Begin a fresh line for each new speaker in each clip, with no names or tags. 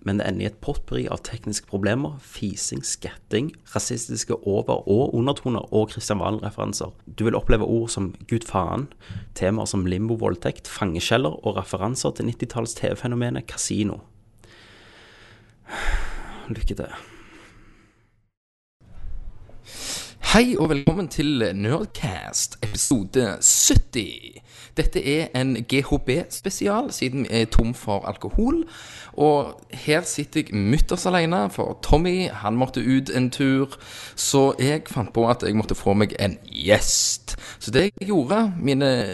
men det ender i et potpurri av tekniske problemer, fising, skatting, rasistiske over- og undertoner og Kristian Valen-referanser. Du vil oppleve ord som gud faen, temaer som limbo-voldtekt, fangekjeller og referanser til 90-tallets TV-fenomenet kasino. Lykke til.
Hei og velkommen til Nerdcast episode 70. Dette er en GHB-spesial, siden vi er tom for alkohol. Og her sitter jeg mutters alene, for Tommy han måtte ut en tur. Så jeg fant på at jeg måtte få meg en gjest. Så det jeg gjorde, mine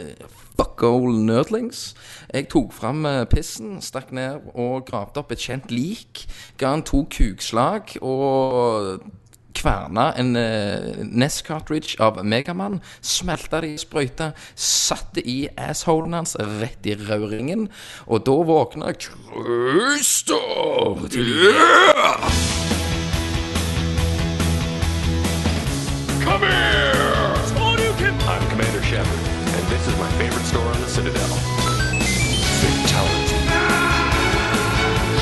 buckole nerdlings Jeg tok fram eh, pissen, stakk ned og gravde opp et kjent lik. Ga han to kukslag og kverna en uh, NES-cartridge av Megamann, smelta det i sprøyta, satte i assholen hans rett i røringen, og da våkna Christer til liv.
Come here! I'm Commander Shepard, and this is my favorite store on the Citadel. Fatality.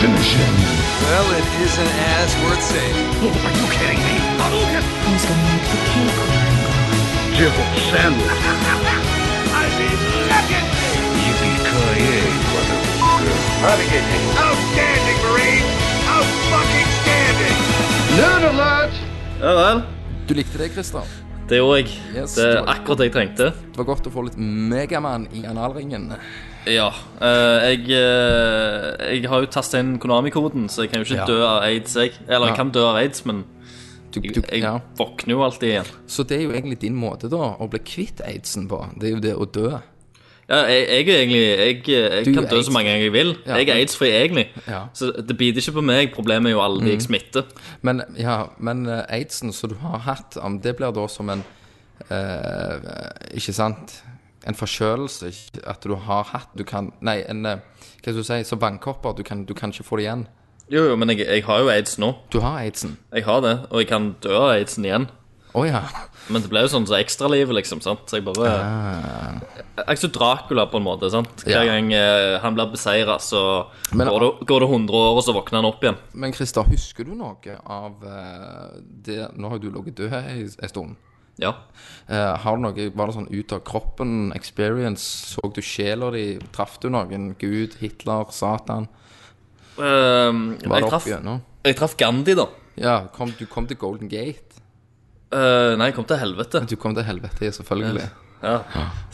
Well, it isn't as worth saying.
Outstanding, Marine! Out-fucking standing!
Ja vel.
Du likte det, Christer?
Det gjorde jeg.
Yes,
det
det
er
var det.
akkurat det jeg trengte.
Det var godt å få litt Megamann i analringen.
Ja. eh, jeg, eh, jeg har jo tastet inn Konami-koden, så jeg kan jo ikke
Ja.
dø av aids. jeg. Eller
Ja.
jeg kan dø av aids, men
Du, du,
jeg
ja.
våkner jo alltid igjen.
Så det er jo egentlig din måte da å bli kvitt aidsen på. Det er jo det å dø.
Ja, jeg, jeg er egentlig Jeg, jeg
Du
kan
er
dø
aids.
så mange ganger jeg vil.
Ja.
Jeg er aids-fri, egentlig.
Ja.
Så det biter ikke på meg. Problemet er jo alle de jeg smitter.
Men, ja, men eh, aidsen som du har hatt, om det blir da som en eh, Ikke sant? En forkjølelse ikke- at du har hatt Du kan Nei, en eh, Hva skal du si? Som vannkopper. Du kan, du kan ikke få det igjen.
Jo, jo, men jeg, jeg har jo aids nå.
Du har aidsen.
Jeg har det, og jeg kan dø av aidsen igjen.
Å ja.
Men det ble jo sånn så ekstralivet, liksom. sant? Så jeg bare Jeg så Dracula, på en måte. sant? Hver
Ah. Ja.
gang eh, han blir beseira, så
Men-
går, det, går det 100 år, og så våkner han opp igjen.
Men Christer, husker du noe av eh, det Nå har jo du ligget død ei ei stund.
Ja.
Eh, har du noe, Var det sånn ut av kroppen experience? Så du sjela di? Traff du noen? Gud, Hitler, Satan?
Ehm,
Var
jeg,
det
traff,
opp igjennom?
jeg traff Gandhi, da.
Ja, kom, du kom til Golden Gate.
Eh, nei, jeg kom til helvete.
Du kom til helvete, selvfølgelig.
Ja.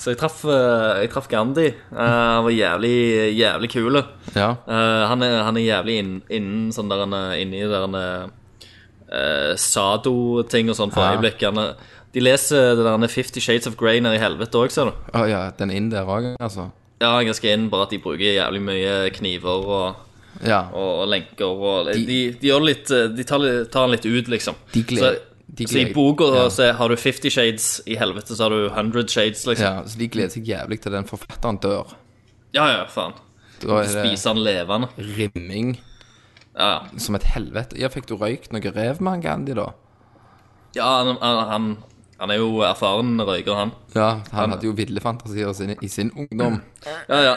Så jeg traff, eh, jeg traff Gandhi. Eh, han var jævlig, jævlig kul.
Ja.
Eh, han, er, han er jævlig inn, innen sånn der han er inni der han er, eh, Sado-ting og sånn for
Ja.
øyeblikk. Han er, de leser det der han er Fifty Shades of Grey nede i helvete òg, ser du.
Å ja, den inn der òg, altså.
Ja, han er ganske inn, bare at de bruker jævlig mye kniver og,
Ja.
og lenker og De, de, gjør litt eh, De tar, litt- tar han litt ut, liksom.
De gled-
så,
de
så i
gled-
boka
ja.
så har du Fifty Shades i helvete, så har du Hundred Shades, liksom.
ja. Så de gleder seg jævlig til den forfatteren dør.
Ja, ja, faen.
Da er det
Spiser han levende.
rimming
Ja, ja.
som et helvete. Ja, fikk du røykt noe rev med han Gandhi, da?
ja han, han, han, han er jo erfaren røyker, han.
Ja, han hadde jo ville fantasier sine i sin ungdom.
Ja, ja.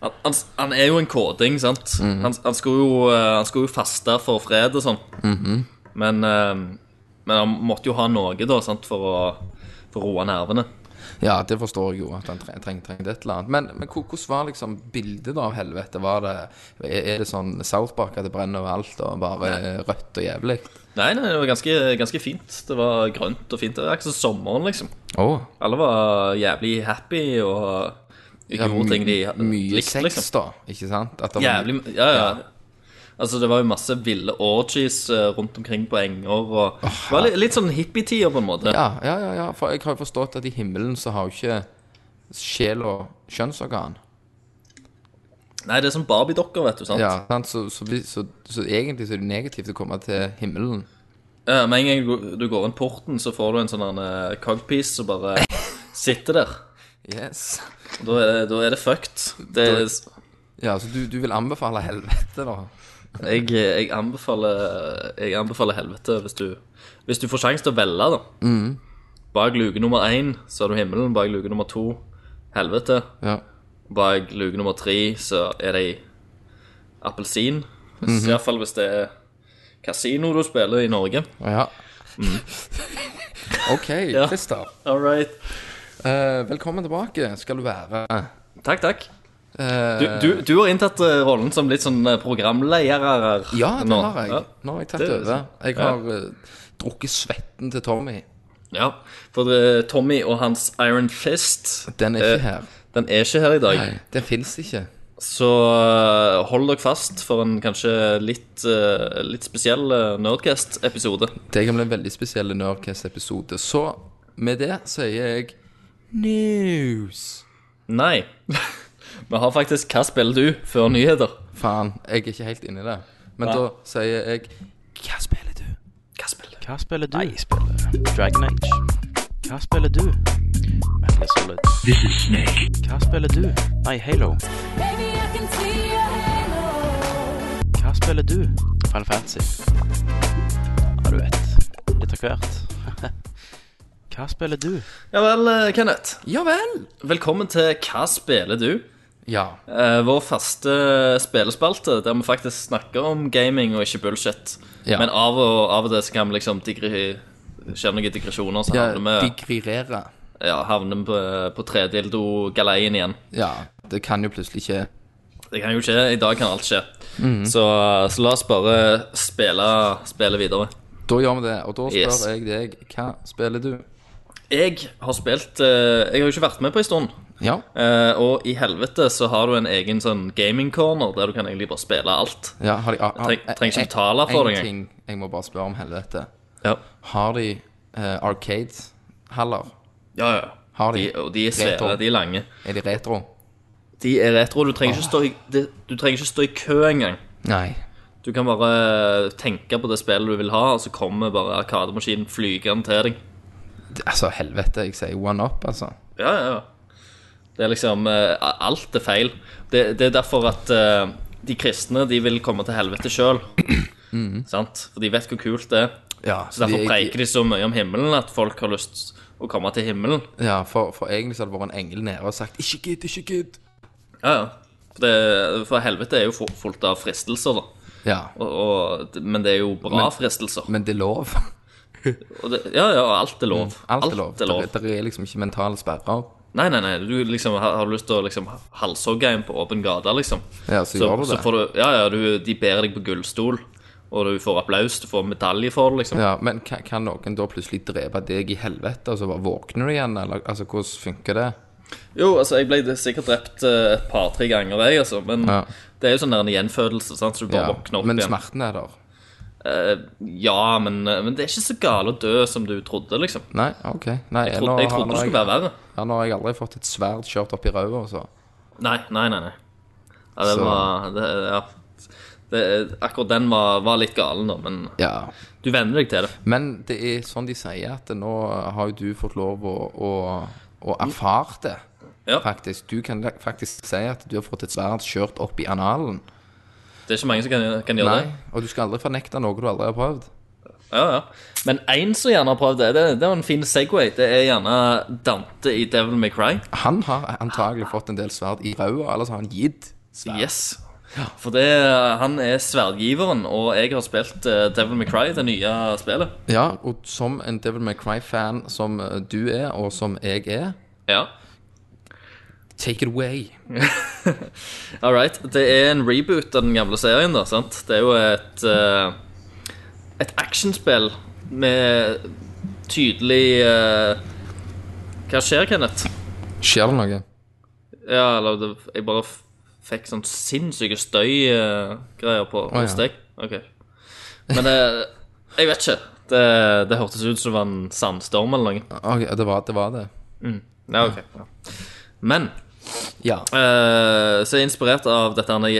Han, han, han er jo en kåding, sant?
Mhm.
han, han, skulle jo, eh, han skulle jo faste for fred og sånn.
Mhm.
men, eh, men han måtte jo ha noe, da, sant, for å, for å roe nervene.
Ja, det forstår jeg jo, at han tre- treng- trengte et eller annet. Men, men hvor- hvordan var liksom bildet da av helvete? Var det, er er det sånn South Park at det brenner overalt og bare er rødt og jævlig?
Nei, nei, det var ganske, ganske fint. Det var grønt og fint. Det var ikke som sommeren, liksom.
Å.
Alle var jævlig happy og
Ja,
gjorde ting de
my- mye
likte,
sex,
liksom.
da, ikke sant? At det var-
Jævlig Ja, ja. Altså, det var jo masse ville orgies eh, rundt omkring på enger og Det var litt, litt sånn hippietider, på en måte.
Ja, ja, ja, ja, for jeg har jo forstått at i himmelen så har jo ikke sjel og kjønnsorgan.
Nei, det er som Barbie-dokker, vet du, sant?
Ja, sant? Så, så, vi- så, så egentlig så er det negativt å komme til himmelen.
Ja, Med en gang du går- du går inn porten, så får du en sånn her, eh, cogpiece som bare sitter der.
Yes.
Og Da er det, da er det fucked. Det,
Ja, så du, du vil anbefale helvete, da?
jeg, jeg, anbefaler, jeg anbefaler helvete hvis du, hvis du får sjanse til å velge, da.
Mm.
Bak luke nummer én så har du himmelen. Bak luke nummer to helvete.
Ja.
Bak luke nummer tre så er det ei appelsin. Hvis-
Mhm.
I hvert fall hvis det er kasino du spiller i Norge.
ja.
Mm.
OK, Christer.
All right.
Eh, velkommen tilbake skal du være.
Takk, takk.
Eh,
Du, du, du har inntatt eh, rollen som litt sånn eh, programleder her.
ja, det
nå.
har jeg.
Ja.
Nå har jeg tatt
Det er sånn.
over. Jeg
ja.
har eh, drukket svetten til Tommy.
Ja, for eh, Tommy og hans Iron Fist
Den er ikke
eh,
her.
Den er ikke her i dag.
Nei, den fins ikke.
Så eh, hold dere fast for en kanskje litt, eh, litt spesiell eh, Nerdcast-episode.
Det kan bli en veldig spesiell Nerdcast-episode. Så med det sier jeg news.
Nei. Vi har faktisk 'Hva spiller du?' før nyheter.
Faen, jeg er ikke helt inni det. Men
Nei.
da sier jeg Hva spiller du?
Hva spiller du?
Hva spiller du? Jeg spiller Dragon Age. Hva spiller du? Metal Gear Solid. This is Snake. Hva spiller du? Nei, Halo.
Baby, I can see your halo.
Hva spiller du? Final Fantasy. Ja, du vet. Litt av hvert. Hva spiller du?
Ja vel, eh, Kenneth.
Ja vel.
Velkommen til 'Hva spiller du?',
Ja.
eh, vår faste spillespalte der vi faktisk snakker om gaming og ikke bullshit.
Ja.
Men av og, av og til så kan vi liksom digre, skjer noen digresjoner, så
ja
havner vi
Digrere.
ja, havner på, eh, på tredildo-galeien igjen.
Ja, det kan jo plutselig ikke
Det kan jo skje. I dag kan alt skje. så, så la oss bare spille, spille videre.
Da gjør vi det. Og da spør
Yes.
jeg deg Hva spiller du?
Jeg har spilt eh, Jeg har jo ikke vært med på en stund.
Ja.
eh, og i helvete så har du en egen sånn gaming corner der du kan egentlig bare spille alt.
ja har de, har,
Treng- trenger ikke betale for det
En
engang.
ting jeg må bare spørre om helvete.
Ja,
Har de eh, arcade-haller?
ja. ja.
Har
De,
de?
og de er svære,
Retro.
de er lange.
Er de retro?
De er retro. Du trenger ikke stå i, det, du trenger ikke stå i kø engang.
Nei.
Du kan bare tenke på det spillet du vil ha, og så kommer bare arkademaskinen flygende til deg.
Det- Altså, helvete. Jeg sier one up, altså.
Ja, ja, ja. Det er liksom eh, Alt er feil. Det, det er derfor at eh, de kristne de vil komme til helvete sjøl. Sant? For de vet hvor kult det er.
Ja,
Så Derfor preiker de så mye om himmelen at folk har lyst å komme til himmelen.
Ja, for, for egentlig så hadde det vært en engel nede og sagt 'ikke gidd, ikke gidd'.
Ja, ja. For, det, for helvete er jo fu- fullt av fristelser, da.
Ja,
Og, og, men det er jo bra fristelser.
men det er lov.
Og det, ja, ja, alt er lov.
Mm. Alt er lov. Det, det er liksom ikke mentale sperrer.
Nei, nei, nei. Du liksom, har, har du lyst til å liksom halshogge en på åpen gate, liksom.
Ja, så, gjør du det.
så får du Ja, ja, du, de ber deg på gullstol, og du får applaus, du får medalje for det, liksom.
Ja, Men kan, kan noen da plutselig drepe deg i helvete, og så bare våkner du igjen? Eller altså, hvordan funker det?
Jo, altså, jeg ble sikkert drept eh, et par-tre ganger, jeg, altså, men
Ja.
det er jo sånn der en gjenfødelse, sant, så du bare
Ja.
våkner opp
Men
igjen.
smerten er der?
Ja, men, eh, men det er ikke så gale å dø som du trodde, liksom.
Nei, OK. Nei,
Jeg, trodde- jeg trodde det skulle være verre.
Ja, nå har jeg aldri fått et sverd kjørt opp i altså. ræva, så.
Nei, nei, nei. nei. Ja, det
Så-
var det, Ja. Det, akkurat den var, var litt galen, da, men
Ja.
du venner deg til det.
Men det er sånn de sier, at nå har jo du fått lov å, å, å erfare det.
Ja.
Faktisk. Du kan da- faktisk si at du har fått et sverd kjørt opp i analen.
Det er ikke mange som kan, kan gjøre det.
Nei, og du skal aldri fornekte noe du aldri har prøvd.
Ja, ja. Men én som gjerne har prøvd det, det, det var en fin Segway. Det er gjerne Dante i Devil May Cry.
Han har antagelig fått en del sverd i ræva, ellers har han gitt.
Yes. For det, han er sverdgiveren, og jeg har spilt eh, Devil May Cry, det nye spillet.
Ja, og som en Devil May Cry-fan som eh, du er, og som jeg er
Ja.
Take it away.
All right. Det er en reboot av den gamle serien, da. sant? Det er jo et eh, Et actionspill med tydelig eh, Hva skjer, Kenneth?
Skjer det noe?
Ja, eller det, jeg bare f- fikk sånn sinnssyke støy-greier på
ja.
hos deg. Ok. Men eh, jeg vet ikke. Det, det hørtes ut som det var en sandstorm eller noe.
Ok, det var det. Var det.
Ja, ok. Ja. Men
Ja.
eh, så er jeg inspirert av dette her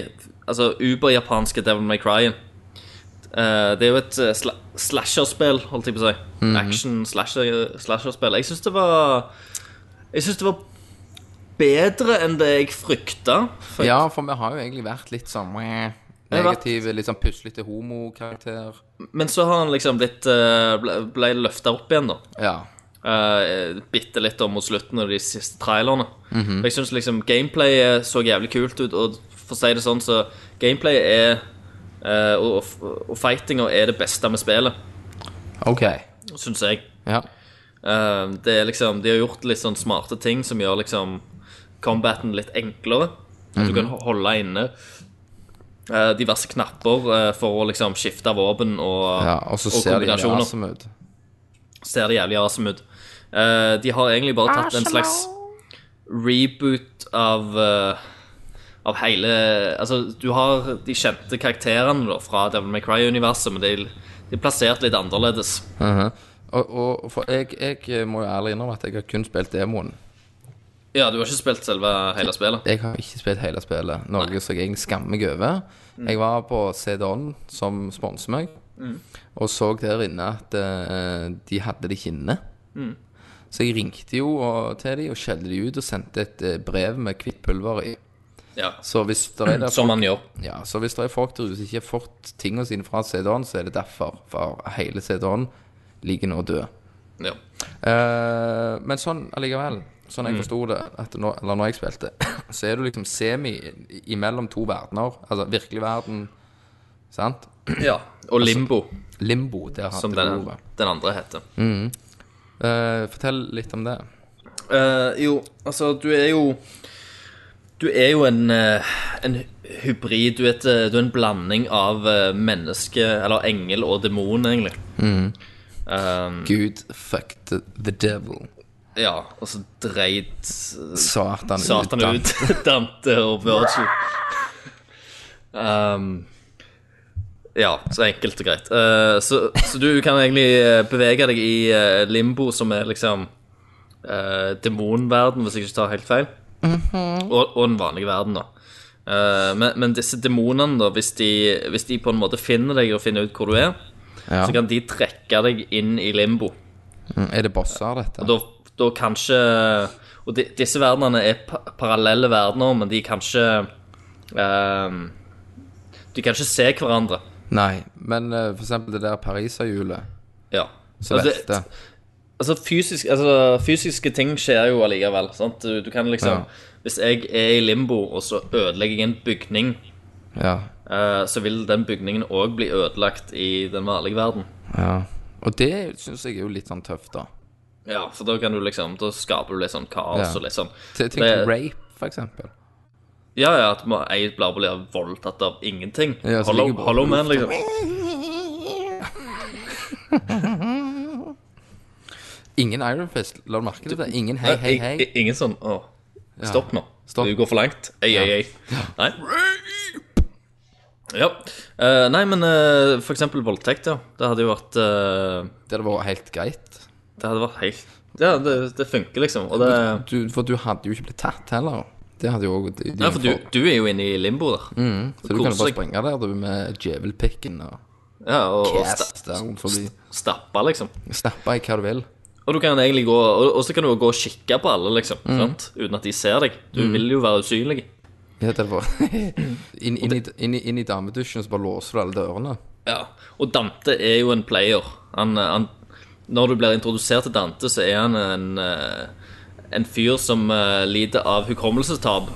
altså, uber-japanske Devil May Cry. Eh, det er jo et eh, sla slasherspill, holdt jeg på å si. Action-slasherspill. jeg syns det var Jeg syns det var bedre enn det jeg frykta. For
Ja, for vi har jo egentlig vært litt sånn meh,
har vært-
negative, litt sånn puslete homokarakter.
Men så har han liksom blitt eh, ble, ble løfta opp igjen, da.
Ja.
Eh, bitte litt om mot slutten av de siste trailerne. Jeg syns liksom gameplayet så jævlig kult ut, og for å si det sånn, så gameplayet er eh, og, og fightinga er det beste med spillet,
Ok.
syns jeg.
Ja.
Eh, det er liksom De har gjort litt sånn smarte ting som gjør liksom combaten litt enklere. At du kan ho- holde inne eh, diverse knapper eh, for å liksom skifte våpen og,
ja. Og så ser de
kombinasjoner
awesome ut.
ser det jævlig awesome ut. Eh, de har egentlig bare tatt en slags reboot av eh, Av hele Altså, du har de kjente karakterene da, fra Devil May Cry-universet, men de, de er plassert litt annerledes.
Mhm. Og, og for jeg, jeg eh, må jo ærlig innrømme at jeg har kun spilt demoen.
Ja, du har ikke spilt selve hele spillet?
Jeg har ikke spilt hele spillet, noe som jeg egentlig skammer meg over. Jeg var på CD-ON, som sponser meg, og så der inne at eh, de hadde det ikke inne. Så jeg ringte jo og, til de og skjelte de ut og sendte et eh, brev med hvitt pulver i.
Ja.
Så hvis det er, der,
Som man gjør.
ja, så hvis det er folk der ute som ikke har fått tingene sine fra CD-ON, så er det derfor. For hele CD-ON ligger nå død.
Ja.
Eh, men sånn allikevel, sånn
Mm.
jeg forsto det, at nå, eller når jeg spilte, så er du liksom semi i- imellom to verdener. Altså virkelig verden, sant?
ja.
Altså,
Og Limbo,
Limbo, der
som
hadde du
den,
ordet.
den andre heter.
Eh, fortell litt om det.
Eh, jo, altså, du er jo Du er jo en, eh, en hybrid. Du er, et, eh, du er en blanding av eh, menneske, eller engel og demon, egentlig. Eh,
Gud fucked the devil.
ja, og så dreit eh,
Satan,
Satan
da.
ut Dante og Virgil. Um, ja, så enkelt og greit. Eh, så, så du kan egentlig eh, bevege deg i eh, limbo, som er liksom uh, demonverden, hvis jeg ikke tar helt feil, og, og den vanlige verden, da. Eh, men, men disse demonene, da, hvis de, hvis de på en måte finner deg og finner ut hvor du er,
Ja.
så kan de trekke deg inn i limbo.
Mm, Er det bosser, dette?
Og da, da kanskje Og di- disse verdenene er pa parallelle verdener, men de kan ikke ehm, De kan ikke se hverandre.
Nei, men eh, for eksempel det der pariserhjulet
Ja.
som
Og det-
velter.
altså, fysisk, altså, fysiske ting skjer jo allikevel. Sant? Du, du kan liksom
Ja.
Hvis jeg er i limbo, og så ødelegger jeg en bygning,
Ja.
eh, så vil den bygningen òg bli ødelagt i den vanlige verden.
ja. Og det syns jeg er jo litt sånn tøft, da.
Ja, for da kan du liksom Da skaper du litt sånn kaos
Ja.
og litt sånn
Tenk
Det-
på rape, for eksempel.
Ja, ja, at må- jeg blir blir voldtatt av ingenting.
Ja, så
Hollow,
ligger bare
Hollow Man, liksom.
Ingen Iron Fist, la du merke til det? Ingen hei, hei, hei.
I- i- Ingen sånn Å, stopp nå.
Stopp.
Du går for langt. Ei, ei, ei. Nei. Ja. Eh, nei, men eh, for eksempel voldtekt, ja. Det hadde jo vært eh,
Det hadde vært helt greit.
Det hadde vært helt Ja, det, det funker, liksom. Og det
Du, for du hadde jo ikke blitt tatt heller. Det hadde jo også din
Nei, for du,
for-
du er jo inne i limbo der.
Mm, Så du kan jo
koser
bare
deg.
springe der du med djevelpikken og
Ja, og, og sta,
cast down forbi.
stappe, liksom.
Snappe i hva du vil.
Og du kan egentlig gå Og, og så kan du jo gå og kikke på alle, liksom.
Mm.
Sant? Uten at de ser deg. Du vil jo være usynlig.
Ja, det var inn, inn, i, inn, i- inn i damedusjen, så bare låser du alle dørene.
Ja, og Dante er jo en player. Han, eh, han, når du blir introdusert til Dante, så er han en, eh, en fyr som eh, lider av hukommelsestap.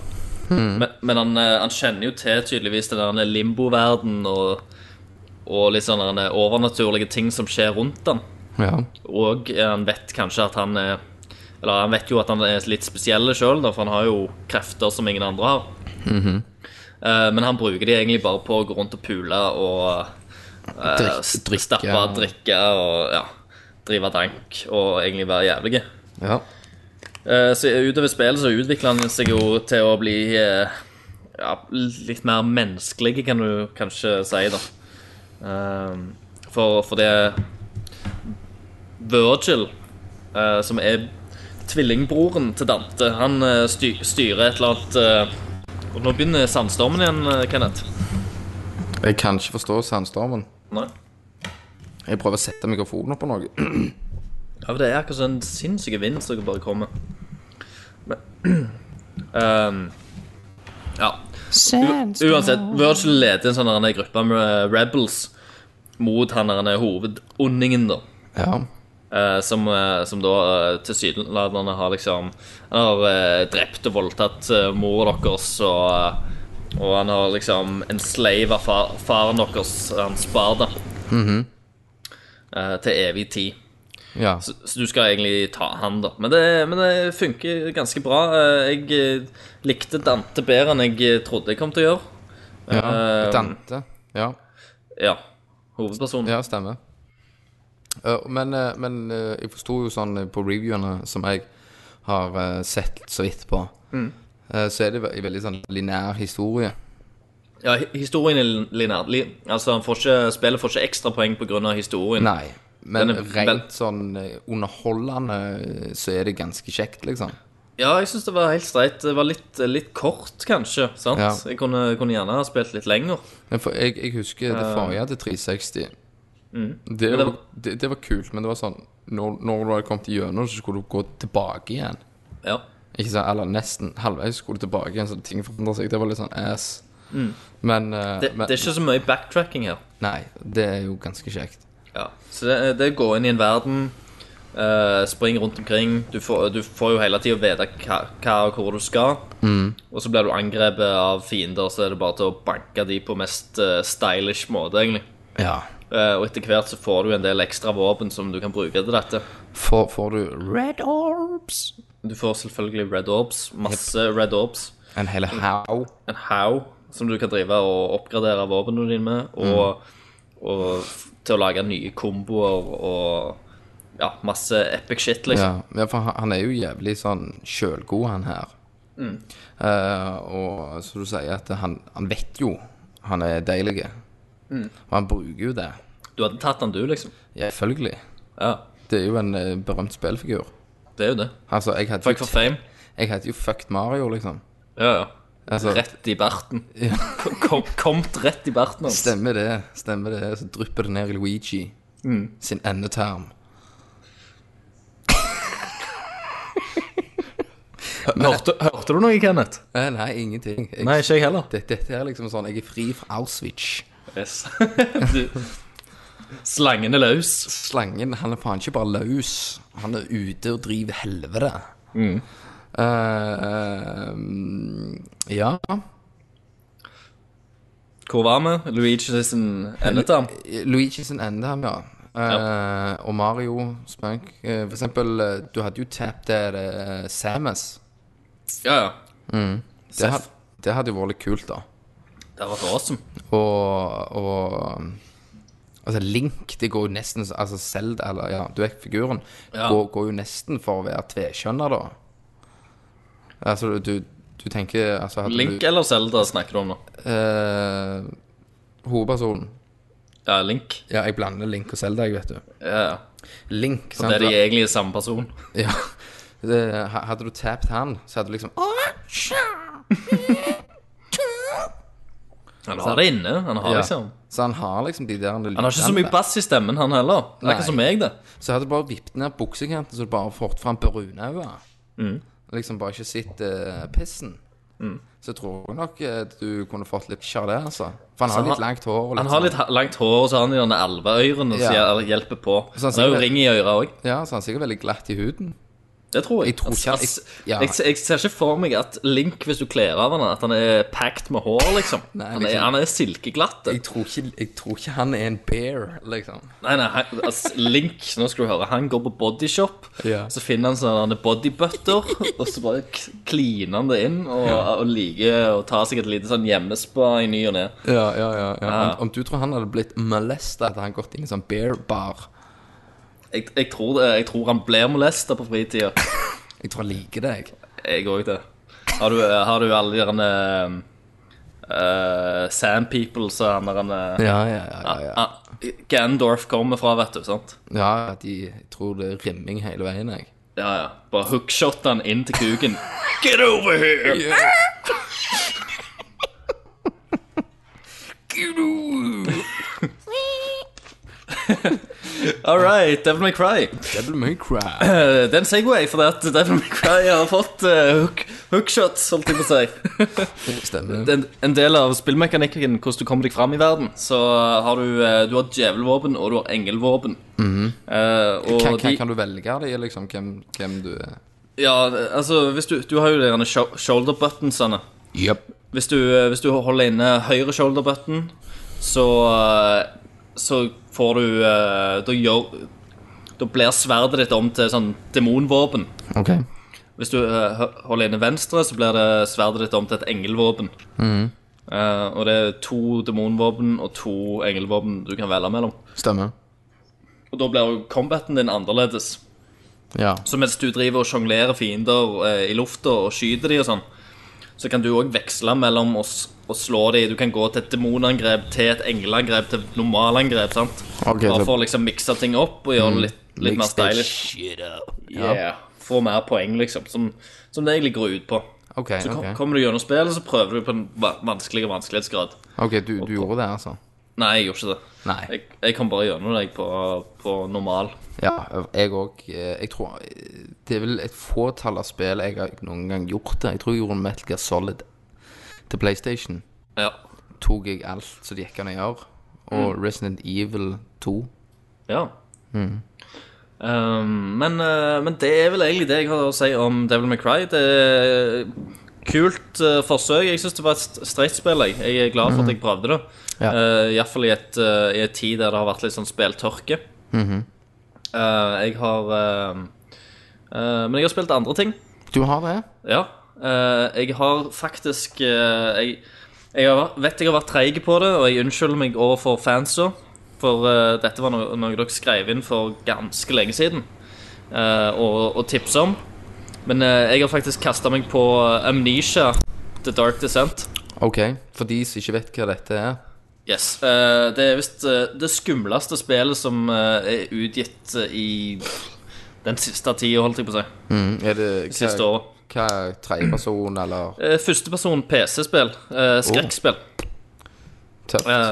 Men, men han, eh, han kjenner jo til tydeligvis den der limbo-verden og, og litt sånne der overnaturlige ting som skjer rundt han.
Ja.
Og eh, han vet kanskje at han er Eller han vet jo at han er litt spesiell sjøl, for han har jo krefter som ingen andre har. Eh, Men han bruker de egentlig bare på å gå rundt og pule og eh,
Drikk-
s-
drikke.
stappe, drikke og ja, drive dank og egentlig være jævlige.
ja.
Eh, Så utover spillet så utvikler han seg jo til å bli eh, ja, litt mer menneskelig, kan du kanskje si, da. Ehm, For, for det Virgil, eh, som er tvillingbroren til Dante, han eh, sty styrer et eller annet eh, Og nå begynner sandstormen igjen, eh, Kenneth.
Jeg kan ikke forstå sandstormen.
Nei.
Jeg prøver å sette mikrofonen på noe.
Ja, for det er akkurat sånn sinnssyke vind som bare kommer. Men, Ehm, ja. U uansett, Virgil leder en sånn der en gruppe med rebels mot han der en hovedondingen, da.
Ja.
Eh, som, eh, som da eh, tilsynelatende har liksom Han har eh, drept og voldtatt eh, mora deres, og, eh, og han har liksom en slave av far, faren deres, hans barda, eh, til evig tid.
ja.
Så, så du skal egentlig ta han, da. Men det, men det funker ganske bra. Eh, Jeg eh, likte Dante bedre enn jeg eh, trodde jeg kom til å gjøre.
ja.
Eh,
Dante. Ja.
Ja. Hovedpersonen.
Ja, stemmer. Eh, Men, eh, men eh, jeg forsto jo sånn eh, på reviewene som jeg har eh, sett så vidt på,
Mm.
eh, så er det ve- en veldig sånn lineær historie.
Ja, hi- historien er lin- lineær. Li- Altså, han får ikke, spillet får ikke ekstrapoeng pga. historien.
Nei. Men
Den er vel-
rent sånn eh, underholdende eh, så er det ganske kjekt, liksom.
Ja, jeg syns det var helt streit. Det var litt, eh, litt kort, kanskje. sant?
Ja.
Jeg kunne, kunne gjerne ha spilt litt lenger.
Men for, jeg, jeg husker det forrige til 360. Det,
Eh. Mm. det
var,
var-
det, det var kult, men det var sånn Når, når du hadde kommet gjennom, så skulle du gå tilbake igjen.
Ja.
Ikke sant, Eller nesten halvveis skulle du tilbake igjen, så ting forandret seg. Det var litt sånn ass. Men, eh,
Mm. Det,
men
det er ikke så mye backtracking her.
Nei, det er jo ganske kjekt.
Ja. Så det, det er å gå inn i en verden, eh, spring rundt omkring Du får, du får jo hele tida vite hva, hva og hvor du skal. Og så blir du angrepet av fiender, så er det bare til å banke de på mest eh, stylish måte, egentlig.
Ja.
Eh, og etter hvert så får du en del ekstra våpen som du kan bruke til dette.
Får, får du red orbs?
Du får selvfølgelig red orbs. Masse red orbs.
En hel
Mm.
haug.
en haug som du kan drive og oppgradere våpnene dine med, og, og f- til å lage nye komboer og ja, masse epic shit, liksom.
Ja, ja, for han, han er jo jævlig sånn sjølgod, han her.
Mm.
Eh, og så du sier at han, han vet jo han er deilig.
Mm.
Og han bruker jo det.
Du hadde tatt den, du, liksom.
Ja, Selvfølgelig.
Ja,
Det er jo en eh, berømt spillfigur.
det er jo det.
Altså, jeg hadde,
Fuck for
jo,
fame.
jeg hadde jo fucked Mario, liksom.
Ja, ja.
Altså,
Rett i barten. Kom, komt rett i barten hans.
Stemmer det. stemmer det Så drypper det ned i Luigi sin endetarm.
Hørte, hørte du noe, Kenneth?
Eh, nei, ingenting. Jeg,
Nei, ikke jeg heller.
Dette, dette er liksom sånn Jeg er fri fra Auschwitz.
Yes. du, slangen er løs.
Slangen han er faen ikke bare løs. Han er ute og driver helvete. Eh, eh, ja
Hvor var vi? Luigi sin endetarm.
Luigi sin endetarm, ja. Eh, Og Mario Spunk. Eh, for eksempel, eh, du hadde jo tapt der eh, Samus.
Ja, ja.
Det, had, det hadde jo vært litt kult, da.
Det var awesome.
og, og Altså, Link det går jo nesten så- Altså, Zelda, eller ja, du vet figuren,
Ja.
går, går jo nesten for å være tvekjønner, da. Altså, du, du tenker altså, hadde
Link
du,
eller Zelda snakker du om nå?
eh, Hovedpersonen.
Ja, Link.
Ja, jeg blander Link og Zelda, jeg, vet du.
Ja, ja.
Link, sant?
Det er de egentlig samme person.
Ja. Det, ha- hadde du tapt han, så hadde du liksom
Han har det inne. Han har
Ja.
liksom
Så han har liksom de der
Han har ikke så mye bass i stemmen, han heller. Det er
Nei.
ikke som meg, det.
Så jeg hadde bare vippet ned buksekanten så du bare fort fram brunauga. Liksom bare ikke sett eh, pissen. Så jeg tror nok eh, du kunne fått litt sjarm der, altså. For han
Så
har
han-
litt langt hår. Og
Han har litt ha- langt hår, og så har han de derne alveørene som
Ja. sånn
hjel- hjelper på.
Så han
Han har jo
sier-
ring i øret òg.
sånn. Ja, så han er sikkert veldig glatt i huden.
Det tror jeg.
Jeg tror ikke han-
Altså,
jeg- ja.
jeg, jeg ser ikke for meg at Link, hvis du kler av han, at han er packed med hår, liksom.
Nei,
Han, er,
liksom.
han er silkeglatt.
Jeg tror, ikke, jeg tror ikke han er en bear, liksom.
Nei, nei, han, altså, Link, nå skal du høre, han går på bodyshop,
Ja.
så finner han sånne bodybutter, og så bare k- kliner han det inn, og, og liker å ta seg et lite sånn hjemmespa i ny og ne.
Ja, ja, ja. ja. Om, om du tror han hadde blitt molesta hadde han gått inn i sånn bear-bar
Jeg, jeg, tror det, jeg tror han blir molesta på fritida.
Jeg tror han liker deg.
Jeg òg det. Har du, har du alle de derne eh, Sand People, så han der
Ja, ja, ja. ja, ja.
Ah, Gandorf kommer fra, vet du. sant?
ja de jeg tror det er rimming hele veien, jeg.
Ja, ja. Bare hookshot han inn til kuken. Get over here! All right, Devil May Cry.
Devil May Cry.
Eh, Det er en Segway, for det at Devil May Cry har fått eh, hook Hookshots, holdt jeg på å si.
Stemmer.
Det er En, en del av spillmekanikken, hvordan du kommer deg fram i verden, så har du, eh, du har djevelvåpen og du har engelvåpen. Eh, og
Kan, kan,
de-
kan du velge av de, liksom, hvem, hvem du er?
Ja, altså, hvis du, du har jo de derne sho- shoulder buttonsene.
Yep.
Hvis du, eh, hvis du holder inne høyre shoulder button, så, eh, så får du eh, Da gjør Da blir sverdet ditt om til sånn demonvåpen.
Ok.
Hvis du eh, hø- holder inne venstre, så blir det sverdet ditt om til et engelvåpen.
Mm.
Eh, og det er to demonvåpen og to engelvåpen du kan velge mellom.
Stemmer.
Og da blir jo combaten din annerledes.
Ja.
Så mens du driver og sjonglerer fiender eh, i lufta og skyter de og sånn, så kan du òg veksle mellom å, s- å slå de. Du kan gå til et demonangrep, til et engleangrep, til et normalangrep. sant?
Ok,
Bare
så-
for å liksom mikse ting opp og gjøre det litt, litt mer
Mix that
stylish.
shit up. Ja.
Yeah. Få mer poeng, liksom. Som, som det egentlig går ut på.
Ok,
Så kom,
ok.
kommer du gjennom spillet, så prøver du på en va- vanskeligere vanskelighetsgrad.
Ok, du, du gjorde det, altså?
Nei, jeg gjorde ikke det.
Nei.
Jeg, jeg kom bare gjennom deg på, på normal.
Ja, jeg òg. Jeg tror eh, Det er vel et fåtall av spill jeg har noen gang gjort det. Jeg tror jeg gjorde en Metal Gear Solid til PlayStation.
Ja.
Tok jeg alt som det gikk an å gjøre. Og
Mm.
Resident Evil 2.
Ja.
Hmm.
Um, men, eh, men det er vel egentlig det jeg har å si om Devil May Cry. Det er kult eh, forsøk. Jeg syns det var et st- streit spill. Jeg. jeg er glad for at jeg prøvde det.
Hmm. Ja.
Eh, i hvert Iallfall i et, eh, i et tid der det har vært litt sånn spilltørke.
Hmm.
Eh, jeg har eh, eh, Men jeg har spilt andre ting.
Du har det?
Ja. eh, jeg har faktisk eh, jeg, jeg har, vært- vet jeg har vært treig på det, og jeg unnskylder meg overfor fansa. For eh, dette var noe, noe dere skrev inn for ganske lenge siden eh, og, og tipsa om. Men eh, jeg har faktisk kasta meg på eh, Amnesia, The Dark Descent.
OK. For de som ikke vet hva dette er.
Yes. eh, det er visst eh, det skumleste spillet som eh, er utgitt eh, i den siste tida, holdt jeg på å si.
Er det
Det
hva,
siste året.
hva tredjeperson, eller
Eh, Førsteperson PC-spill. eh, Skrekkspill.
tøft?
Eh,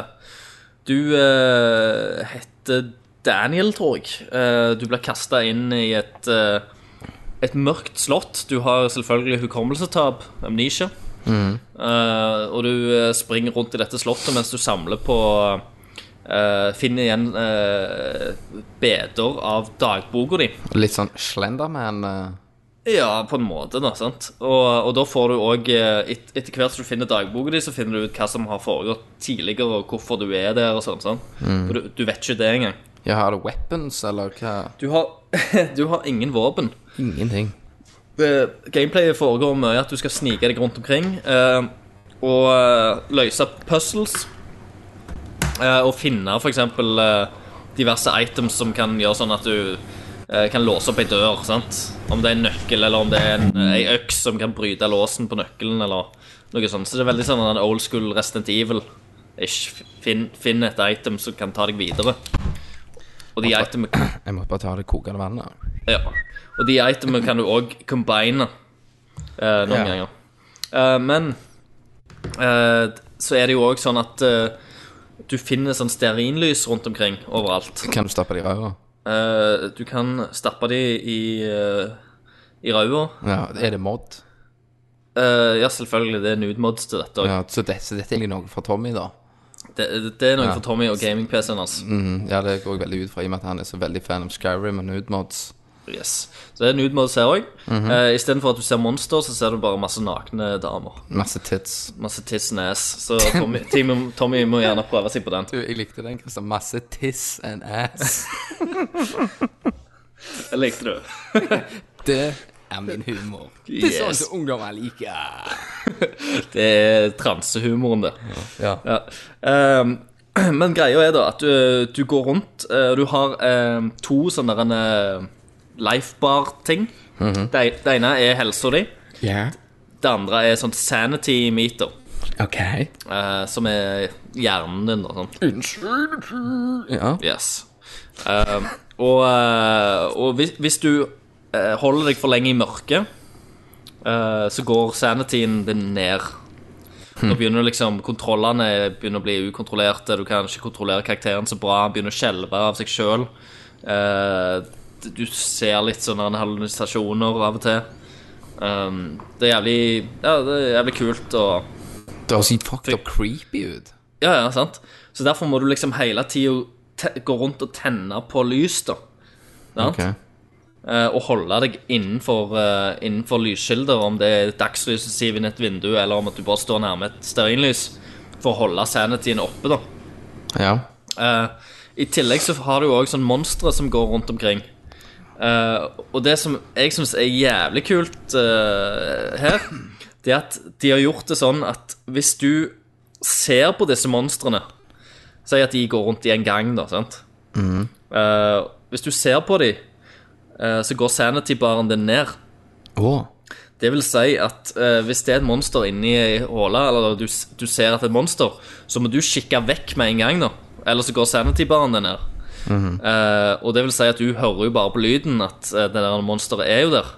Du eh, heter Daniel, tror jeg. Eh, du blir kasta inn i et, eh, et mørkt slott. Du har selvfølgelig hukommelsestap, amnesia. Eh, og du eh, springer rundt i dette slottet mens du samler på eh, Finner igjen eh, beder av dagboka di.
Litt sånn Slenderman eh,
Ja, på en måte, da. sant? Og, og da får du òg et, Etter hvert som du finner dagboka di, så finner du ut hva som har foregått tidligere, og hvorfor du er der, og sånn. sånn. Og du, du vet ikke det engang.
Ja, har det weapons, eller hva?
Du har, du har ingen våpen.
Ingenting.
Det, Eh, gameplayet foregår mye at du skal snike deg rundt omkring eh, og eh, løse puzzles. eh, og finne f.eks. Uh, diverse items som kan gjøre sånn at du eh, kan låse opp ei dør. sant? Om det er en nøkkel, eller om det er en, eh, ei øks som kan bryte låsen på nøkkelen, eller noe sånt. Så det er veldig sånn en old school Resident Evil. Ish. Finn, finn et item som kan ta deg videre. Og de itemene
Jeg måtte bare ta det kokende vannet.
ja. Og de itemene kan du òg combine eh, noen
Ja.
ganger. Eh, men eh, så er det jo òg sånn at eh, du finner sånn stearinlys rundt omkring overalt.
Kan du stappe det i røra?
Eh, du kan stappe de i, eh, i ræva.
Ja, er det mod?
Eh, ja, selvfølgelig. Det er nudemods til dette òg.
Ja, så dette, så dette er egentlig noe for Tommy, da.
Det, det er noe
Ja.
for Tommy og gaming-PC-en hans.
Mhm, ja, det går jeg veldig ut fra, i og med at han er så veldig fan av Skyrim og nude mods.
Yes. Så det er nudemods her Eh, òg.
Mhm.
Istedenfor at du ser monster, så ser du bare masse nakne damer.
Masse tits.
Masse tiss and ass. Så Tommy, Tommy, Tommy må gjerne prøve seg på den.
Du, jeg likte den, Kristian. Masse tiss and ass.
Jeg likte det.
Det er min humor. Det
er sånn som
ungdommer liker.
Det er transehumoren, det.
Ja.
Ja. Ehm, men greia er da at du, du går rundt, eh, og du har ehm, to sånne derene lifebar-ting.
Mhm.
det, det ene er helsa di.
Ja.
Det andre er sånn sanity meter,
OK.
eh, som er hjernen din og sånn.
Ja.
Yes. Ehm, og eh, og hvis, hvis du eh, holder deg for lenge i mørket, eh, så går sanityen din ned. Nå begynner liksom kontrollene begynner å bli ukontrollerte. Du kan ikke kontrollere karakteren så bra. Han begynner å skjelve av seg Eh, sjøl. du ser litt sånne hallusinasjoner av og til. Um, det er jævlig Ja, det er jævlig kult og
Det høres litt fucked up creepy ut.
Ja, ja, sant? Så derfor må du liksom hele tida te- gå rundt og tenne på lys, da. Sant?
Ok.
Eh, og holde deg innenfor, eh, innenfor lyskilder, om det er dagslyset siv inn et vindu, eller om at du bare står nærme et stearinlys, for å holde sanityen oppe, da.
Ja.
Eh, I tillegg så har du jo òg sånne monstre som går rundt omkring. Eh, og det som jeg syns er jævlig kult eh, her, det er at de har gjort det sånn at hvis du ser på disse monstrene Si at de går rundt i en gang, da, sant. Eh, hvis du ser på dem, så går sanity-baren din ned.
Å.
Det vil si at eh, hvis det er et monster inni ei håle, eller du, s- du ser at det er et monster, så må du kikke vekk med en gang, da. Ellers så går sanity-baren din ned. Eh, og det vil si at du hører jo bare på lyden at eh, det der monsteret er jo der.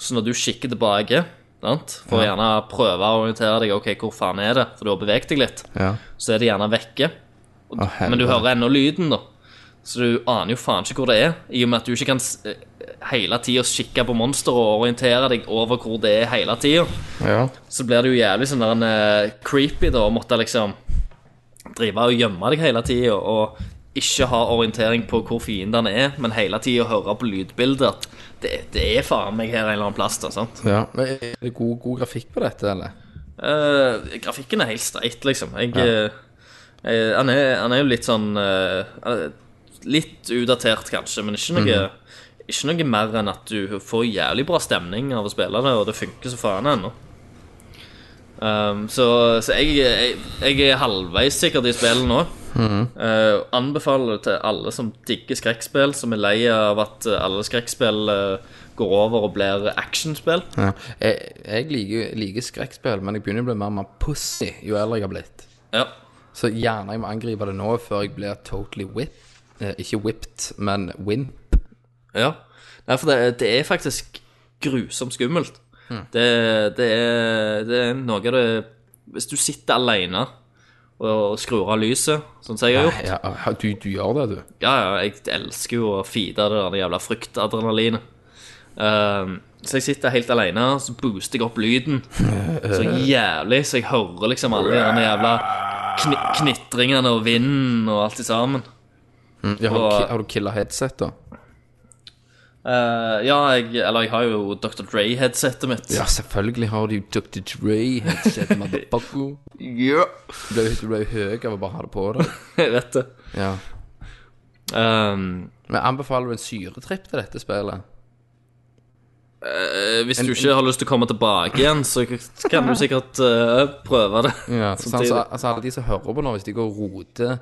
Så når du kikker tilbake, sant? for gjerne prøve å orientere deg, ok, hvor faen er det, for du har beveget deg litt,
Ja.
så er det gjerne vekke.
Å, helvete.
Men du hører ennå lyden, da. Så du aner jo faen ikke hvor det er, i og med at du ikke kan s- eh, hele tida kikke på monsteret og orientere deg over hvor det er hele tida.
Ja.
Så blir det jo jævlig sånn der en eh, creepy, da, å måtte liksom drive og gjemme deg hele tida og ikke ha orientering på hvor fiendene er, men hele tida høre på lydbildet at det, det er faen meg her en eller annen plass, da, sant.
ja. Men er det god, god grafikk på dette, eller?
Eh, grafikken er helt streit, liksom. Jeg, eh, eh, han, er, han er jo litt sånn eh, eh, Litt utdatert, kanskje, men ikke noe, ikke noe mer enn at du får jævlig bra stemning av å spille det, og det funker så faen ennå. Um, så så jeg, jeg, jeg er halvveis sikkert i spillet nå. Eh, anbefaler det til alle som digger skrekkspill, som er lei av at eh, alle skrekkspill eh, går over og blir actionspill.
Ja. Jeg, jeg liker, liker skrekkspill, men jeg begynner å bli mer og mer pussy jo eldre jeg har blitt.
Ja.
Så gjerne jeg må angripe det nå før jeg blir totally whip. Eh, ikke whipped, men win.
Ja. Nei, for det, det er faktisk grusomt skummelt. Det, det, er, det er noe av det Hvis du sitter alene og skrur av lyset, sånn som jeg har gjort
Eh, Ja, ja, du, du gjør det, du.
Ja, ja, jeg elsker jo å feede det der jævla fryktadrenalinet. Ehm, så jeg sitter helt alene, så booster jeg opp lyden så jævlig, så jeg hører liksom alle de der jævla kni knitringene og vinden og alt i sammen.
Ja, har, du,
Og-
ki- har du killa headset, da?
Eh, ja, jeg, eller jeg har jo Dr. Dre-headsetet mitt.
Ja, selvfølgelig har du Dr. Dre, headset, motherfucker. Du ble du ble jo høy av å bare ha det på deg.
Jeg vet det.
Ja.
Ehm,
Men anbefaler du en syretripp til dette spillet?
eh, hvis du ikke har lyst til å komme tilbake igjen, så kan du sikkert eh, prøve det.
Ja, sånn,
Samtidig.
så, altså Alle de som hører på nå, hvis de går og roter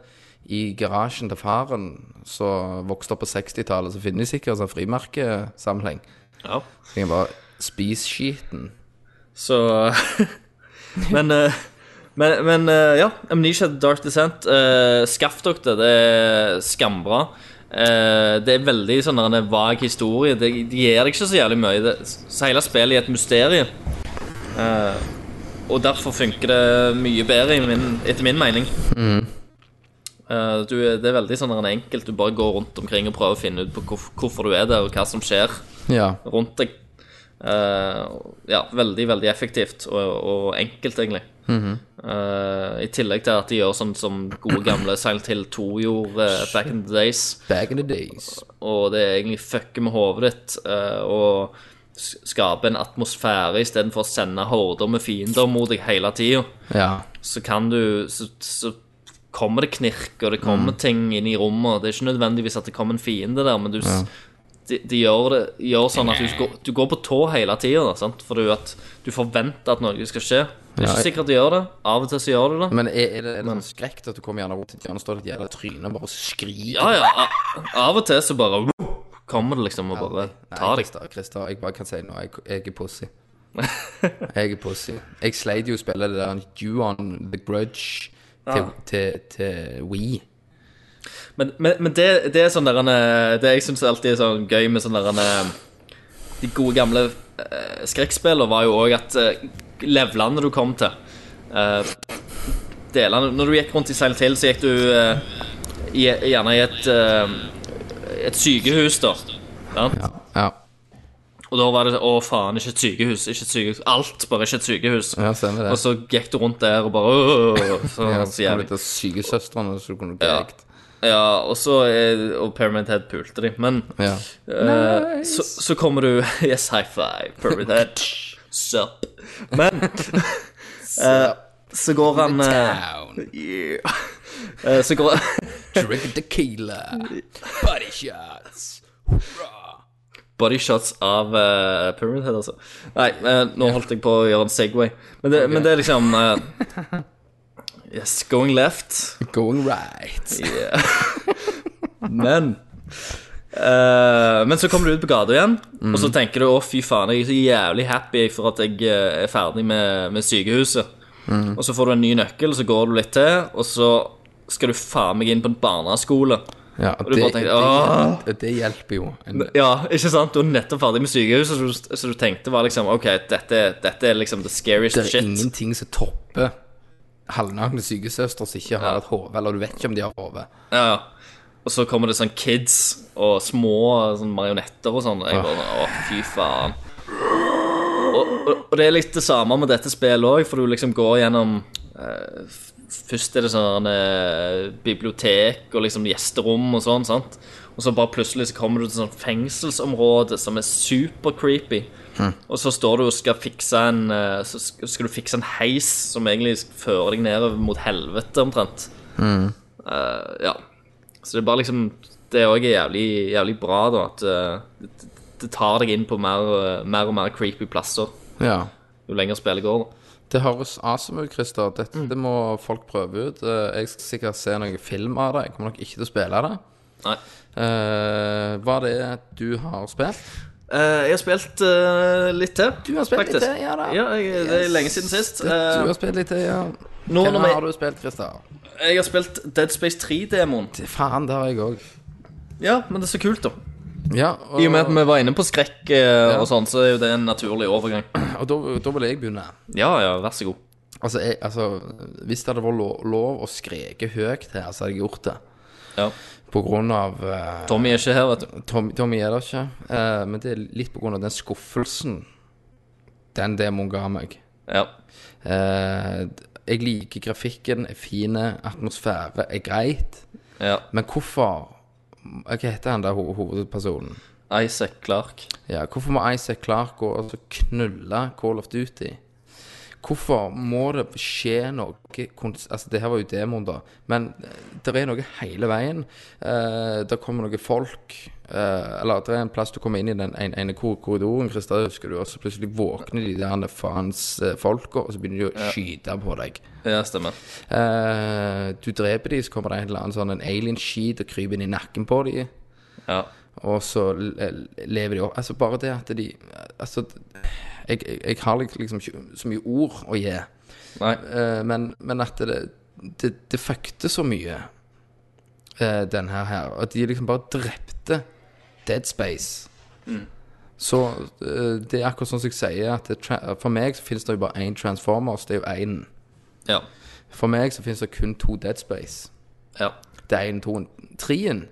i garasjen til faren som vokste opp på 60-tallet, så finner de sikkert sånn frimerkesammenheng.
Ja.
Så kan jeg bare spise skiten.
Så Men eh, Men, men eh, ja, Amnesia The Dark Descent. eh, skaff dere det. Det er skambra. Eh, det er veldig sånn der en vag historie. Det, det gir deg ikke så jævlig mye. Det, så hele spillet er et mysterium. Eh, og derfor funker det mye bedre, i min, etter min mening. Eh, du, det er veldig sånn der en enkelt. Du bare går rundt omkring og prøver å finne ut på hvorf- hvorfor du er der, og hva som skjer
Ja.
rundt deg. Eh, ja, veldig, veldig effektivt og, og enkelt, egentlig. Eh, I tillegg til at de gjør sånn som gode gamle Silent Hill 2 gjorde eh, back in the days.
Back in the days.
Og det er egentlig fucker med hodet ditt eh, og s- skaper en atmosfære istedenfor å sende horder med fiender mot deg hele tida.
Ja.
Så kan du så, så kommer det knirk, og det kommer
Mm.
ting inn i rommet. og Det er ikke nødvendigvis at det kommer en fiende der, men du s- de, de gjør, det, gjør sånn at du, går- du går på tå hele tida, for du, at du forventer at noe skal skje. Det
Ja,
er ikke
jeg-
sikkert de gjør det. Av og til så gjør du det.
Men er, er det, er det sånn skrekk at du kommer gjerne rundt i et hjørne og står i et jævla tryne og bare skriker?
Ja, ja. a- Av og til så bare kommer det liksom og bare tar deg.
Christer, Christer, jeg bare kan si nå, jeg, jeg er pussy. Jeg er pussy. Jeg sleit jo å spille det der You on the Grudge til, til, til Wii.
Men, men, men det, det er sånn der han, eh, Det jeg syns alltid er sånn gøy med sånn der han, eh, De gode gamle uh, skrekkspillene var jo òg at uh, levelene du kom til eh, delene, Når du gikk rundt i Silent Hill, så gikk du eh, i, gjerne i et eh, Et sykehus, da. Sant?
Ja.
Og da var det å faen, ikke et sykehus, ikke et sykehus. Alt, bare ikke et sykehus.
Ja, stemmer det.
Og så gikk du rundt der og bare
Ja,
«Åh», så, så
så kom
jævlig.
det til sykesøstrene, så du kunne bli
Ja.
likt.
Ja, og så eh, Og Pyramid Head pulte de, men
Ja.
eh, så, så kommer du Yes, high five, Pyramid Head. Sup. Men eh, så går han eh,
Down.
yeah. Eh, Så går
Drink tequila. Body shots.
bodyshots av eh, Pyramid Head, altså. Nei, eh, nå holdt jeg på å gjøre en Segway. Men det, men det er liksom eh, Yes, going left.
Going right.
Men eh, Men så kommer du ut på gata igjen, og
Mm.
så tenker du å, fy faen, jeg er så jævlig happy for at jeg eh, er ferdig med, med sykehuset.
Mm.
Og så får du en ny nøkkel, og så går du litt til, og så skal du faen meg inn på en barneskole.
Ja,
du
det,
bare
det,
tenker, «Åh!»
det, hjelper jo. En,
Ja, ikke sant? Du er nettopp ferdig med sykehuset, så du, så du tenkte var liksom OK, dette, dette er liksom the scariest
det er
shit.
ingenting som topper halvnakne sykesøstre som ikke har et hode, eller du vet ikke om de har hode.
Ja, ja. Og så kommer det sånn kids og små sånn marionetter og sånn. og Jeg bare sånn, Å, fy faen. Og, og, og det er litt det samme med dette spillet òg, for du liksom går gjennom eh, f- Først er det sånn eh, bibliotek og liksom gjesterom og sånn, sant. Og så bare plutselig så kommer du til sånn fengselsområde som er super creepy. Og så står du og skal fikse en eh, Så sk- skal du fikse en heis som egentlig fører deg nedover mot helvete, omtrent. Eh, ja. Så det er bare liksom Det er òg jævlig, jævlig bra, da, at eh, det, det tar deg inn på mer, eh, mer og mer creepy plasser
Ja.
jo lenger spillet går. da.
Det høres awesome ut, Christer. Dette må folk prøve ut. Eh, Jeg skal sikkert se noen film av det. Jeg kommer nok ikke til å spille det.
Nei.
Eh, hva det er du har spilt?
Eh, jeg har spilt eh, litt til.
Du har spilt litt
faktisk.
til, ja da.
Ja, jeg, det er lenge siden sist.
Det,
Eh,
du har spilt litt, ja.
nå
Hva
når vi-
har du spilt, Christer?
Eh, jeg har spilt Dead Space 3-demoen.
Det- Faen, det har jeg òg.
Ja, men det er så kult, da.
Ja, og,
I og med at vi var inne på skrekk eh, og sånn, så er jo det en naturlig overgang.
og da, da vil jeg begynne.
Ja, ja, vær så god.
Altså, jeg, altså hvis det hadde vært lov, lov å skreke høyt her, så hadde jeg gjort det.
Ja.
På grunn av eh,
Tommy er ikke her, vet du.
Tom, Tommy er det ikke, eh, men det er litt på grunn av den skuffelsen den demoen ga meg.
Ja.
Eh, jeg liker grafikken, er fine, atmosfære er greit,
ja.
men hvorfor Hva heter han der ho hovedpersonen?
Isaac Clark.
Ja, hvorfor må Isaac Clark gå og så knulle Call of Duty? Hvorfor må det skje noe kons- Altså, det her var jo demoen, da. Men eh, det er noe hele veien. Eh, det kommer noen folk eh, Eller det er en plass du kommer inn i den ene, ene kor- korridoren, Christer, husker du, og så plutselig våkner de der faens eh, folka, og så begynner de å skyte på deg.
Ja, stemmer.
Eh, du dreper de, så kommer det en eller annen sånn en alien-skit og kryper inn i nakken på de.
Ja.
Og så le- lever de opp Altså bare det at de Altså Jeg, jeg, jeg har liksom ikke så mye ord å gi
Nei.
eh, men, men at det Det, det fuckte så mye eh, Den her her At de liksom bare drepte Dead Space Så eh, det er akkurat sånn som jeg sier at det, tra- For meg så finnes det jo bare en Transformers Det er jo en
Ja.
For meg så finnes det kun to Dead Space
Ja.
det er en, to, en. Trien,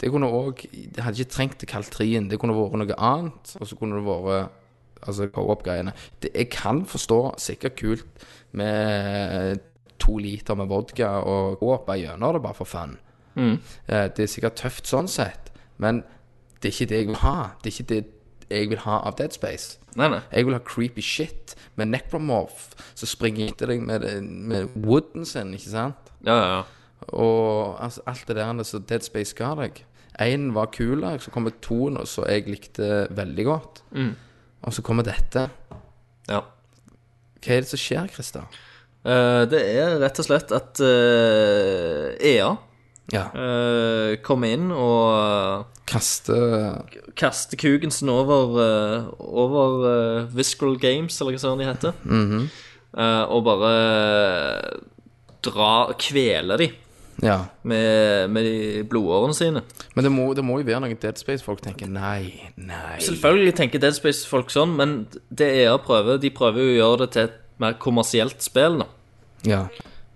det kunne òg Det hadde ikke trengt å kalle trien. Det kunne vært noe annet. Og så kunne det vært altså co-op-greiene. Det- Jeg kan forstå sikkert kult med eh, to liter med vodka og co-op gjennom det, bare for fun. Eh, Det er sikkert tøft sånn sett, men det er ikke det jeg vil ha. Det er ikke det jeg vil ha av Dead Space.
Nei, nei.
Jeg vil ha creepy shit med necromorph som springer etter deg med, eh, med wooden sin, ikke sant?
Ja, ja, ja.
Og altså, alt det der som Dead Space ga deg. Én var kul, så kommer toen, og så jeg likte veldig godt.
Mm.
Og så kommer dette.
Ja.
Hva er det som skjer, Christer?
Eh, det er rett og slett at eh, EA
Ja.
eh, kommer inn og
Kaste
kaster kuken sin over, eh, over eh, Visceral Games, eller hva søren de heter, Eh, og bare eh, dra kveler de
Ja.
med, med de blodårene sine.
Men det må, det må jo være noe Dead Space-folk tenker nei, nei.
Selvfølgelig tenker Dead Space-folk sånn, men det EA prøver, de prøver jo å gjøre det til et mer kommersielt spill. da.
Ja.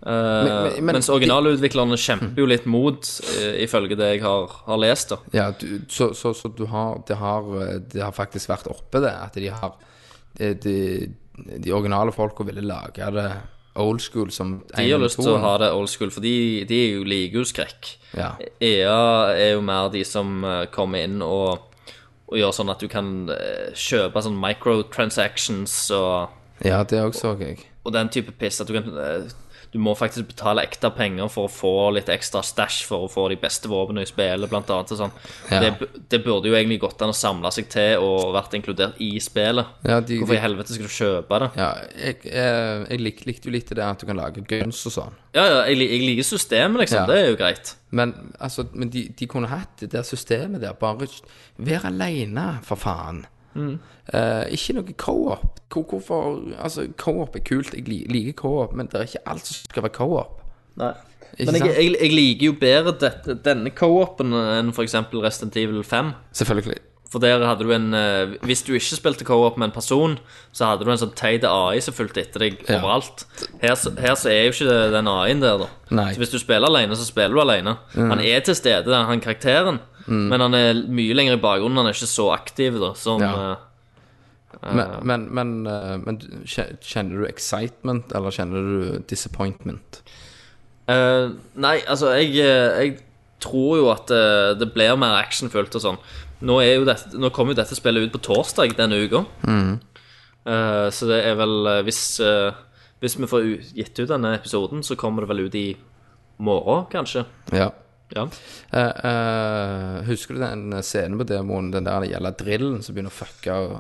Eh,
men- Mm. men-
mens originalutviklerne kjemper jo litt mot, eh, ifølge det jeg har, har lest. da
Ja, du, så, så, så du har, det, har, det har faktisk vært oppe det, at de har De, de, de originale folka ville lage det old school som
De har lyst til å ha det old school, for de, de er jo liker jo skrekk.
Ja.
EA er jo mer de som eh, kommer inn og, og gjør sånn at du kan eh, kjøpe sånn microtransactions og,
ja, det òg så jeg.
og den type piss. At du kan eh, Du må faktisk betale ekte penger for å få litt ekstra stæsj for å få de beste våpnene i spillet, blant annet. og Sånn.
Ja.
Det, bu- det burde jo egentlig gått an å samle seg til og vært inkludert i spillet.
Ja, de-
Hvorfor i helvete skal du kjøpe det?
Ja, jeg, eh, jeg lik, likte jo litt det at du kan lage guns og sånn.
Ja, ja, jeg, li- jeg liker systemet, liksom.
Ja.
Det er jo greit.
Men, altså, men de, de kunne hatt det der systemet der. Bare ikke- vær aleine, for faen. Eh, ikke noe co-op. Hvor- Hvorfor Altså, co-op er kult. Jeg li- liker co-op, men det er ikke alt som skal være co-op. Ikke
Men jeg,
sant?
jeg, jeg liker jo bedre dette, denne co-open enn f.eks. Resident Evil 5.
Selvfølgelig.
For der hadde du en eh, Hvis du ikke spilte co-op med en person, så hadde du en sånn teit AI som fulgte etter deg
Ja.
overalt. Her, så- her så er jo ikke det- den AI-en der, da.
Nei.
Så hvis du spiller alene, så spiller du alene. Han er til stede, den- han karakteren,
Mm.
men han er mye lenger i bakgrunnen. Han er ikke så aktiv da, som
Ja.
eh,
Men, men, men, eh, men du- kje- kjenner du excitement, eller kjenner du disappointment?
Eh, nei, altså, jeg, eh, jeg tror jo at eh, det blir mer actionfullt og sånn. Nå, er jo dette, nå kommer jo dette spillet ut på torsdag denne uka. Eh, så det er vel eh, hvis, eh, hvis vi får u- gitt ut denne episoden, så kommer det vel ut i morgen, kanskje.
Ja.
Ja.
Eh, eh, husker du den scenen på demoen, den der gjelder drillen som begynner å fucke og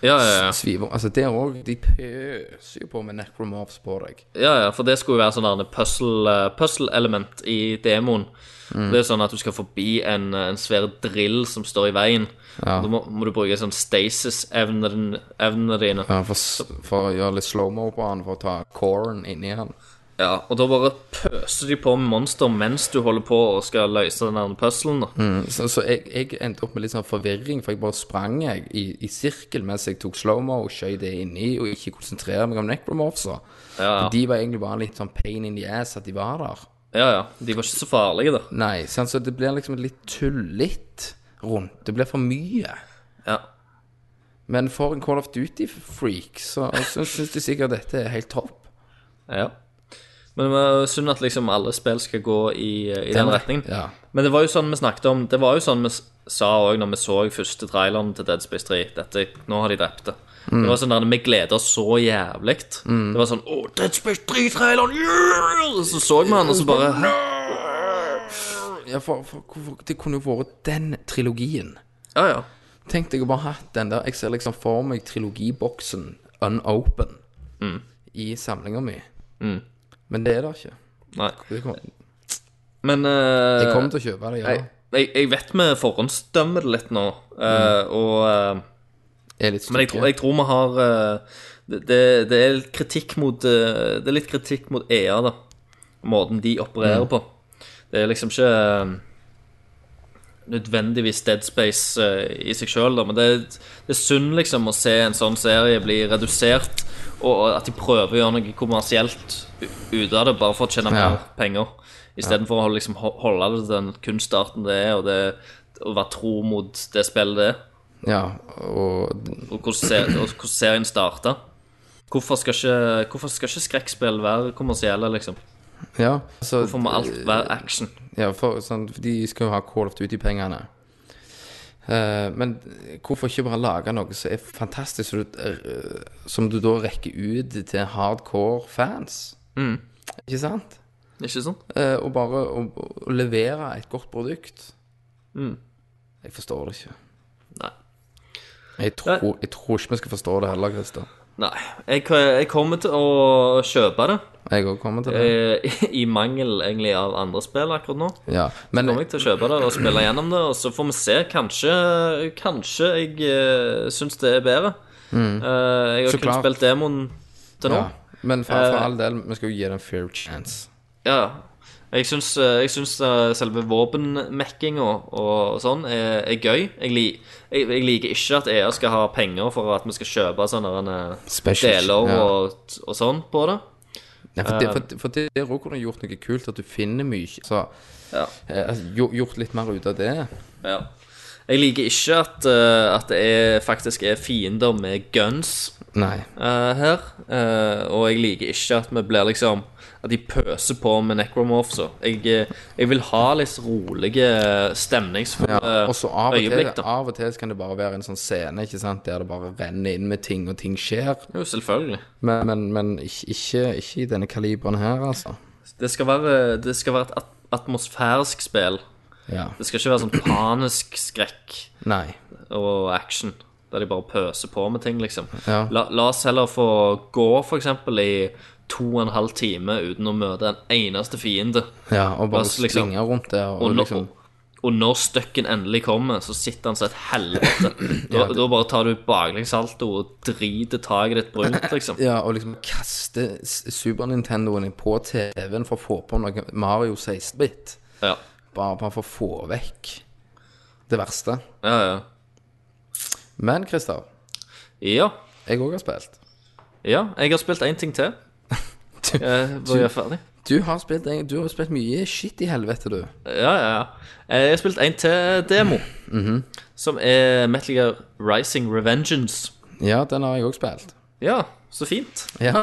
Ja, ja, ja.
svive? Altså, der òg, de pøser jo på med necromorphs på deg.
ja, ja. For det skulle jo være sånn der en puzzle, eh, puzzle-element i demoen. Det er sånn at du skal forbi en, eh, en svær drill som står i veien. Da må, må du bruke sånn stasis-evnene dine.
Ja, for, s- for å gjøre litt slow-mo på han, for å ta coren inni han.
Ja, og da bare pøser de på med monster mens du holder på og skal løse den der puzzlen. da.
Så, så jeg, jeg endte opp med litt sånn forvirring, for jeg bare sprang jeg i, i sirkel mens jeg tok slow-mo og skjøy det inni, og ikke konsentrere meg om necromorphser.
Ja.
De var egentlig bare litt sånn pain in the ass at de var der.
Ja, ja. De var ikke så farlige, da.
Nei, sant? så det blir liksom litt tullet rundt. Det blir for mye.
Ja.
Men for en Call of Duty-freak, så så syns de sikkert dette er helt topp.
ja. Men det var synd at liksom alle spill skal gå i, eh, i den retningen.
Ja.
Men det var jo sånn vi snakket om Det var jo sånn vi s- sa òg når vi så første traileren til Dead Space 3. Dette, nå har de drept det. Det var sånn der, Vi gleder oss så jævlig. Det var sånn Å, Dead Space 3-traileren! Yeah! Og Så så vi han, og så bare
Ja, for, for, hvorfor- det kunne jo vært den trilogien.
Ja, ja.
Tenk deg å bare hatt den der Jeg ser liksom for meg trilogiboksen unopen
Mm.
i samlinga mi. Men det er det ikke.
Nei.
Det kom,
Men eh,
jeg kommer til å kjøpe det, ja.
jeg, jeg, jeg vet vi forhåndsdømmer det litt nå, eh, og, eh,
Jeg er litt
men jeg tror, jeg tror vi har eh, det, det, det er litt kritikk mot eh, Det er litt kritikk mot EA, da. Måten de
Mm.
opererer på. Det er liksom ikke eh, nødvendigvis Dead Space eh, i seg sjøl, da, men det, er- det er synd liksom å se en sånn serie bli redusert, og og at de prøver å gjøre noe kommersielt u- ut av det bare for å tjene
Ja.
mer penger. Istedenfor for å liksom ho- holde det til den kunstarten det er, og det, å være tro mot det spillet det er
Ja, og
og hvordan, ser, og hvordan serien starta. Hvorfor skal ikke, hvorfor skal ikke skrekkspill være kommersielle, liksom?
Ja, så
Hvorfor må alt være action?
Ja, for, sånn, for de skal jo ha Call of Duty-pengene. Eh, men hvorfor ikke bare lage noe som er fantastisk, så du, eh, som du da rekker ut til hardcore fans?
Mm.
Ikke sant?
Ikke sant?
Eh, og bare å, å levere et godt produkt.
Mm.
Jeg forstår det ikke.
Nei.
Jeg tror, jeg tror ikke vi skal forstå det heller, Christer.
Nei. Jeg, jeg kommer til å kjøpe det,
Jeg òg kommer til det.
eh, i mangel egentlig av andre spill akkurat nå.
Ja, men
Kommer jeg til å kjøpe det og spille gjennom det, og så får vi se. Kanskje, kanskje jeg uh, syns det er bedre. Eh, jeg
Mm. Så
har kun
klart.
spilt demoen til nå.
ja, men for, for
Eh,
all del, vi skal jo gi det en fair chance.
Ja, jeg syns, jeg syns eh, selve våpenmekkinga og, og sånn er, er gøy. Jeg, li, jeg, jeg liker ikke at EA skal ha penger for at vi skal kjøpe sånne derne
Specials,
deler
ja.
og, og sånn på det.
Nei, for, det, for, for det, det også kunne gjort noe kult, at du finner mye Så
Ja.
eh, altså, gjo- gjort litt mer ut av det.
Ja. Jeg liker ikke at, eh, at det er, faktisk er fiender med guns
Nei.
eh, her. Eh, og jeg liker ikke at vi blir liksom At de pøser på med necromorphs. og Jeg, eh, jeg vil ha litt rolige, stemningsfulle
Ja. Og så av og, til,
Eh, øyeblikk. da.
av og til så kan det bare være en sånn scene ikke sant? der det bare renner inn med ting, og ting skjer.
Jo, selvfølgelig.
Men, men, men ikke, ikke, ikke i denne kaliberen her, altså.
Det skal være, det skal være et at atmosfærisk spill.
Ja.
Det skal ikke være sånn panisk skrekk
Nei.
og action. Der de bare pøser på med ting, liksom.
Ja.
La, la oss heller få gå, for eksempel, i to og en halv time uten å møte en eneste fiende.
Ja, og bare
Altså, liksom-
svinge rundt der. Og,
Og, når-
liksom,
og når støkken endelig kommer, så sitter han som et helvete. Da, da bare tar du baklengssalto og driter taket ditt brunt, liksom.
ja, og liksom kaste S- Super Nintendoen på TV-en for å få på noe Mario 16-bit.
Ja,
Bare, bare for å få vekk det verste.
ja. Ja,
Men Christer,
ja.
jeg òg har spilt.
ja jeg har spilt én ting til. Eh, Bare gjør ferdig.
Du har spilt, du har spilt mye skitt i helvete, du.
Ja, ja, ja. Eh, Jeg har spilt en til demo, som er Metal Gear Rising Revengeance.
Ja, den har jeg òg spilt.
Ja, så fint.
Ja.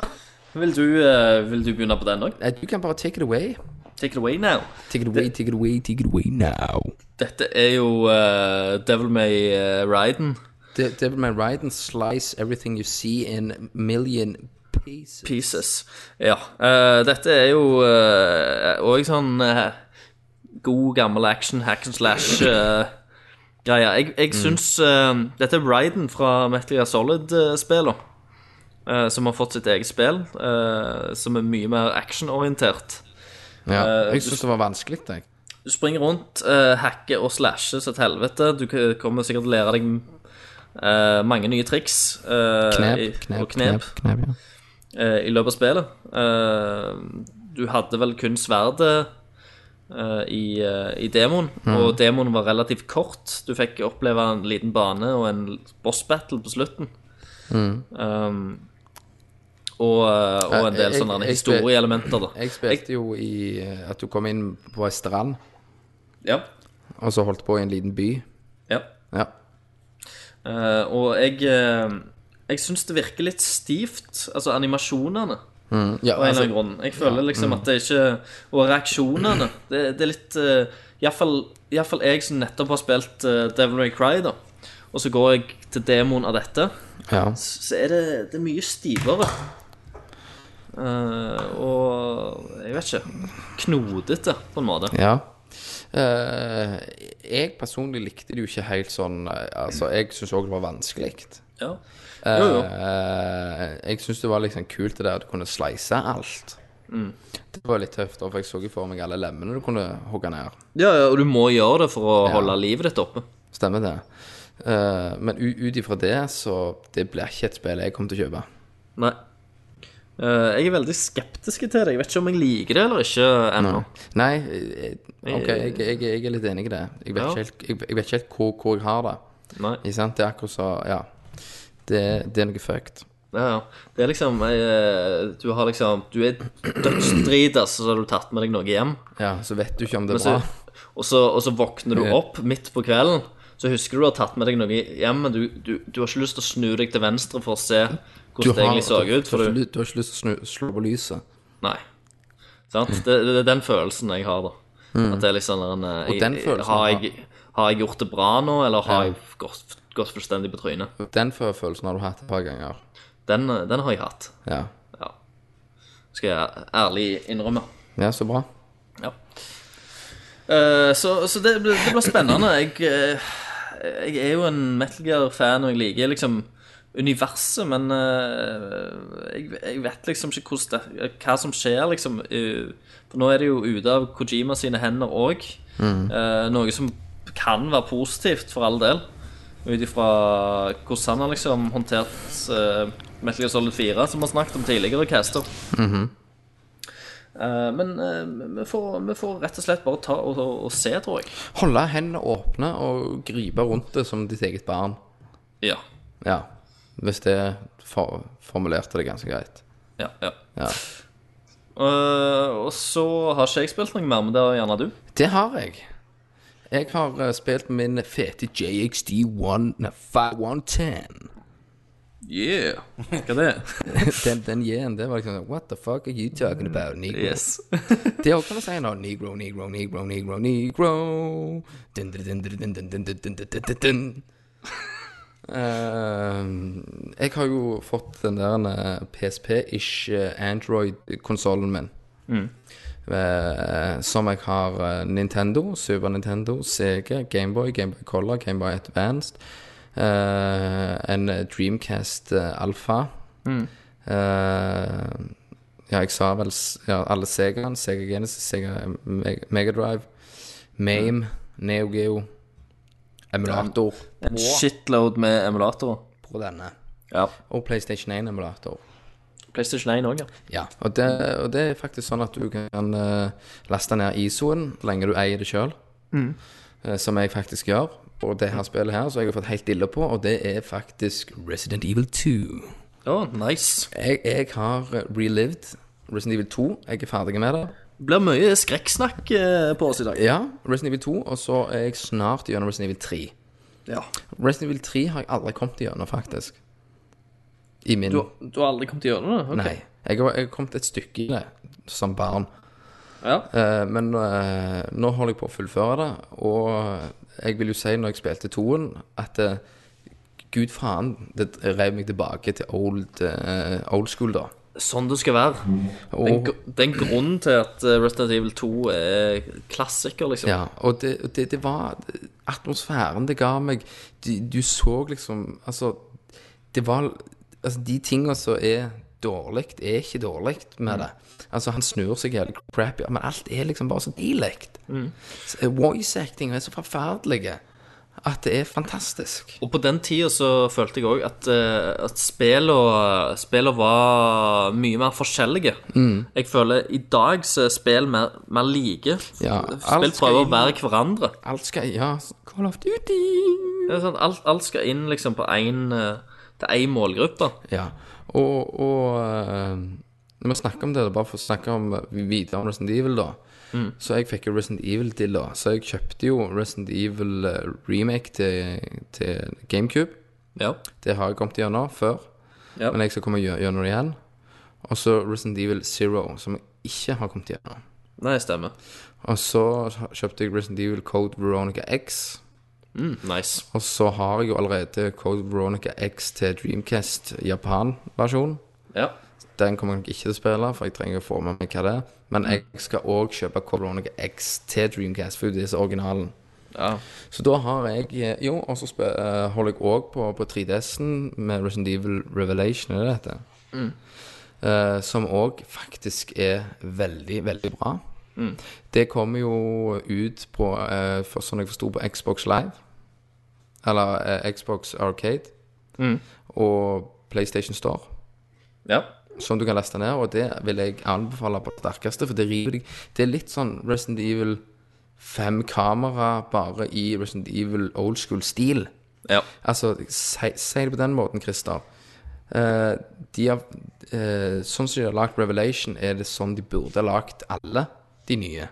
Vil du, eh, vil du begynne på den òg?
Nei, Du kan bare take it away.
Take it away now.
Take it away, take it away, take it away now.
Dette er jo eh, Devil May eh, Riden.
De- Devil May Ride and slice everything you see in million pieces.
Pieces. Ja. eh, dette er jo òg sånn eh, god, gammel action, hack and slash. eh, Greia. Jeg, jeg
Mm.
syns eh, Dette er Ryden fra Metal Gear Solid-spillene. eh, som har fått sitt eget spill, eh, som er mye mer actionorientert.
Ja, jeg syns det var vanskelig, jeg.
Du springer rundt, eh, hacker og slasher så til helvete. Du k- kommer sikkert til å lære deg eh, mange nye triks. eh, i-
Knep, knep,
og knep.
knep, knep ja.
eh, i løpet av spillet. Eh, du hadde vel kun sverdet eh, i, eh, i demoen, og demoen var relativt kort. Du fikk oppleve en liten bane og en boss battle på slutten.
Mm.
Um, og, eh, og
Jeg-
en del
jeg-
sånne
jeg spil-
historieelementer, da.
Jeg spilte jo i eh, at du kom inn på ei strand,
Ja.
og så holdt på i en liten by.
ja.
Ja.
Eh, og jeg eh, Jeg syns det virker litt stivt, altså animasjonene.
ja
På en eller
altså,
annen grunn. Jeg føler liksom at det ikke Og reaksjonene. Det, det er litt uh, Iallfall iallfall jeg som nettopp har spilt eh, Devil May Cry, da. Og så går jeg til demoen av dette,
ja.
så så er det, det er mye stivere. Eh, og jeg vet ikke Knodete, på en måte.
ja. Eh, jeg personlig likte det jo ikke helt sånn eh, Altså, jeg syns òg det var vanskelig.
Ja. Jo, jo.
Eh, jeg syns det var liksom kult det der at du kunne slice alt.
Mm.
Det var litt tøft, da, for jeg så jo for meg alle lemmene du kunne hogge ned.
Ja, ja, og du må gjøre det for å holde livet ditt oppe.
Stemmer det. Eh, men u- ut ifra det, så Det blir ikke et spill jeg kommer til å kjøpe.
Nei. Eh, jeg er veldig skeptisk til det. Jeg vet ikke om jeg liker det eller ikke ennå.
Nei, eh, OK, jeg, jeg, jeg er litt enig i det. Jeg vet
Ja.
ikke helt, jeg, jeg vet ikke helt hvor, hvor jeg har det.
Nei.
Ikke sant? Det er akkurat så Ja. Det, det er noe fucked.
Ja, ja. Det er liksom eh, Du har liksom Du er dødsdrita, så har du tatt med deg noe hjem.
Ja, så vet du ikke om det
Men
er
så,
bra.
og, så, og så våkner du opp midt på kvelden, så husker du du har tatt med deg noe hjem, men du, du, du har ikke lyst til å snu deg til venstre for å se hvordan det egentlig så ut. For
du,
du,
har ikke lyst til å snu, slå på lyset.
nei. Sant?
Mm.
Det, det er den følelsen jeg har, da. At det er liksom en eh, jeg-
den
jeg-
følelsen
har
har-
jeg, har jeg gjort det bra nå, eller har jeg gått, gått fullstendig på trynet?
Den fø- følelsen har du hatt et par ganger.
Den, eh, den har jeg hatt.
Ja.
Ja. Skal jeg ærlig innrømme.
ja, så bra.
Ja. Eh, så så det, blir- det blir spennende. Jeg, eh, jeg er jo en Metal Gear-fan, og jeg liker liksom universet, men eh, jeg, jeg vet liksom ikke hvordan det, hva som skjer, liksom. eh, For nå er det jo ute av Kojima sine hender òg. noe som kan være positivt, for all del. Ut ifra hvordan han har liksom håndtert eh, Metal Gear Solid 4, som vi har snakket om tidligere, caster. Eh, Men eh, vi får, vi får rett og slett bare ta og, og, og se, tror jeg.
Holde hendene åpne og gripe rundt det som ditt eget barn.
Ja.
Ja. Hvis det for, formulerte det ganske greit.
ja, ja.
Ja.
Eh, og så har ikke jeg spilt noe mer, men det har gjerne du.
Det har jeg. Jeg har eh, spilt min fete JXD 110.
Yeah. Hva er det?
Den, den J-en, det var liksom sånn What the fuck are you talking about, negro?
Yes.
Det er òg kan vi si nå. Negro, negro, negro, negro, negro. Dun, dun, dun, dun, dun, dun, dun, dun, dun, dun, dun, dun. Ehm, jeg har jo fått den der eh, PSP-ish Android-konsollen eh, min. Eh, som jeg har eh, Nintendo, Super Nintendo, Sega, Gameboy, Gameboy Color, Gameboy Advanced. eh, en Dreamcast eh, Alpha. Eh, ja, jeg sa vel s- ja, alle Segaen. Sega Genesis, Sega eh, Meg- Megadrive, Mame, Neo Geo, emulator
En shitload med emulatorer.
på denne.
Ja.
Og PlayStation 1-emulator.
PlayStation 1 òg, ja.
Ja, og det, og det er faktisk sånn at du kan eh, laste ned ISO-en så lenge du eier det sjøl. som jeg faktisk gjør. Og det her spillet her så har jeg fått helt dille på, og det er faktisk Resident Evil 2.
Å, nice.
Jeg, jeg har eh, relived Resident Evil 2. Jeg er ferdig med det.
Det blir mye skrekksnakk eh, på oss i dag.
Ja, Resident Evil 2, og så er jeg snart gjennom Resident Evil 3.
Ja.
Resident Evil 3 har jeg aldri kommet gjennom, faktisk. I min
Du, du har aldri kommet gjennom det? Ok.
Nei. Jeg har, jeg har kommet et stykke i det som barn.
Ja.
Eh, men eh, nå holder jeg på å fullføre det, og jeg vil jo si når jeg spilte toen, at eh, gud faen, det rev meg tilbake til old, eh, old school, da.
Sånn det skal være. Det er en
Og,
gr- det er en grunn til at eh, Resident Evil 2 er klassiker, liksom.
ja, og det, og det, det var Atmosfæren det ga meg Du, du så liksom Altså, det var Altså, de tinga som er dårlig, er ikke dårlig med det. Altså, han snur seg jævlig crappy, men alt er liksom bare så deilig. Så, eh, Voice acting er så forferdelige at det er fantastisk.
Og på den tida så følte jeg òg at, eh, at spillene spillene var mye mer forskjellige.
Mm.
Jeg føler i dag så er spill mer, mer like.
Ja,
spill
alt skal
prøver å
inn-
være hverandre.
Alt skal Ja, Call of Duty!
Det er sånn, alt, alt skal inn liksom på én til én målgruppe.
Ja, og, og eh, når vi snakker om det, da, bare for å snakke om videre om Resident Evil, da. Så jeg fikk jo Resident Evil til, da. Så jeg kjøpte jo Resident Evil eh, remake til, til GameCube.
Ja.
Det har jeg kommet gjennom før,
Ja.
men jeg skal komme gjø- gjennom det igjen. Og så Resident Evil Zero, som jeg ikke har kommet gjennom.
Nei, stemmer.
Og så kjøpte jeg Resident Evil Code Veronica X.
Hm, Nice.
Og så har jeg jo allerede Code Veronica X til Dreamcast Japan-versjonen.
Ja.
Den kommer jeg nok ikke til å spille, for jeg trenger å få med meg hva det er. Men jeg skal òg kjøpe Coronica X til Dreamcast, for det er så originalen.
ja.
Så da har jeg Jo, og så spe- eh, holder jeg òg på, på 3DS-en med Resident Evil Revelation, er det dette? Eh, som òg faktisk er veldig, veldig bra. Det kommer jo ut på, eh, for, sånn jeg forsto, på Xbox Live. Eller eh, Xbox Arcade. Og PlayStation Store
ja.
som du kan laste ned, og det vil jeg anbefale på det sterkeste, for det river deg. Det er litt sånn Resident Evil 5-kamera, bare i Resident Evil old school-stil.
Ja.
Altså, si, si det på den måten, Christer. Eh, de har, eh, sånn som de har lagd Revelation, er det sånn de burde ha lagd alle de nye.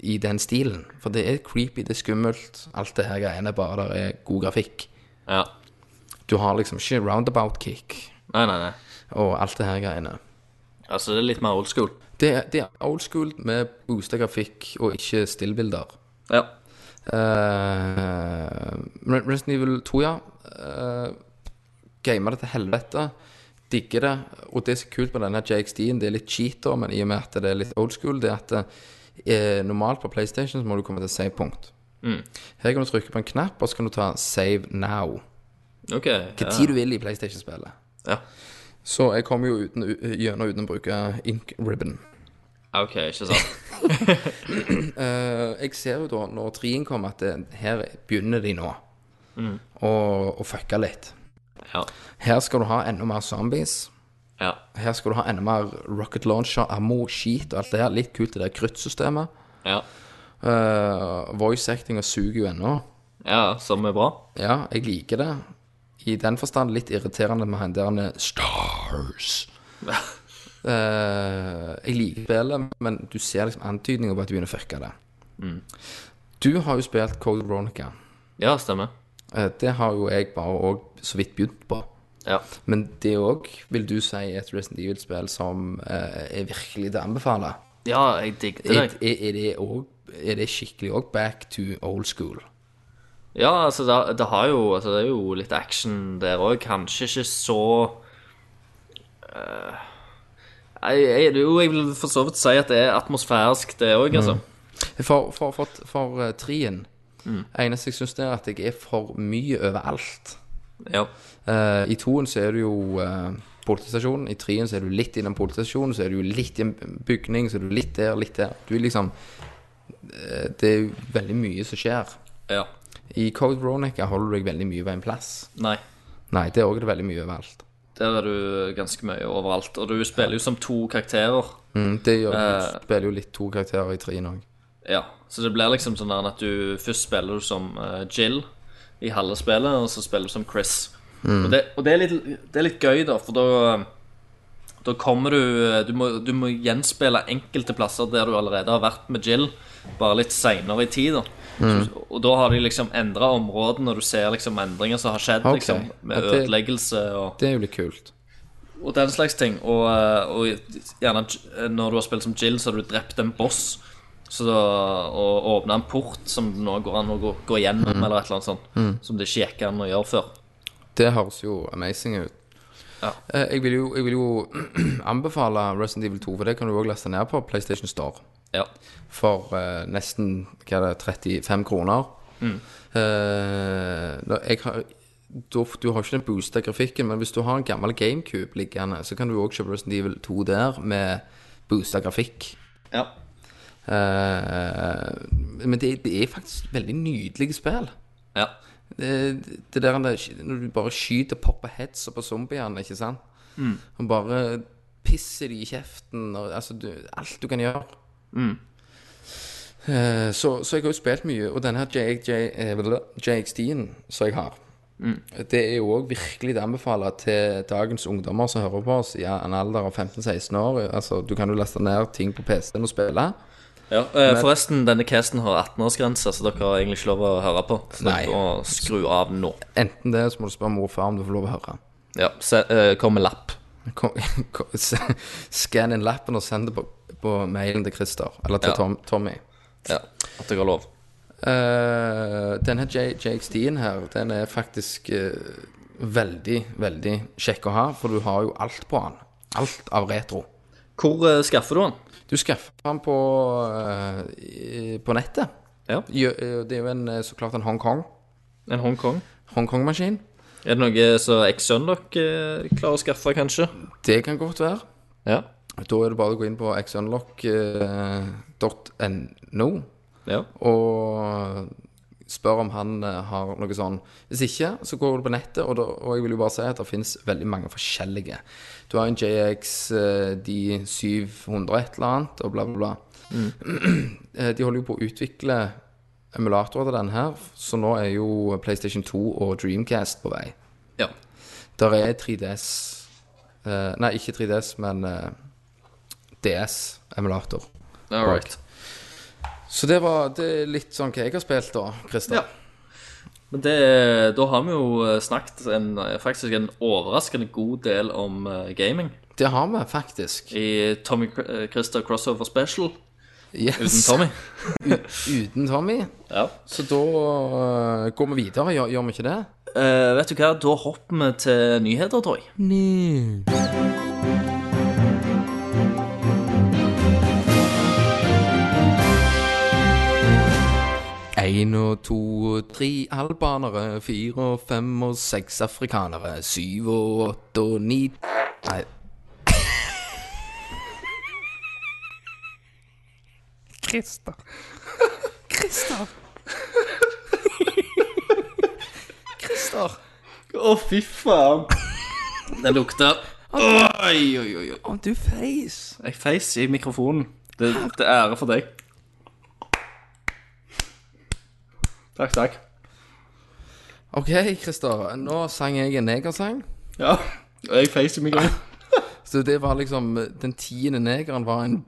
I den stilen. For det er creepy, det er skummelt, alt det her greiene, bare det er god grafikk.
ja.
Du har liksom ikke roundabout kick
Nei, nei, nei.
og alt det her greiene.
Altså, det er litt mer old school.
Det, det er old school med boosta grafikk og ikke stillbilder.
Ja.
Eh, Re- Resident Evil 2, ja. Uh, Gamer det til helvete. Digger det. Og det som er kult med denne JXD-en, det er litt cheater, men i og med at det er litt old school, det er at eh, normalt på PlayStation så må du komme til save punkt. Her kan du trykke på en knapp, og så kan du ta save now.
OK.
Hva
Ja.
tid du vil i PlayStation-spillet.
Ja.
Så jeg kommer jo uten, gjennom uten å bruke ink ribbon.
OK, ikke sant.
Eh, jeg ser jo da, når trien kommer, at det, her begynner de nå å, å fucke litt.
Ja.
Her skal du ha enda mer zombies.
Ja.
Her skal du ha enda mer rocket launcher, ammo, skit og alt det her. Litt kult det der kryttsystemet.
Ja.
Uh, voice actinga suger jo ennå.
ja som er bra.
Ja, jeg liker det. I den forstand litt irriterende med han der med Stars. Eh, jeg liker spillet, men du ser liksom antydninger på at de begynner å fucke det. Du har jo spilt Code Veronica.
Ja, stemmer.
Eh, det har jo jeg bare òg så vidt begynt på.
Ja.
Men det òg vil du si er et Resident Evil-spill som eh, er virkelig til å anbefale.
ja, jeg digget
Er,
det.
er, er, det også, er det skikkelig òg back to old school?
Ja, altså, det, det har jo altså, Det er jo litt action der òg. Kanskje ikke så eh, jeg, jeg, jo, jeg vil for så vidt si at det er atmosfærisk, det òg, altså.
For, for, for, for eh, trien
Mm.
Eneste jeg syns, er at jeg er for mye overalt.
Ja.
Eh, I toen så er du jo eh, politistasjonen, i trien så er du litt innom politistasjonen, så er du jo litt i en bygning, så er du litt der, litt der. Du er liksom eh, Det er jo veldig mye som skjer.
ja.
I Code Veronica holder du deg veldig mye på en plass.
Nei.
Nei, det er òg veldig mye overalt.
Der er du ganske mye overalt. Og du spiller jo som to karakterer.
Mm, det gjør
Eh.
Du spiller jo litt to karakterer i trien òg.
Ja. Så det blir liksom sånn der at du først spiller du som eh, Jill i halve spillet, og så spiller du som Chris.
Mm.
Og, det, og det, er litt, det er litt gøy, da, for da Da kommer du eh, du må, du må gjenspille enkelte plasser der du allerede har vært med Jill, bare litt seinere i tid, da.
Mm.
Så, og da har de liksom endra områdene, og du ser liksom endringer som har skjedd,
Ok.
liksom, med
Ja, det-
ødeleggelse og
Det er jo litt kult.
og den slags ting. Og, eh, og gjerne eh, når du har spilt som Jill, så har du drept en boss. Så da, og åpna en port som det nå går an å gå, gå gjennom, eller et eller annet sånt. Som det ikke gikk an å gjøre før.
Det høres jo amazing ut.
Ja.
Eh, Jeg vil jo, jeg vil jo anbefale Resident Evil 2, for det kan du òg laste ned på PlayStation Store.
Ja.
For eh, nesten hva er det, 35 kroner.
Mm.
Eh, da- jeg har, du, du har ikke den boosta grafikken, men hvis du har en gammel GameCube liggende, så kan du òg kjøpe Resident Evil 2 der med boosta grafikk.
ja.
Eh, men det, det er faktisk veldig nydelige spill.
ja.
Det, det der når- når du bare skyter popper heads på zombiene, ikke sant? Og bare pisser de i kjeften og altså du, alt du kan gjøre. Eh, så, så jeg har jo spilt mye, og denne her JJ, eh, bla, JXD-en som jeg har, det er jo òg virkelig det anbefaler til dagens ungdommer som hører på oss i en alder av 15-16 år. Altså, du kan jo laste ned ting på PC-en og spille.
ja. Eh, forresten, denne casten har 18-årsgrense, så dere har egentlig ikke lov å høre på. Så
Nei.
dere må skru av nå.
Enten det, så må du spørre mor og far om du får lov å høre.
Ja. Se, eh, kom med lapp.
Kom- kom- s- Skann inn lappen og send det på, på mailen til Christer, eller til
Ja.
Tom, Tommy.
Ja. At dere har lov.
Eh, denne J- JXD-en her, den er faktisk eh, veldig, veldig kjekk å ha, for du har jo alt på den. Alt av retro.
Hvor eh, skaffer du den?
Du skaffer den på, eh, i- på nettet.
Ja.
Gjø- eh, Det er jo en, eh, så klart en Hongkong.
En Hongkong?
Hongkong-maskin.
Er det noe som ekssønnen dere eh, klarer å skaffe, kanskje?
Det kan godt være.
Ja.
Da er det bare å gå inn på eh, xunlock.no.
ja.
og spør om han eh, har noe sånn. Hvis ikke, så går du på nettet, og, da, og jeg vil jo bare si at det finnes veldig mange forskjellige. Du har en JX, eh, de 700 et eller annet, og bla, bla, bla. Eh, De holder jo på å utvikle emulatorer til den her, så nå er jo PlayStation 2 og Dreamcast på vei.
Ja.
Der er 3DS eh, Nei, ikke 3DS, men eh, DS-emulator.
All right.
Så det var det er litt sånn hva jeg har spilt, da, Christer.
Ja. Men det, da har vi jo eh, snakket en, faktisk en overraskende god del om eh, gaming
Det har vi faktisk.
i Tommy Cr- eh, Christer Crossover Special
Yes.
uten Mm, Tommy.
Uten Tommy.
Ja.
Så da øh, går vi videre, gjør, gjør vi ikke det?
Eh, vet du hva, da hopper vi til nyheter, tror jeg.
Én og to og tre albanere, fire og fem og seks afrikanere, syv og åtte og ni Nei. Christer. Christer. Christer.
Å, fy faen. Den lukta Oi, oi, oi. oi.
Om du feis.
Jeg feis i mikrofonen. Det, det er ære for deg. Takk, takk.
OK, Christer. Nå sang jeg en negersang.
Ja, og jeg feis i mikrofonen.
Så det var liksom Den tiende negeren var en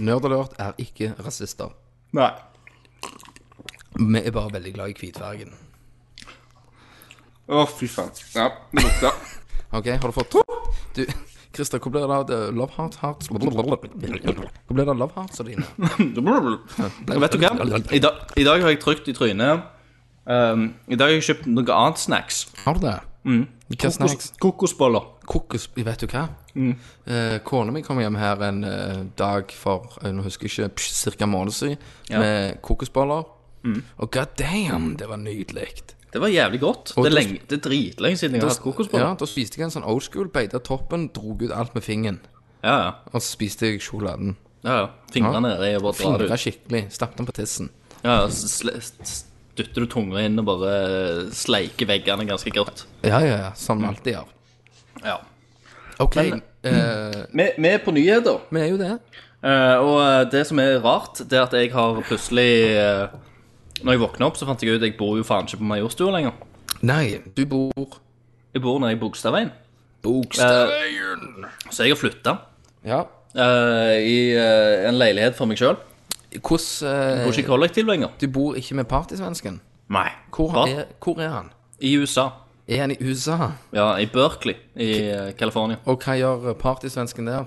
Nerdalert er ikke rasister.
Nei.
Vi er bare veldig glad i hvitfargen.
Å, fy faen. Ja, det lukta.
OK, har du fått Du, Christer, hvor blir det av det love heart hearts Hvor blir det av love hearts av dine?
Og Vet du hva? I dag, I dag har jeg trykt i trynet. Um, I dag har jeg kjøpt noe annet snacks.
Har du det? Mm. Hva snacks?
Kokos- Kokosboller.
Kokos... Vet du hva? Mm. Kona mi kom hjem her en eh, dag for eh, Nå husker jeg ikke, ca. en måned siden, med kokosboller. Og god damn, det var nydelig.
Det var jævlig godt.
Og
Det er,
da-
lenge, det er dritlenge siden jeg har hatt
Ja,
kokosboller.
da spiste jeg en sånn old school, beita toppen, dro ut alt med fingeren.
Ja, ja.
Og så spiste jeg sjokoladen.
ja, ja. Fingrene er jo bare drar det
Fingra
ut.
skikkelig. Stappet den på tissen.
Ja, ja. så sle- s- Dytter du tunga inn og bare eh, sleiker veggene ganske godt.
Ja, ja, ja. Som vi alltid gjør.
Ja.
OK.
Men-
eh,
Vi vi er på nyheter.
vi er jo det.
Eh, og eh, det som er rart, det er at jeg har plutselig eh, Når jeg våkna opp, så fant jeg ut at jeg bor jo faen ikke på Majorstua lenger.
Nei, du bor
Jeg bor nede i Bogstadveien.
Bogstadveien.
Så jeg har flytta
Eh, ja.
i eh, en leilighet for meg sjøl.
Hvordan
Bor ikke i kollektiv lenger.
Du bor ikke med partysvensken?
Eh. Nei.
Hvor,
Hva?
er- hvor er han?
I USA.
Er han i USA?
Ja, i Berkeley i eh, California.
Og hva gjør partysvensken der?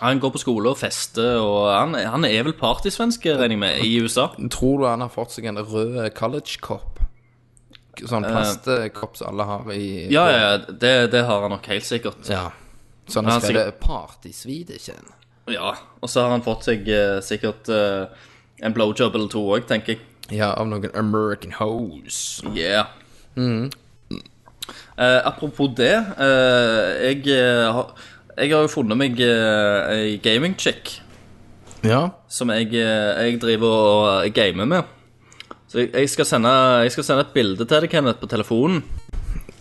Han går på skole og fester, og han, han er vel partysvenske, regner jeg med, i USA.
Tror du han har fått seg en rød college-kopp? Sånn plastkopp som alle har i
Eh. Ja, ja, det, det har han nok helt sikkert.
ja. Sånn Så han
Ja,
har skrevet 'Partysvidekjen'.
Ja, Og så har han fått seg eh, sikkert eh, en blowjob eller to òg, tenker jeg.
Ja, av noen American hoes.
Yeah. Mm. Eh, apropos det, eh, jeg, eh, har, jeg har jo funnet meg eh, ei gaming-chick
Ja.
som jeg, eh, jeg driver og gamer med. Så jeg, jeg, skal sende, jeg skal sende et bilde til deg, Kenneth, på telefonen.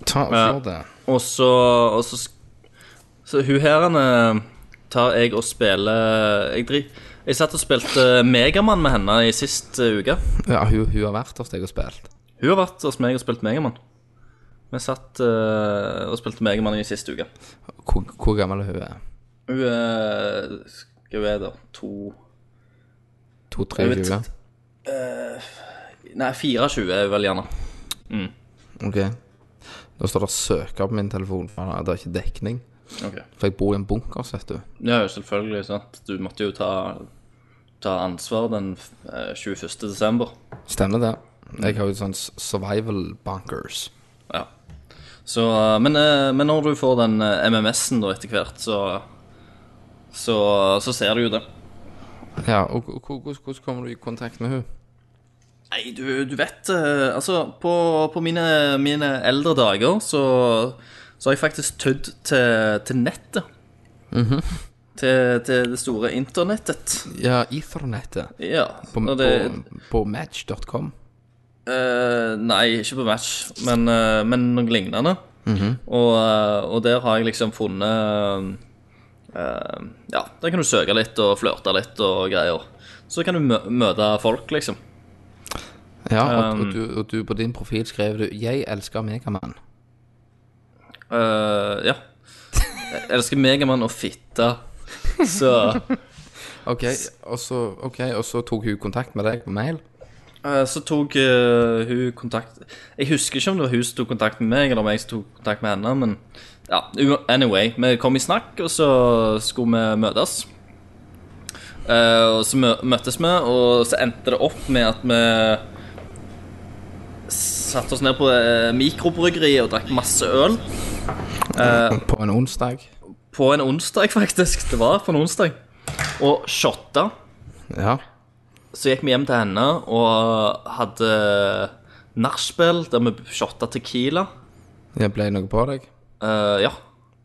Ta for det.
Og så, og så sk- Så hun her henne tar jeg og spiller eh, Jeg, dri, jeg satt og spilte Megamann med henne i sist eh, uke.
Ja, hun, hun har vært hos deg og spilt.
Hun har vært hos meg og spilt Megamann. Vi satt eh, og spilte Megamann i sist uke.
Hvor, hvor gammel hun er
Hun er Skal vi da To Jeg vet
22?
ikke. eh, Nei, 24 er hun vel gjerne.
Ok. Nå står det 'søker' på min telefon, for det er ikke dekning.
Ok.
For jeg bor i en bunker, vet du.
Ja, selvfølgelig. sant? Du måtte jo ta, ta ansvar den eh, 21. desember.
Stemmer det. Jeg har jo sånn s- survival bunkers.
Ja. Så, eh, men, eh, men når du får den eh, MMS-en da etter hvert, så, så Så ser du jo det.
Ja, og og- og- hvordan hvordan kommer du i kontakt med hun?
Nei, du, du vet eh, Altså, på, på mine, mine eldre dager så, så har jeg faktisk tødd til, til nettet.
Mhm.
til, til det store internettet.
Ja, ethernettet.
Ja.
På,
og det,
på, på match.com.
eh, nei, ikke på match, men, eh, men noe lignende. og, eh, og der har jeg liksom funnet eh, Ja, der kan du søke litt og flørte litt og greier. Så kan du mø møte folk, liksom.
Ja, og, og, du, og du på din profil skrev du 'Jeg elsker Megamann'.
Eh, ja. Jeg elsker Megamann og fitte. Så,
Ok, og så, ok, og så tok hun kontakt med deg på mail.
eh, så tok eh, hun kontakt Jeg husker ikke om det var hun som tok kontakt med meg, eller om jeg som tok kontakt med henne, men ja, u- anyway. Vi kom i snakk, og så skulle vi møtes. Eh, og så mø møttes vi, og så endte det opp med at vi satte oss ned på eh, mikrobryggeriet og drakk masse øl.
På en onsdag.
På en onsdag, faktisk. Det var på en onsdag. Og shotta.
Ja.
Så gikk vi hjem til henne og hadde nachspiel der vi shotta Tequila.
Jeg ble noe på deg.
Eh, ja.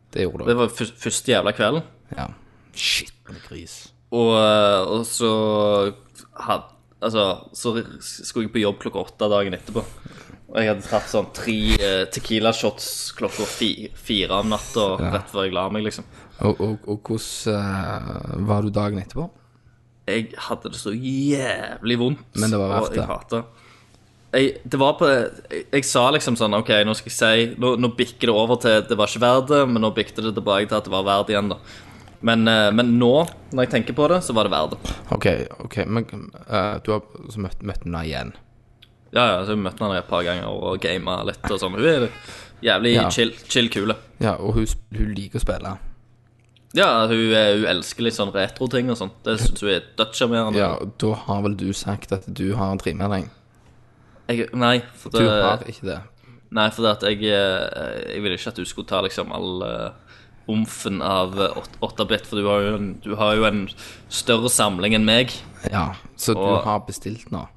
Det gjorde
Det
du.
var fyr- første jævla kvelden.
Ja. Skitne gris.
Og, eh, og så had, Altså, så skulle jeg på jobb klokka åtte dagen etterpå. Og jeg hadde tatt sånn tre eh, Tequila-shots klokka fi, fire om natta rett før jeg la meg, liksom.
Og, og, og hvordan eh, var du dagen etterpå?
Jeg hadde det så jævlig vondt.
Men det var verdt
og jeg
det.
hatet- jeg, det var på, jeg, jeg sa liksom sånn OK, nå skal jeg si Nå, nå bikker det over til det var ikke verdt det, men nå bikket det tilbake til at det var verdt igjen, da. Men, eh, men nå, når jeg tenker på det, så var det verdt det.
OK, ok, men eh, du har så møtt, møtt henne igjen.
Ja, ja, så jeg møtte henne et par ganger og gama litt og sånn. Hun er jævlig
Ja.
chill, chill kule.
Ja, og hun, sp- hun liker å spille.
Ja, hun, er- hun elsker litt sånn retro-ting og sånt. Det syns hun er dødssjarmerende.
Ja, og Da har vel du sagt at du har en tremelding?
Jeg- Nei, for
Du har
det,
ikke det.
nei, for det at jeg, eh, jeg ville ikke at du skulle ta liksom all eh, omfen av eh, åt- 8-bit, for du har, jo en, du har jo en større samling enn meg.
Ja, Så
Og-
du har bestilt nå?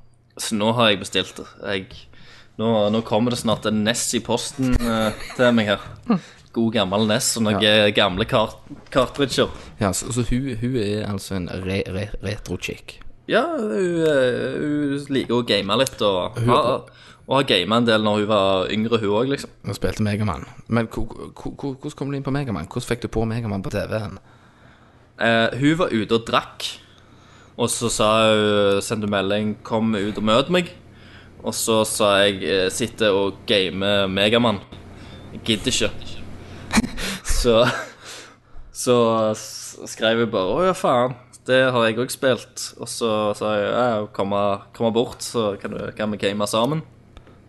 Så nå har jeg bestilt det. Jeg, nå, nå kommer det snart en NES i posten eh, til meg her. God gammel NES og noen gamle kart kartridger.
Ja, Så, så hun, hun er altså en re, re, retro-chick?
Ja, hun, eh, hun liker å game litt, og,
Hun-
har- og har gama en del når hun var yngre, hun òg, liksom.
Hun spilte Megaman. Men hvor- hvor- hvor- hvordan kom du inn på Megaman? Hvordan fikk du på Megaman på TV-en?
Eh, hun var ute og drakk, og så sa hun, eh, sendte hun melding 'kom ut og møt meg'. Og så sa jeg eh, 'sitte og game Megamann'. Jeg gidder ikke. Så, så s- skrev jeg bare 'å ja, faen'. Det har jeg òg spilt. Og så sa jeg ja, kom, kom bort, så kan, du, kan vi game sammen.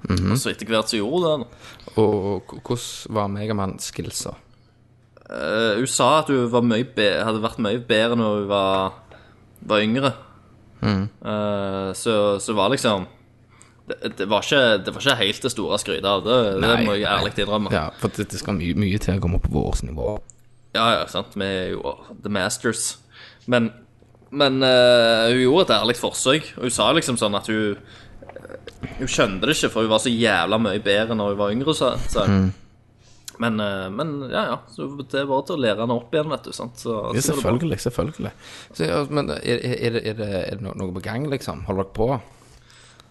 Og så etter hvert så gjorde hun det. da.
Og k- hvordan var Megaman-skillsa?
Eh, hun sa at hun var mye be hadde vært mye bedre når hun var, var yngre.
Mm.
Eh, så, så var liksom det, det, var ikke, det var ikke helt det store skrytet av det. det må jeg ærlig innrømme. Ja.
Ja, for det, det skal mye, mye til å komme opp på vårt nivå.
ja, sant. Vi er jo the masters. Men, men eh, hun gjorde et ærlig forsøk. Og hun sa liksom sånn at hun eh, Hun skjønte det ikke, for hun var så jævla mye bedre når hun var yngre. Sa, sa. hun.
Mm.
Men, eh, men ja, ja. Så det er bare til å lære henne opp igjen, vet du. Sant? Så,
Ja,
så går det bra.
selvfølgelig. selvfølgelig så, ja, Men er, er, er, det, er, det, er det no- noe på gang, liksom? Holder dere på?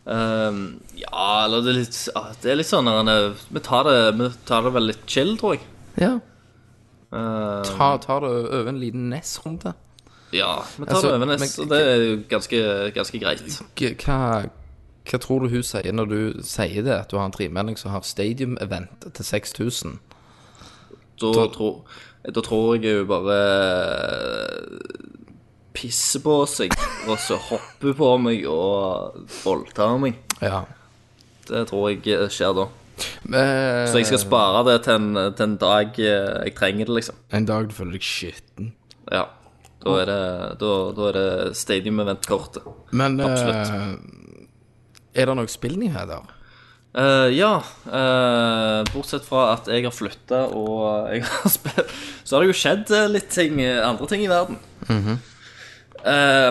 Ehm, ja, eller det er litt, ah, det er litt sånn når han er- vi, tar det, vi tar det vel litt chill, tror jeg.
Ja.
Eh,
Ta, tar det over en liten nesrunde?
ja, vi tar
Altså,
det over nest,
men-
og det er jo ganske, ganske greit.
G- Hva, hva tror du hun sier når du sier det, at du har en tremelding som har stadium-event til 6000?
Da, tror- da tror jeg jo bare pisser på seg, og så hopper på meg og voldtar meg.
Ja.
Det tror jeg skjer da.
Eh,
Så jeg skal spare det til en, til en dag eh, jeg trenger det, liksom.
En dag du føler deg skitten.
Ja. Da er det, da, da er det stadium event-kortet.
Men eh, er det noen spillnyheter?
Eh, ja, eh, bortsett fra at jeg har flytta og jeg har spilt Så har det jo skjedd eh, litt ting, eh, andre ting i verden. Eh,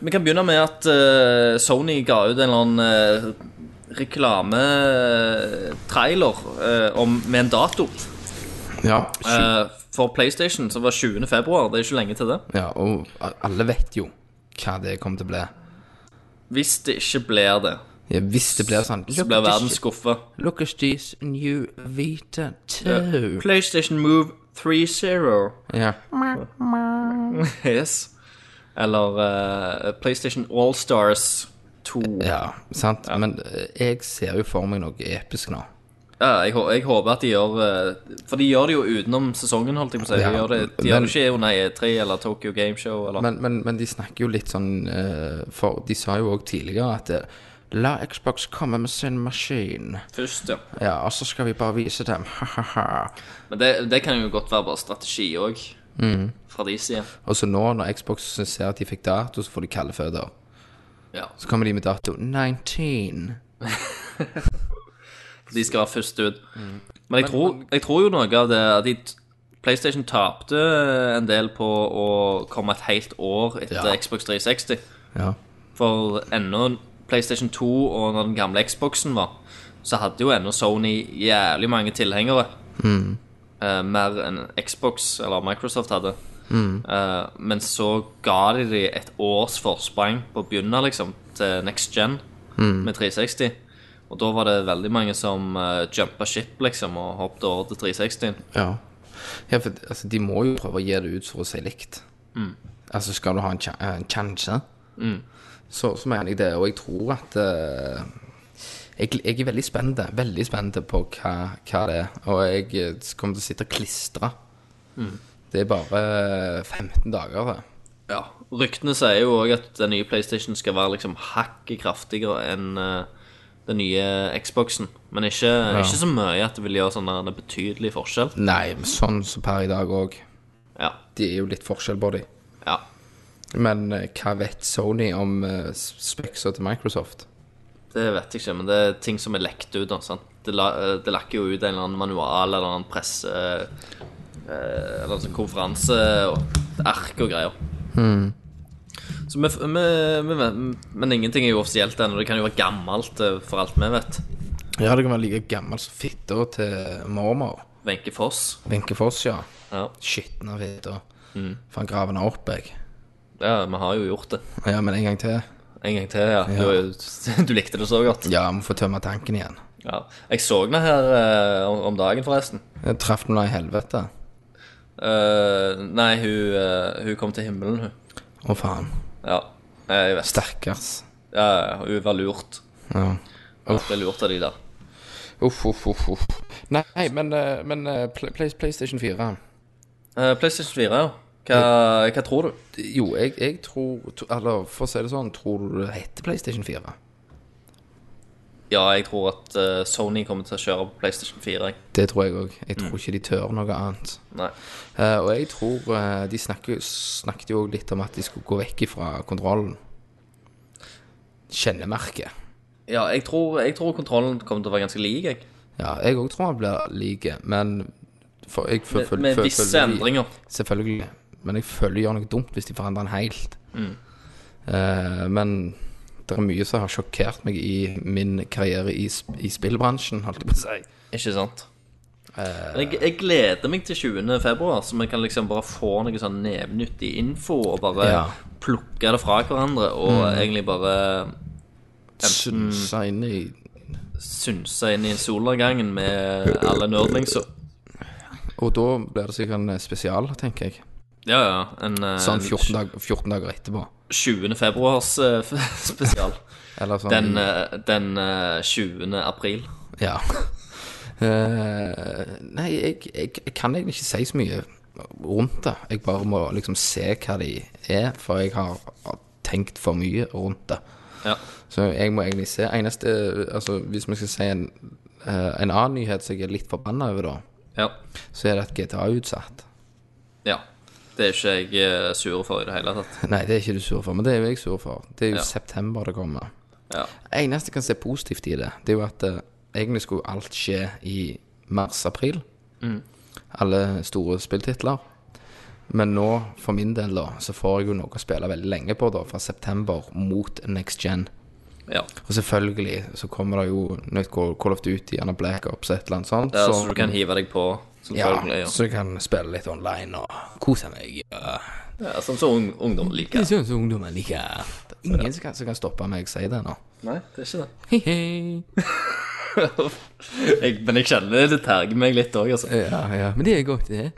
vi kan begynne med at eh, Sony ga ut en eller annen eh, reklametrailer eh, om- med en dato.
Ja.
eh, for PlayStation, som var 20. februar. Det er ikke lenge til det.
ja. Og alle vet jo hva det kommer til å bli.
Hvis det ikke blir det,
Ja, hvis det blir sånn
så blir verden skuffa.
Look at this new Vita 2.
PlayStation Move 3.0.
Ja.
PS. Eller eh, PlayStation Allstars 2. Ja.
ja, sant. Men eh, jeg ser jo for meg noe episk nå.
jeg, hå- jeg håper at de gjør eh, For de gjør det jo utenom sesongen, holdt jeg på å si. De
Ja,
gjør det, de
men-
gjør det ikke under E3 eller Tokyo Game Show eller
Men, men, men de snakker jo litt sånn eh, For de sa jo òg tidligere at eh, La Xbox komme med sin maskin.
først, ja.
Ja, og så skal vi bare vise dem. Ha-ha-ha.
Men det, det kan jo godt være bare strategi òg,
Mm.
fra de side.
Og så nå, når Xbox ser at de fikk dato, så får de kalde føtter.
Ja.
Så kommer de med dato 19.
De skal være først ut.
Mm.
Men jeg tror, jeg tror jo noe av det at de, PlayStation tapte en del på å komme et helt år etter
Ja.
Xbox 360.
Ja.
For ennå PlayStation 2 og når den gamle Xboxen var, så hadde jo ennå Sony jævlig mange tilhengere. Eh, mer enn Xbox eller Microsoft hadde. Eh, men så ga de de et års forsprang på å begynne, liksom, til next gen med 360. Og da var det veldig mange som uh, jumpa ship, liksom, og hoppet over til 360.
ja. ja for altså, de må jo prøve å gi det ut for å si likt. Altså, skal du ha en, kja- en sjanse, så, så mener jeg det. Og jeg tror at eh, jeg, jeg er veldig spent veldig spent på hva, hva det er. Og jeg eh, kommer til å sitte og klistre. Det er bare 15 dager, det.
Ja, Ryktene sier jo òg at den nye PlayStation skal være liksom hakket kraftigere enn eh, den nye Xboxen. Men ikke, ikke så mye at det vil gjøre sånn der en betydelig forskjell.
Nei, men sånn som per i dag òg.
Ja,
Det er jo litt forskjell på dem.
ja.
Men eh, hva vet Sony om uh, til Microsoft?
Det vet jeg ikke, men det er ting som er lekt ut. da, sant? Det, la, eh, det lakker jo ut en eller annen manual eller en annen presse eh, Eller en sånn konferanse og ark og greier. Så vi, f- vi, vi, vet- men ingenting er jo offisielt ennå. Det kan jo være gammelt eh, for alt vi vet.
Ja, det kan være like gammel som fitta til mormor.
Wenche Foss.
Wenche Foss, ja.
Ja.
Skitne fitta. Faen, grav henne opp, jeg.
ja, vi har jo gjort det.
Ja, men en gang til.
En gang til, ja. Du, du likte det så godt.
Ja, må få tømme tanken igjen.
Ja. Jeg så henne her eh, om- om dagen, forresten.
Jeg traff noen i helvete.
Eh, nei, hun, eh, hun kom til himmelen, hun.
Å, faen.
Ja, eh, jeg vet.
Stakkars.
Ja, hun var lurt.
Ja.
Hun ble lurt av de der.
Uff, uff, uff. uff. Nei, men, eh, men eh, Pl- Play, PlayStation 4
Eh, PlayStation 4, ja. Hva, hva tror du?
Jo, jeg, jeg tror tro- Eller for å si det sånn, tror du det heter PlayStation 4?
Ja, jeg tror at eh, Sony kommer til å kjøre på PlayStation 4. Jeg.
Det tror jeg òg. Jeg tror ikke de tør noe annet.
Nei.
Eh, og jeg tror eh, De snakker, snakket jo litt om at de skulle gå vekk ifra kontrollen. Kjennemerket.
Ja, jeg tror, jeg tror kontrollen kommer til å være ganske lik, jeg.
Ja, jeg òg tror han blir lik, men for, jeg føl,
Med,
føl,
med
føl-
visse
føler de-
endringer.
Selvfølgelig. Men jeg føler de gjør noe dumt hvis de forandrer den helt.
Mm.
Eh, men det er mye som har sjokkert meg i min karriere i, sp- i spillbransjen, holdt jeg på å si.
Ikke sant?
Eh.
Men jeg, jeg gleder meg til 20. februar, så vi kan liksom bare få noe sånn nevnyttig info og bare
Ja. Mm.
plukke det fra hverandre og egentlig bare
Synsa inn i
synse inn i solnedgangen med alle nerdlingsa.
Og da blir det sikkert en eh, spesial, tenker jeg.
Ja, ja. En eh,
Sånn 14, dag, 14 dager etterpå.
20. februars eh, spesial.
Eller sånn
Den, eh, den eh, 20. april.
Ja. Eh, nei, jeg, jeg, jeg kan egentlig ikke si så mye rundt det. Jeg bare må liksom se hva de er, for jeg har tenkt for mye rundt det.
Ja.
Så jeg må egentlig se. Eneste, altså, hvis vi skal si en, eh, en annen nyhet som jeg er litt forbanna over, da,
ja.
så er det at GTA er utsatt.
Ja. Det er ikke jeg eh, sur for i det hele tatt.
Nei, det er ikke du sur for, men det er jo jeg sur for. Det er jo
Ja.
september det kommer.
Ja.
Eneste jeg kan se positivt i det, det er jo at eh, egentlig skulle alt skje i mars-april.
Mm.
Alle store spilltitler. Men nå, for min del, da, så får jeg jo noe å spille veldig lenge på, da, fra september mot next gen.
ja.
Og selvfølgelig så kommer det jo nytt Call Call of Duty, gjerne Black Ops, et eller annet sånt.
Det er så du kan hive deg på, selvfølgelig.
ja,
Ja,
så jeg kan spille litt online og kose meg. Ja.
ja. sånn som ung, ungdom liker.
Det syns ungdommen liker. Det er ingen som kan, som kan stoppe meg, si det nå.
Nei, det er ikke det.
Hei, hei.
Jeg, men jeg kjenner det terger meg litt òg, altså.
Ja, ja, men det er godt, det.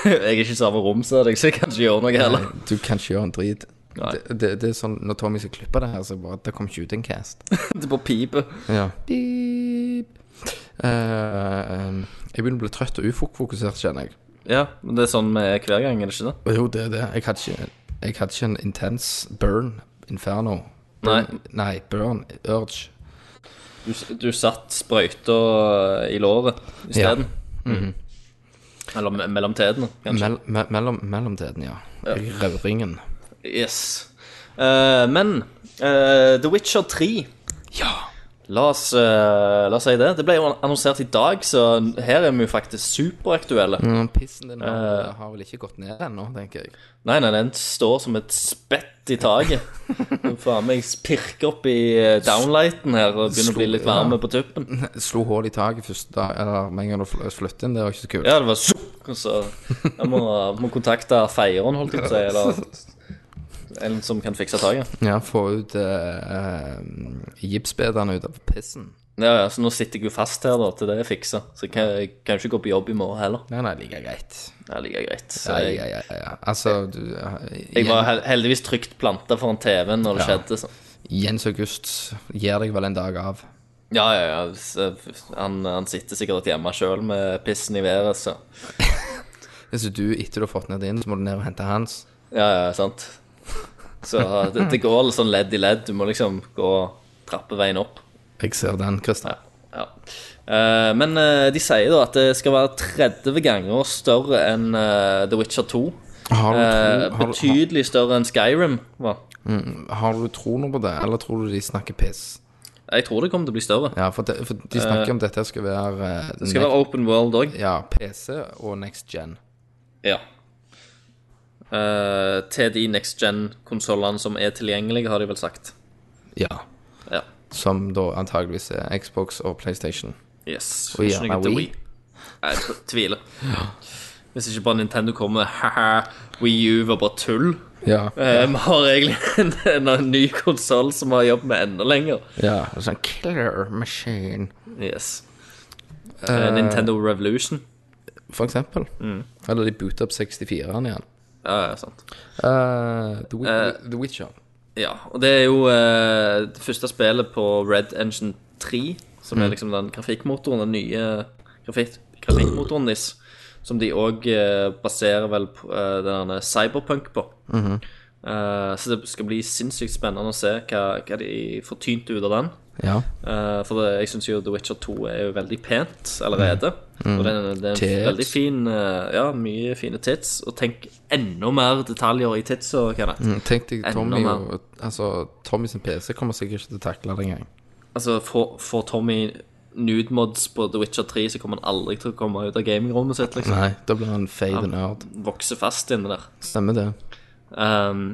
Jeg er ikke i samme rom som deg, så jeg kan ikke gjøre noe heller.
Du kan ikke gjøre en drit.
Nei.
Det, det, det er sånn når Tommy skal klippe det her, så bare Det kom ikke ut en cast.
Det er på pipe.
Ja. Beep. Eh, um, jeg begynner å bli trøtt og ufokusert, kjenner jeg.
Ja, men det er sånn vi er hver gang, er det ikke det?
Og Jo, det er det. Jeg hadde ikke, jeg hadde ikke en intens burn, inferno. Burn, nei. burn, urge.
Du, s- du satt sprøyta i låret isteden. Eller Mhm. me mellom tærne, kanskje.
Mell, me, mellom, mellomtiden, ja. I rødringen.
Yes. Eh, men eh, The Witcher 3
Ja!
La oss, eh, la oss si det. Det ble jo annonsert i dag, så her er vi jo faktisk superaktuelle.
Men Pissen din har,
Eh.
har vel ikke gått ned ennå, tenker jeg.
Nei, nei, den står som et spett i taket. Faen meg pirker opp i eh, downlighten her og begynner å bli litt varme på tuppen.
Slo hull i taket første dag, eller med en gang du fl- flyttet inn, det var ikke så kult.
Ja, det var sukk, og så Jeg må, må kontakte feieren, holdt jeg på å si, eller en som kan fikse taket.
Ja, få ut uh, gipsbedene ut av pissen.
Ja, ja, så nå sitter jeg jo fast her, da, til det er fiksa. Så jeg kan, jeg kan ikke gå på jobb i morgen heller.
Nei, nei, like greit.
Det ligger greit. Så
Ja,
jeg,
ja, ja, ja. Altså, du eh,
Jeg var
igjen-
hel heldigvis trygt planta foran TV-en når det
Ja.
skjedde. Så.
Jens August gir deg vel en dag av.
Ja, ja, ja. s- eh, Han, han sitter sikkert hjemme sjøl med pissen i været, så
Hvis du etter du har fått ned din, så må du ned og hente hans.
Ja, ja, sant. Så det, det går litt sånn ledd i ledd. Du må liksom gå trappeveien opp.
Jeg ser den, Christer.
Ja. Eh, men eh, de sier da at det skal være 30 ganger større enn eh, The Witcher 2.
Har, du
Eh,
tro- har, har,
betydelig større enn Skyrim. Hva?
har du tro noe på det, eller tror du de snakker piss?
Jeg tror det kommer til å bli større.
Ja, for de, for de snakker om dette skal være eh,
Eh. Det skal
next-
være open world òg.
ja, PC og next gen.
Ja. Eh, til de next gen-konsollene som er tilgjengelige, har de vel sagt.
Ja.
Ja.
Som da antageligvis er Xbox og PlayStation.
Yes.
Og
Ikke
gjerne
noe til
Wii.
Wii. Jeg t- tviler. Hvis ikke bare Nintendo kommer med haha, Wii U var bare tull.
Ja.
Eh, Vi har egentlig en, en, ny konsoll som vi har jobbet med enda lenger.
ja. Sånn killer machine.
Yes. Eh, Nintendo Revolution.
For eksempel. Eller de booter opp 64-eren igjen.
Ja, ja, sant.
Eh, The, Wi- The Witcher.
Ja, og det er jo eh, det første spillet på Red Engine 3, som
Mm.
er liksom den grafikkmotoren, den nye grafik grafikkmotoren deres, som de òg baserer vel på eh, den derne cyberpunk på.
Mhm.
Eh, så det skal bli sinnssykt spennende å se hva, hva de får tynt ut av den.
Ja.
Eh, for det, jeg syns jo The Witcher 2 er jo veldig pent allerede. Og det, er- det er en
Mm. Tits.
veldig fin eh, Ja, mye fine tits. Og tenk enda mer detaljer i titsa, Kenneth.
Mm, Tenk deg
Enda
Tommy
mer.
og Altså, Tommy sin PC kommer sikkert ikke til å takle det engang.
Altså, får får Tommy nude mods på The Witcher 3, så kommer han aldri til å komme ut av gamingrommet sitt. liksom
Nei, da blir han fade nerd.
Vokser fast inne der.
Stemmer det.
Um,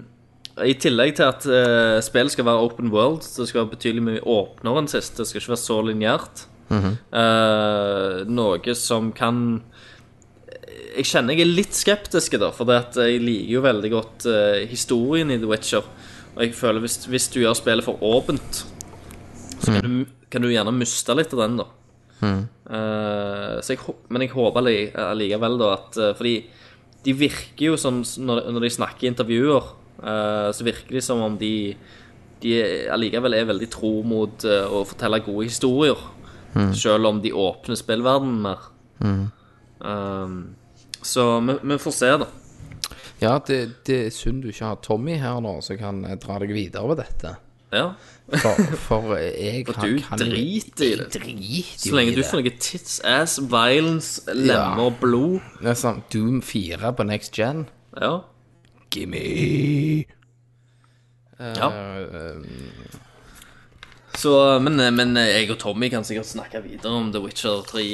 I tillegg til at eh, spillet skal være open world, så det skal være betydelig mye åpnere enn sist. Det skal ikke være så lineært. Eh, noe som kan Jeg kjenner jeg er litt skeptisk, da, for det at jeg liker jo veldig godt eh, historien i The Witcher. Og jeg føler hvis, hvis du gjør spillet for åpent, så kan du, kan du gjerne miste litt av den, da. Eh, så jeg, hå- men jeg håper li- allikevel, da, at eh, Fordi de virker jo som Når, når de snakker i intervjuer, eh, så virker de som om de De er- allikevel er veldig tro mot eh, å fortelle gode historier. Selv om de åpner spillverdenen mer. Um, så vi, vi får se, da.
Ja, det, det er synd du ikke har Tommy her nå, så jeg kan eh, dra deg videre med dette.
Ja.
For, for jeg
For du driter i det.
Drit
Så lenge du får noe tits, ass, violence, lemmer, blod
Det er sånn Doom 4 på next gen.
Ja.
Gimme! Eh,
ja. Så, eh, men, men jeg og Tommy kan sikkert snakke videre om The Witcher 3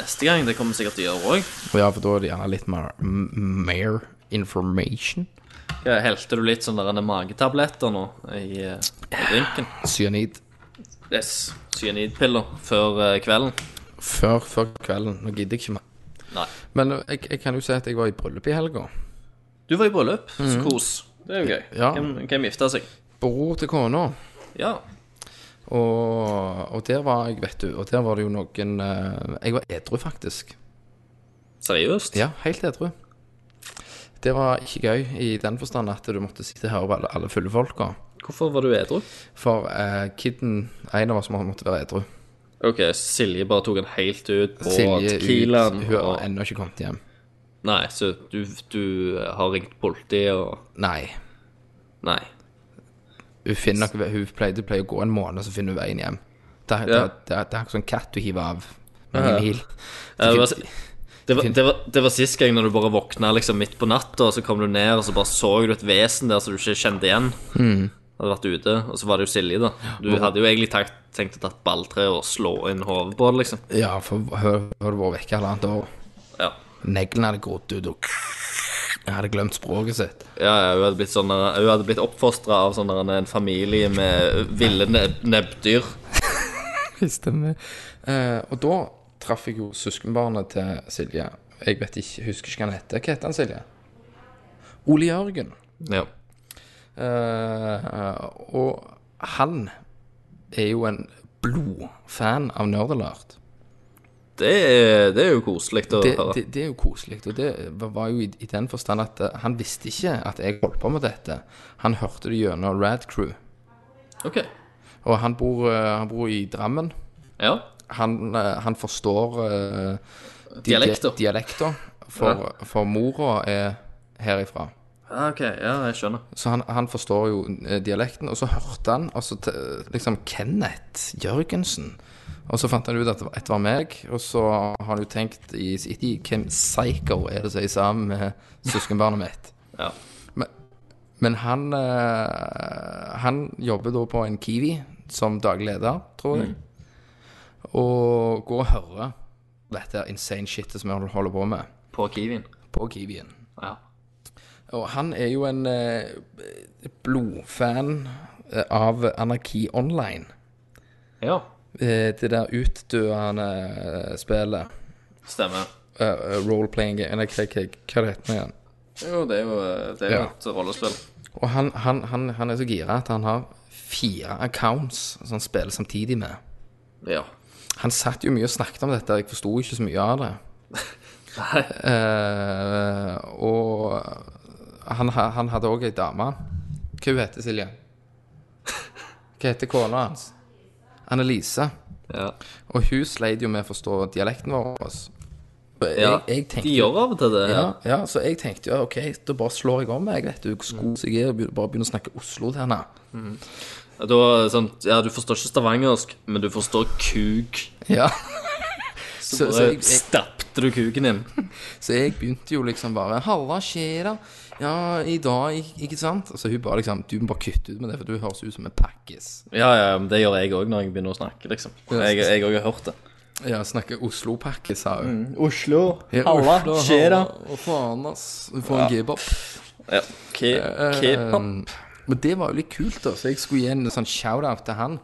neste gang. Det kommer vi sikkert til å gjøre òg.
Og ja, for da er det gjerne litt mer, m- mer information.
Helte du litt sånn der en magetabletter nå i eh, drinken?
Cyanid.
Yes. Cyanidpiller før eh, kvelden.
Før, før kvelden. Nå gidder jeg ikke mer.
Nei.
Men eh, jeg, jeg kan jo si at jeg var i bryllup i helga.
Du var i bryllup, så kos. Mm. Det er jo gøy.
Ja.
Hvem, hvem gifta seg?
Bror til kona.
Ja.
Og, og der var jeg, vet du. Og der var det jo noen eh, Jeg var edru, faktisk.
Seriøst?
Ja, helt edru. Det var ikke gøy i den forstand at du måtte sitte her og være alle fulle folka.
Hvorfor var du edru?
For eh, kidden En av oss må- måtte være edru.
OK, Silje bare tok den helt ut på
Silje ut.
Tequilaen.
Hun har
Og...
ennå ikke kommet hjem.
Nei, så du, du har ringt politiet og
Nei.
Nei.
Hun finner nok Hun pleier, det pleier å gå en måned, så finner hun veien hjem. Det er,
Ja.
det, er- det er, det er ikke sånn katt du hiver av mange
Ja, ja.
mil.
Ja, det, var,
fin-
det, var, det, var, det var sist gang når du bare våkna liksom midt på natta, og så kom du ned, og så bare så du et vesen der som du ikke kjente igjen.
Hmm.
Hadde vært ute, og så var det jo Silje, da. Du hadde jo egentlig tenkt, tenkt å tatt balltreet og slå inn hodet på det, liksom.
Ja, for hun hun hadde vært vekke halvannet år.
Ja.
Neglene hadde grodd ut, og jeg hadde glemt språket sitt.
Ja, ja, hun hadde blitt, sånn der- hun hadde blitt oppfostra av sånn der en familie med ville neb nebbdyr.
Stemmer. Eh, og da traff jeg jo søskenbarnet til Silje. Jeg vet ikke, husker ikke hva han heter. Hva heter han, Silje? Ole Jørgen.
Ja.
Eh, og han er jo en blodfan av nerdelart.
Det er, det er jo koselig å
Det,
høre.
det, det er jo koselig. Og det var- var jo i, i den forstand at eh, han visste ikke at jeg holdt på med dette. Han hørte det gjennom Rad Crew.
OK.
Og han bor, eh, han bor i Drammen.
Ja.
Han, eh, han forstår eh, di-
Dialekter.
dialekter for, for mora er herifra.
Ja, Ah, OK. Ja, jeg skjønner.
Så han, han forstår jo eh, dialekten, og så hørte han altså, t- liksom Kenneth Jørgensen. Og så fant han ut at det var- at det var meg, og så har han jo tenkt i sitt tid hvem psycho er det som er sammen med søskenbarnet mitt.
Ja.
Men, men han, eh, han jobber da på en Kiwi som daglig leder, tror jeg. Og går og hører dette insane shitet som han holder på med,
På Kiwien.
på Kiwien.
Ja.
Og han er jo en eh, blodfan eh, av Anarki Online.
ja.
Eh, det der utdøende eh, spillet.
Stemmer.
eh, eh, Role-playing game Eller hva, hva, hva det heter det igjen?
Jo, det er jo, det er jo
Ja.
et rollespill.
Og han, han, han, han er så gira at han har fire accounts som han spiller samtidig med.
Ja.
Han satt jo mye og snakket om dette, jeg forsto ikke så mye av det.
Nei.
Eh, og han, ha- han hadde òg ei dame. Hva hun heter Silje? Hva heter kona hans? Annelise.
Ja.
Og hun sleit jo med å forstå dialekten vår. Og Jeg,
ja.
jeg tenkte,
De gjør av og til det.
ja, ja, så jeg tenkte ja, OK, da bare slår jeg om meg, vet du. Hvor god jeg er, og begynner- bare begynner å snakke Oslo til henne.
Da, sånn, ja, du forstår ikke stavangersk, men du forstår kuk.
Ja. Så, så, jeg, jeg,
Stappte du kuken din?
så jeg begynte jo liksom bare 'Halla, skjer det? Ja, i dag, ik- ikke sant?' Og så hun bare liksom 'Du må bare kutte ut med det, for du høres ut som en pakkis'.
Ja, ja, men det gjør jeg òg når jeg begynner å snakke, liksom. Jeg jeg òg har hørt det.
Ja, snakker Oslo-pakke, sa hun.
Oslo.
Ja,
Mm. Halla,
Oslo,
skjer det?
halla, Å faen, ass. Du får en gebop.
Ja. Ke, ke,
Um, men det var jo litt kult, da, så jeg skulle gi en sånn shout-out til han.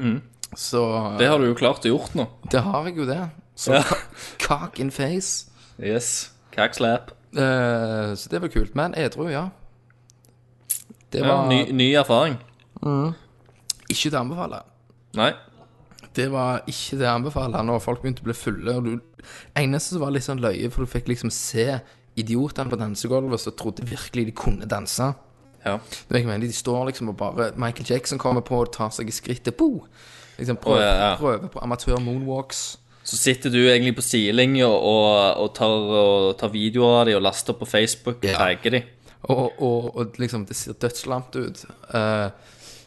Mm.
Så
det har du jo klart å gjort nå.
det har jeg jo, det. Så
Ja.
ka- cock in face.
Yes. Kakslap.
Eh, så det var kult. Men edru, ja. Det
Ja,
var
ny, ny erfaring.
ikke det å anbefale.
Nei.
Det var ikke det jeg anbefaler når folk begynte å bli fulle. Og du, eneste som var litt sånn løye, for du fikk liksom se idiotene på dansegulvet som trodde virkelig de kunne danse.
Ja.
Du vet ikke hva jeg mener, De står liksom og bare Michael Jackson kommer på og tar seg i skrittet. Bo! Liksom prøver,
Å, ja, ja.
prøver på amatør moonwalks.
Så sitter du egentlig på sidelinja og, og, tar, og tar videoer av dem og laster opp på Facebook og
Ja.
tagger dem.
Og, og, og liksom, det ser dødslampt ut. Eh,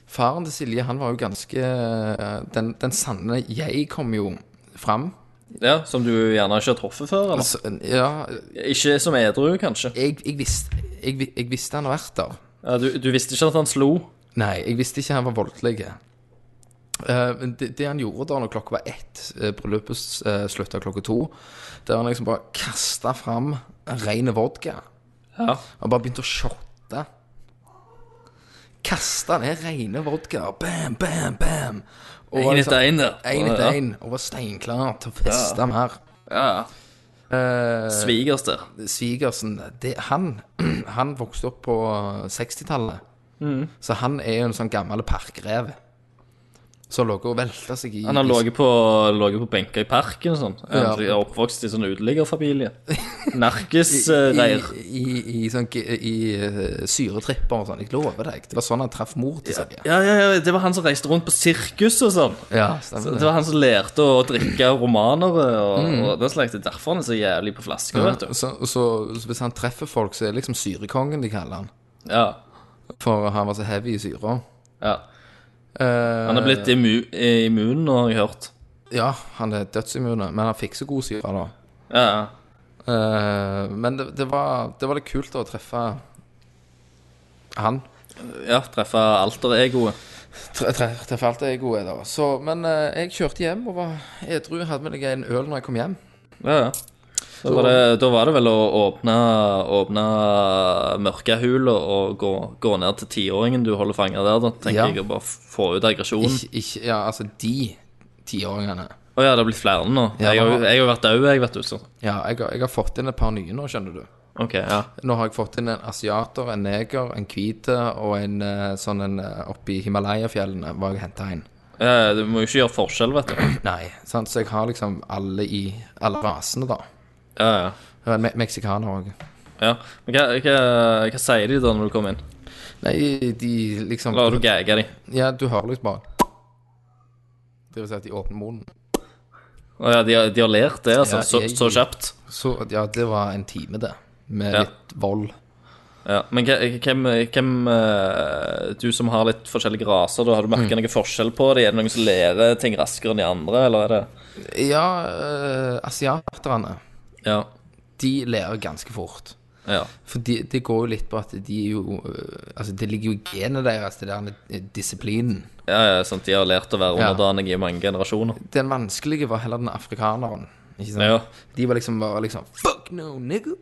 faren til Silje, han var jo ganske eh, den, den sanne jeg kom jo fram.
Ja, som du gjerne ikke har truffet før, eller?
Så, Altså, ja,
Ikke som edru, kanskje.
jeg, jeg, visste, jeg, vi- jeg visste han har vært der.
Ja, du, du visste ikke at han slo.
Nei, jeg visste ikke han var voldelig. Eh, Men det, det han gjorde da når klokka var ett, eh, bryllupet uh, slutta klokka to, der han liksom bare kasta fram ren vodka.
Ja.
Han bare begynte å shotte. Kasta ned rene vodka. Bam, bam, bam. Og var liksom sånn-
Én etter én, der.
En etter
Ja.
en, og var steinklar til å feste mer.
Ja, ja.
Eh,
Svigers der.
Svigersen, det, han, han vokste opp på 60-tallet.
Mm.
Så han er jo en sånn gammel parkrev. Som lå og velta seg i
Han har ligget på, ligget på benker i parken og sånn.
Ja.
Han er oppvokst i sånn uteliggerfamilie. eh,
i,
Narkisreir.
i, i, sånn, g- i eh, syretripper og sånn. Jeg lover deg. Det var sånn han traff mor til seg.
Ja, ja, ja, det var han som reiste rundt på sirkus og sånn.
Ja,
Så
stemmer
det
det. Mm.
var han som lærte å drikke romanere og, og det slags. Det er derfor han er så jævlig på flasker, vet du.
Så, så, så hvis han treffer folk, så er det liksom syrekongen de kaller han.
Ja,
For han var så heavy i syra.
ja.
Eh,
Han er blitt immu immun nå, har jeg hørt.
ja, han er dødsimmune, men han fikk så god syre, da.
Ja, ja.
Eh, men det, det, var, det var litt kult å treffe han.
ja treffe alter-egoet.
Tre- tre- Treffe alt det egoet, da. Så, men eh, jeg kjørte hjem og var edru. Hadde med deg en øl når jeg kom hjem.
Ja, ja. Da var, det, da var det vel å åpne, åpne mørkehula og gå, gå ned til tiåringen du holder fanget der, da, tenker
Ja.
jeg, og bare få ut aggresjonen.
Ikke, ikke Ja, altså de tiåringene.
Å ja, det har blitt flere nå.
Ja,
Jeg har jo
da-
jeg har jo vært død, jeg, vet du. Så.
Ja, jeg, har- jeg har fått inn et par nye nå, skjønner du.
Ok, ja.
Nå har jeg fått inn en asiater, en neger, en hvite og en eh, sånn en eh, oppe i Himalaya-fjellene var jeg henta inn.
Eh, Du må jo ikke gjøre forskjell, vet du.
Nei, sant? så jeg har liksom alle i alle rasene, da.
Ja, ja.
Me meksikaner òg.
ja. Men hva, hva, hva sier de da når du kommer inn?
Nei, de liksom
La du gage de.
Ja, du hører liksom bare Det vil si at de åpner munnen.
Å ja, de, har- de har lært det, altså.
Ja,
så,
jeg-
så kjapt.
Så ja, det var en time, det. Med
Ja.
litt vold.
Ja. Men hva- hvem, hvem eh, Du som har litt forskjellige raser, da, har du merka noen forskjell på dem? Er det noen som lærer ting raskere enn de andre, eller er det
Ja, øh, asiaterne,
Ja.
de ler ganske fort.
ja.
For de- det går jo litt på at de er jo øh, Altså, det ligger jo i genet deres, det der med eh, disiplinen.
Ja, ja, sant. De har lært å være
Ja.
underdanig i mange generasjoner.
Den vanskelige var heller den afrikaneren. Ikke sant?
Ja.
De var liksom bare liksom Fuck no, nigga!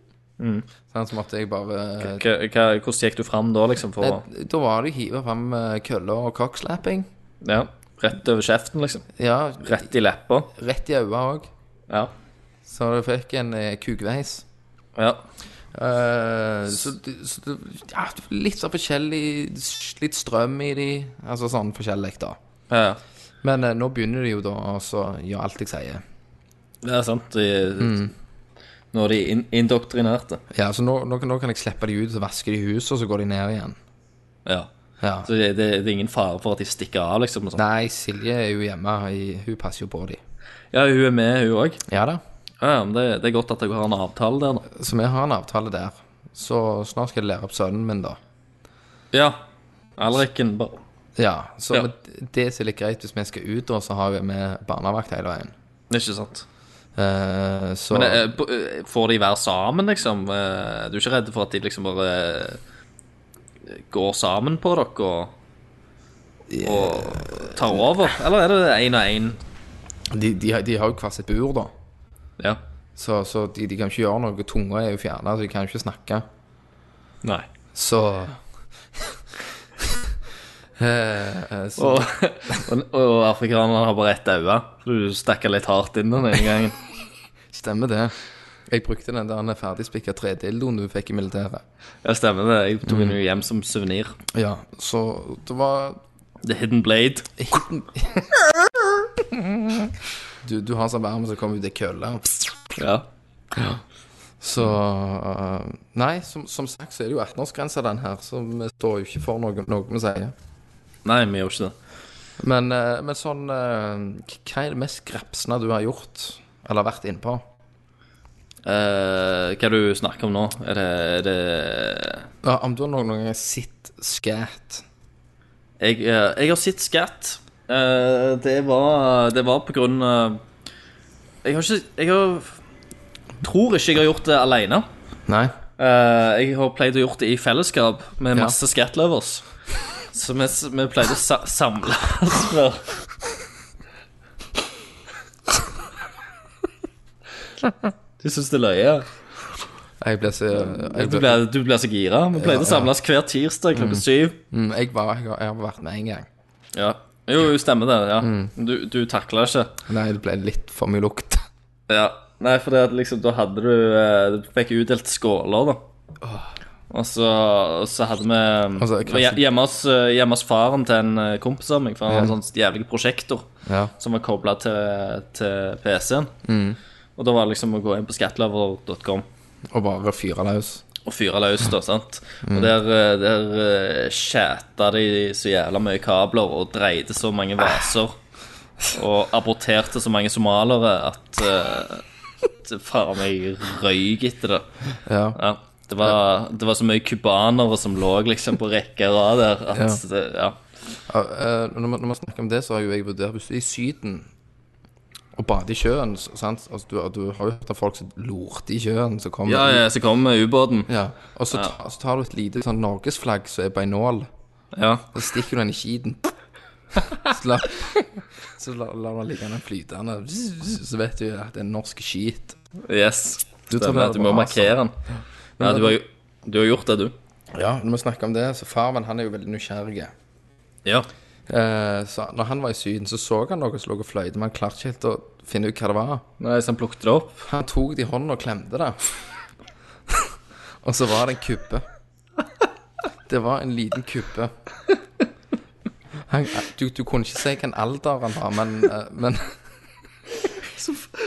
Sånn, så måtte jeg bare
Hva, hva, hvordan gikk du fram da, liksom? For, å-
Nei, Da var det å hive fram eh, køller og cockslapping.
ja, rett over kjeften, liksom?
Ja,
Rett i leppa?
rett i øynene òg.
Ja.
Så du fikk en eh, kukveis.
ja.
Eh, så det- så det- ja, litt sånn forskjellig s- Litt strøm i de. Altså sånn forskjellig, da.
ja, ja.
Men eh, nå begynner de jo da å så gjøre alt jeg sier.
Det er sant. De, Mm. Nå er de in indoktrinerte.
Ja, så nå, nå, nå kan jeg slippe de ut, så vasker de huset, og så går de ned igjen.
Ja.
Ja.
Så det, det, det er ingen fare for at de stikker av, liksom? Og sånn.
Nei, Silje er jo hjemme. i- Hun passer jo på de.
ja, hun er med, hun òg.
Ja da.
Ja, ja, men det, det er godt at jeg har en avtale der, nå.
Så vi har en avtale der. Så snart skal jeg lære opp sønnen min, da.
Ja. Alriken bare
Ja, så
Ja.
men det som er litt greit hvis vi skal ut, da, så har vi med barnevakt hele veien.
Ikke sant.
Eh, så
Men eh, bo- eh, får de være sammen, liksom? Eh, Du er ikke redd for at de liksom bare eh, går sammen på dere og, og tar over? Eller er det én og én?
de, de, har- de har jo hver sitt bur, da.
Ja.
Så, så de, de kan ikke gjøre noe. Tunga er jo fjerna, så de kan jo ikke snakke.
Nei.
Så Eh, eh, så
Og, og, og afrikanerne har bare ett øye, så du stakker litt hardt inn den ene gangen.
stemmer det. Jeg brukte den der ferdigspikka tredildoen du fikk i militæret.
Ja, stemmer det. Jeg tok den jo hjem som suvenir.
Ja, så det var
The Hidden Blade.
Du, du har sånn verme som kommer ut i kølla.
Ja.
Så eh, Nei, som, som sagt så er det jo 18-årsgrensa, den her, så vi står jo ikke for noe, noe vi sier.
Nei, vi gjør ikke det.
Men, eh, men sånn eh, k- Hva er det mest grepsende du har gjort? Eller vært innpå?
Eh, hva du snakker om nå? Er det, er det
Ja, om du har noen, noen gang sett skat
jeg, eh, jeg har sett Skatt. Eh, det var Det var på grunn av Jeg har ikke Jeg har Tror ikke jeg har gjort det alene.
Nei.
Eh, jeg har pleid å gjort det i fellesskap med
Ja.
masse skatlovers. Så vi, vi pleide å sa samle oss før. Du syns det er løye?
Jeg ble så Jeg,
Du
ble,
blir, du blir så gira. Vi pleide å samles hver tirsdag klokka syv.
Mm, jeg, var, jeg, har, jeg har vært med en gang.
Ja. Jo, jo, stemmer det. ja
Mm.
Du, du takla ikke.
Nei, det ble litt for mye lukt.
Ja, nei, for det at liksom, da hadde du eh, Du fikk utdelt skåler, da. Og så, og så hadde vi
Altså,
det var
kanskje-
hje- hjemme, hos, eh, hjemme hos faren til en eh, kompis av meg, for han
Ja.
hadde en sånn jævlig prosjektor
Ja.
som var kobla til, til PC-en. Og da var det liksom å gå inn på skatlover.com
Og bare fyre løs.
og fyre løs, da, sant. Og der, eh, der eh, skjæta de så jævla mye kabler og dreide så mange vaser. Og aborterte så mange somaliere at eh, at Faen meg røyk etter det.
Ja.
Ja, det, var, det var så mye cubanere som lå liksom på rekke og rad der at det, ja.
Ja, eh, når, man, når man snakker om det, så har jo jeg vurdert Hvis du er i Syden og bader i sjøen s- sant? Altså, du, du har jo hørt av folk som lorter i sjøen, som kommer
ja, ja, så kom ubåten.
Ja. Og så, ta, så tar du et lite sånn norgesflagg som er på en nål,
Ja.
og så stikker du den i kiden. Så lar, så lar, lar du den ligge den flytende, så vet du at det er norsk skit.
Yes.
Du tar
Stemmer,
det
du må
bra,
markere den. Ja, du har, jo- du har gjort det, du.
Ja, når vi snakker om det, så far min han er jo veldig nysgjerrig.
Ja.
Eh, så når han var i Syden, så så han noe som lå og fløyte, men han klarte ikke helt å finne ut hva det var.
Nei, så han plukket det opp.
Han tok det i hånden og klemte det. og så var det en kubbe. Det var en liten kubbe. Han, du, du kunne ikke si hvilken alder han var, men, eh, men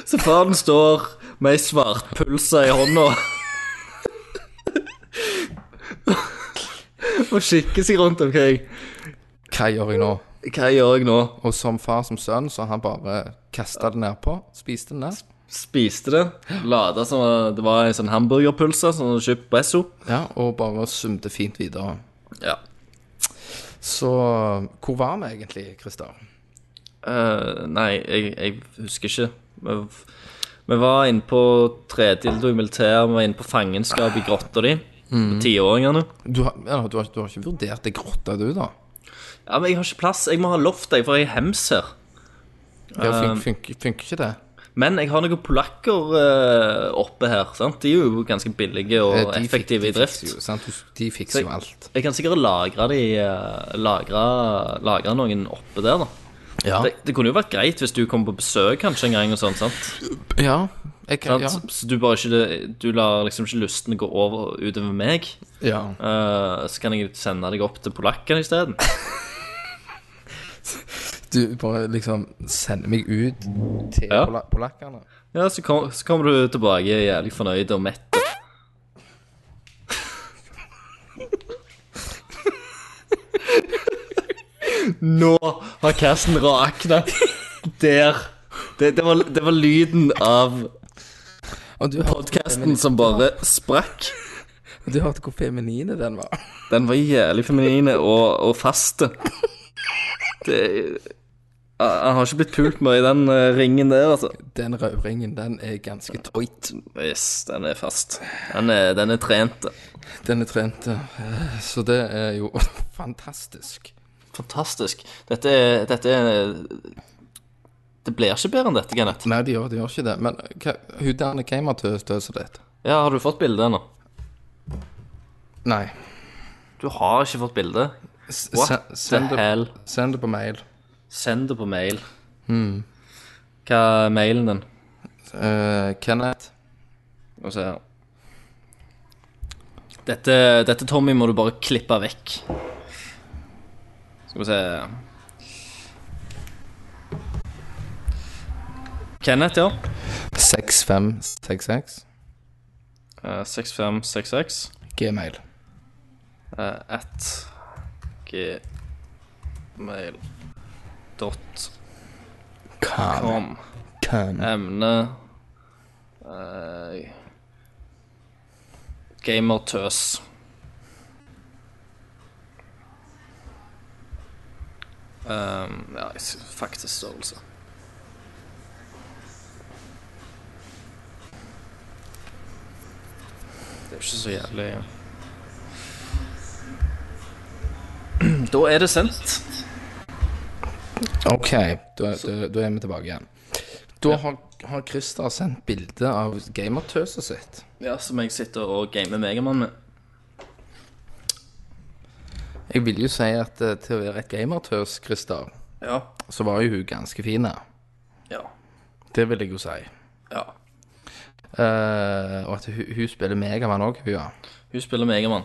Så faren står med ei svartpølse i hånda.
og kikker seg rundt omkring.
Hva gjør jeg nå?
Hva gjør jeg nå?
Og som far som sønn, så har han bare kasta det nedpå. Spiste det ned.
Spiste det. Lada som eh, det var en sånn hamburgerpølse som du kjøpte på Esso.
Ja, og bare sumte fint videre.
Ja.
Så hvor var vi egentlig, Christer?
Eh, nei, jeg, jeg husker ikke. Vi, vi var inne på tredildo i militæret, vi var inne på fangenskap i grotta di. på Tiåringene.
Du har, ja, du, har, du har ikke vurdert det grotta, du, da?
Ja, men jeg har ikke plass. Jeg må ha loft, jeg, for jeg er hems her. Eh,
Ja, fun, funker- funker ikke det?
Men jeg har noen polakker eh, oppe her. sant? De er jo ganske billige og
Eh, de fikk-
effektive
de
i drift.
fikser jo, sant? Du- De fikser jo alt.
Jeg kan sikkert lagre, de, eh, lagre, lagre noen oppe der, da.
Ja.
Det, det kunne jo vært greit hvis du kom på besøk kanskje en gang. og sånn, sant?
Ja. Jeg kan,
Sant?
ja.
Så- Så du bare ikke, du lar liksom ikke lysten gå over utover meg.
ja.
Eh, så kan jeg jo sende deg opp til polakkene isteden.
Du bare liksom sender meg ut til
Ja.
pola polakkene.
Ja, så, kom, så kommer du tilbake jævlig fornøyd og mett. Nå har casten rakna. Der. Det, det, var, det var lyden av
Og du hørte,
podkasten som bare sprakk.
du hørte hvor feminine den var.
Den var jævlig feminine og, og faste. Det Ah, Han har ikke blitt pult mye i den eh, ringen der, altså.
Den rødringen, den er ganske tight.
Yes, den er fast. Den er, den er trent.
Den er trent. eh, Så det er jo fantastisk.
Fantastisk. Dette er, dette er Det blir ikke bedre enn dette, Kenneth.
Nei, de gjør, de gjør ikke det. Men hva, hun der gamertøset ditt
Ja, Har du fått bilde ennå?
Nei.
Du har ikke fått bilde.
S-
What
sen-
the
send, det,
hell?
send det på mail.
Send det på mail. Hmm. Hva er mailen din?
Eh, Kenneth.
Og se her. Dette, dette, Tommy, må du bare klippe vekk. Skal vi se Kenneth, ja.
6566.
Eh, 6566.
Gmail.
eh, at gmail.com.
Kan. Kan.
Emne eh, Gamertøs. Um, ja, s- faktisk altså. størrelse. Det er jo ikke så jævlig ja. Da er det sendt.
OK, da, da, da er vi tilbake igjen. Da har, har Christer sendt bilde av gamertøset sitt.
Ja, som jeg sitter og gamer Megaman med.
Jeg vil jo si at eh, til å være et gamertøs, Christer,
Ja.
så var jo hun ganske fin. ja.
Ja.
Det vil jeg jo si.
ja.
Eh, og at hun, hun spiller Megaman òg, hun, ja.
Hun spiller Megaman.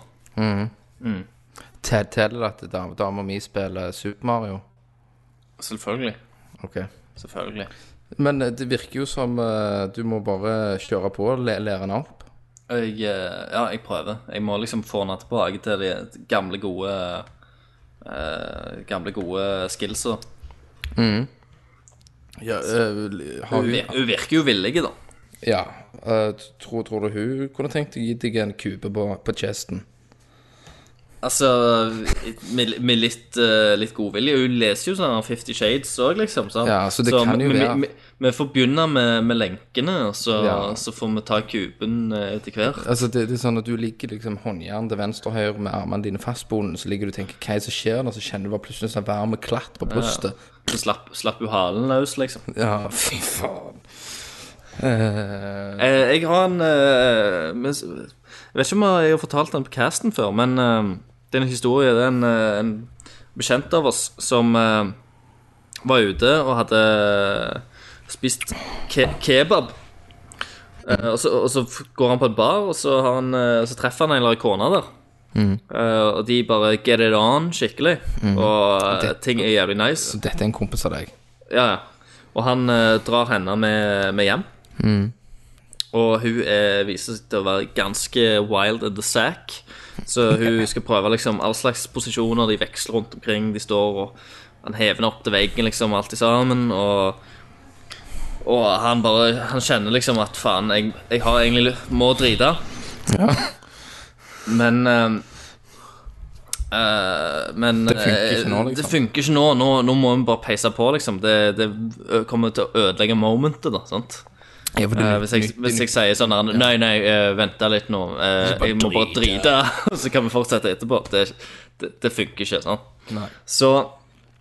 Te- Teller det at dam- dama mi spiller Super Mario?
Selvfølgelig.
OK.
Selvfølgelig.
Men eh, det virker jo som eh, du må bare kjøre på og le lære henne opp.
Og Jeg, eh, ja, jeg prøver. Jeg må liksom få henne tilbake til de gamle, gode eh, Gamle, gode skillsa.
Ja, eh, har
Hun,
hun,
vir- hun virker jo villig, da.
ja eh, tror, tror du hun kunne tenkt å gi deg en kube på, på chesten?
Altså, med, med litt, eh, litt godvilje. Hun leser jo sånn Fifty Shades òg, liksom. sant?
Ja, så det kan jo
vi- vi-
være-
vi- Vi får begynne med, med lenkene, så,
Ja.
så får vi ta kuben eh, etter hvert.
Altså det, det er sånn at Du ligger liksom håndjern til venstre og høyre med armene dine fastbundet. Så ligger du og tenker hva er det som skjer nå? Så kjenner du bare plutselig en sånn varm klatt på brystet.
Så slapp, slapp hun halen løs, liksom.
Ja, fy faen. Eh,
Eh, jeg har en eh, men s- Jeg vet ikke om jeg har fortalt den på casten før, men eh, det er en historie. Det er en, eh, en bekjent av oss som eh, var ute og hadde spist ke kebab. Eh, og, så, og så f- går han på en bar, og så, har han, eh, så treffer han en eller annen kone der. Eh, og de bare get it on skikkelig. Og eh, ting er jævlig nice.
så dette er en kompis av deg.
Ja, ja. Og han eh, drar henne med, med hjem. Og hun eh, viser seg til å være ganske wild in the sack. Så hun skal prøve liksom all slags posisjoner. De veksler rundt omkring, de står og Han hever henne opp til veggen, liksom, alt i sammen. Og, og han bare Han kjenner liksom at faen, jeg, jeg har egentlig lyst- Må drite.
Ja.
Men eh, eh, men
Det funker ikke nå,
eh,
liksom.
Det funker ikke nå. Nå, nå må vi bare peise på, liksom. Det, det ø- kommer til å ødelegge momentet, da. sant?
Ja, for du-
Eh, hvis, jeg, hvis jeg sier sånn her, Nei, nei, eh, vent litt nå. eh, jeg må bare drite, så kan vi fortsette etterpå. Det, det, det funker ikke. sant?
Nei.
Så,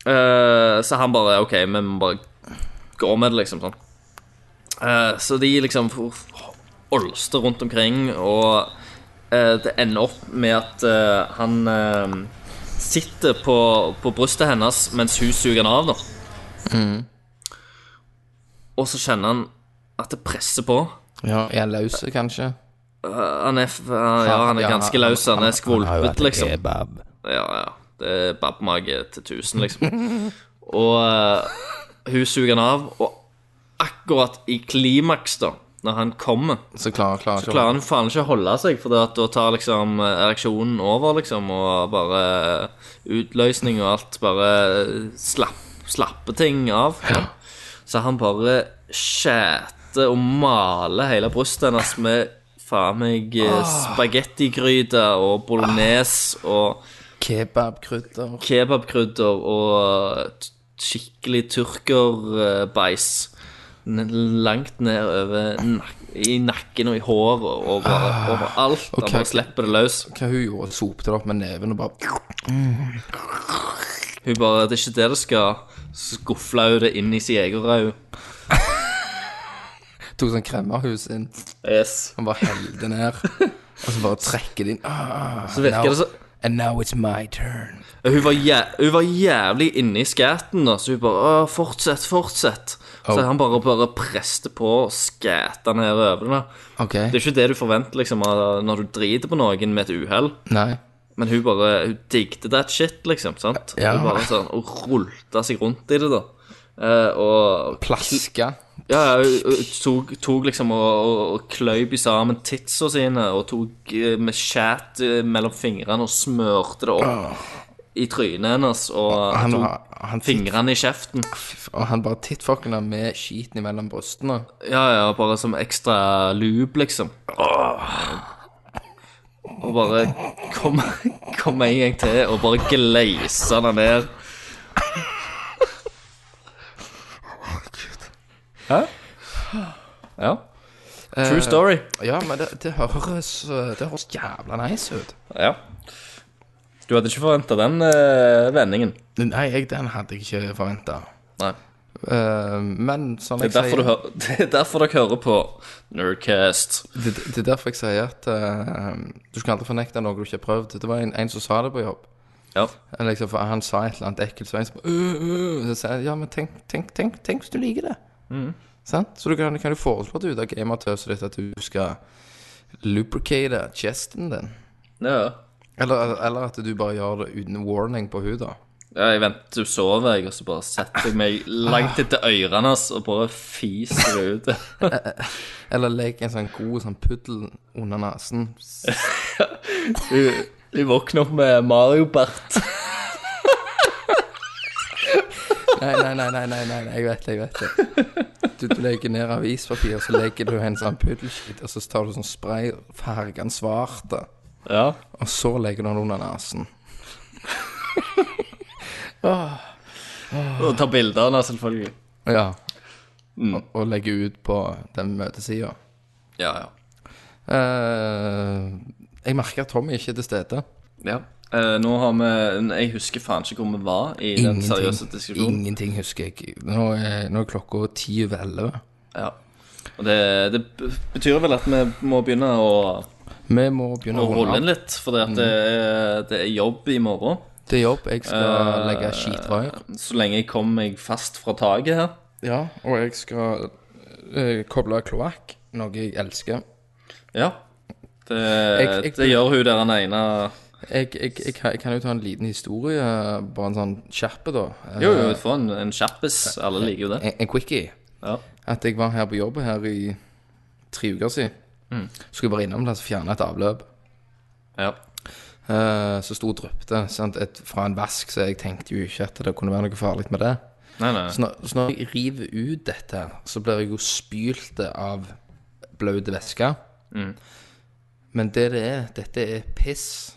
eh, så han bare OK, vi må bare gå med det, liksom. sånn. Eh, så de liksom olster rundt omkring, og eh, det ender opp med at eh, han eh, sitter på, på brystet hennes mens hun suger han av, da. Mm. Og så kjenner han at det presser på.
ja, jeg er løs, kanskje.
Han er, f- ja, han er ganske løs, han er skvulpet, liksom.
Kebab.
Ja, ja. Det er babbmage til tusen, liksom. Og eh, hun suger han av, og akkurat i klimaks, da, når han kommer,
Så klarer klarer
så
ikke
klarer han faen ikke å holde seg, for da tar liksom eh, ereksjonen over, liksom, og bare eh, utløsning og alt bare eh, slapp, slappe ting av. Så han bare skjæter og maler hele brystet hennes med faen meg eh, spagettigryte og bolognese og
Kebabkrydder.
kebabkrydder og t- skikkelig turkerbeis langt ned over nak i nakken og i håret og over, overalt. Han
Ah, ok.
bare slipper det løs.
Hva hun gjorde? Sopte det opp med neven og bare
Hun bare Det er ikke det det skal. Skufla hun det inn i sin egen rau.
tok sånn kremmerhus inn.
Yes.
Han bare heller det ned. Og så bare trekker det inn. Ah,
Så virker
now-
det så
And now it's my turn.
Hun var, jæ hun var jævlig inne i skaten, da, så hun bare «Åh, 'Fortsett, fortsett'. Så
Oh.
han bare, bare preste på og skata nedover. da.
OK.
Det er ikke det du forventer liksom, av- når du driter på noen med et uhell.
Nei.
Men hun bare Hun digget that shit, liksom. sant?
Ja.
Hun bare sånn, og rulta seg rundt i det, da. Eh, og
Plaske.
ja, ja, hun, hun tok, tok liksom og, og, og kløyv i sammen titsa sine og tok eh, med skjæt eh, mellom fingrene og smørte det opp i trynet hennes. Og
Han,
tok
var- han, fikk-
fingrene i kjeften.
og han bare tittfuckene med skiten imellom brystene.
Ja, ja, bare som ekstra lube, liksom. Og bare kom, kom en gang til og bare gleisa den ned. Hæ? Ja. Eh, True story.
Ja, men det, det høres eh, Det høres jævla nice ut.
Ja. Du hadde ikke forventa den eh, vendingen.
Nei, jeg, den hadde jeg ikke forventa.
Nei.
men sånn jeg
Det er derfor,
sier
du hører, det er derfor dere hører på Nerdcast.
det, det er derfor jeg sier at eh, du skal aldri fornekte noe du ikke har prøvd. Det var en, en som sa det på jobb.
Ja.
Eller Liksom, for han sa et eller annet ekkelt svein som øh, øh, Så sa jeg ja, men tenk, tenk, tenk, tenk hvis du liker det. Sant? Så du kan, kan du foreslå til ut av gamertøset ditt at du skal lubricate chesten din.
ja.
Eller, eller at du bare gjør det uten warning på huden.
Ja, jeg venter du sover, jeg, og så bare setter jeg meg langt etter ørene hans og bare fiser det ut.
Eller legg en sånn god sånn puddel under nesen.
Du våkner opp med Mario-bart.
Nei, nei, nei, nei, nei, nei, nei, jeg vet det, jeg vet det. Du, du legger ned avispapir, og så legger du en sånn puddelskitt, og så tar du sånn spray, farger den svarte,
Ja.
og så legger du den under nesen.
Og tar bilder av det, selvfølgelig.
Ja. Mm. Og, og legger ut på den møtesida.
Ja, ja.
Eh, jeg merker at Tommy ikke er til stede.
ja. Eh, nå har vi Jeg husker faen ikke hvor vi var i den seriøse diskusjonen.
ingenting husker jeg. Nå er, nå er klokka ti over elleve.
Ja. Og det, det b- betyr vel at vi må begynne å,
Vi må begynne
å
å
rulle
runde
inn
av.
litt, for det, at det, er, det er jobb i morgen.
Det er jobb. Jeg skal
Eh,
legge skitrør.
Så lenge jeg kommer meg fast fra taket her.
Ja, og jeg skal eh, koble kloakk, noe jeg elsker.
Ja. Det,
Jeg- jeg-
det gjør hun der den ene
Jeg, jeg, jeg, kan- jeg kan jo ta en liten historie, bare en sånn kjappe, da. Eh,
Jo, jo, få en, en kjappis. Alle liker jo det.
En, en quickie.
Ja.
At jeg var her på jobb her i
Mm.
tre uker siden. Skulle bare innom der og fjerne et avløp.
ja.
eh, som sto og dryppte sant, et, fra en vask, så jeg tenkte jo ikke at det kunne være noe farlig med det.
Nei, nei.
Så når, så når jeg river ut dette, her, så blir jeg jo spylt av blaut væske. Men det det er, dette er piss.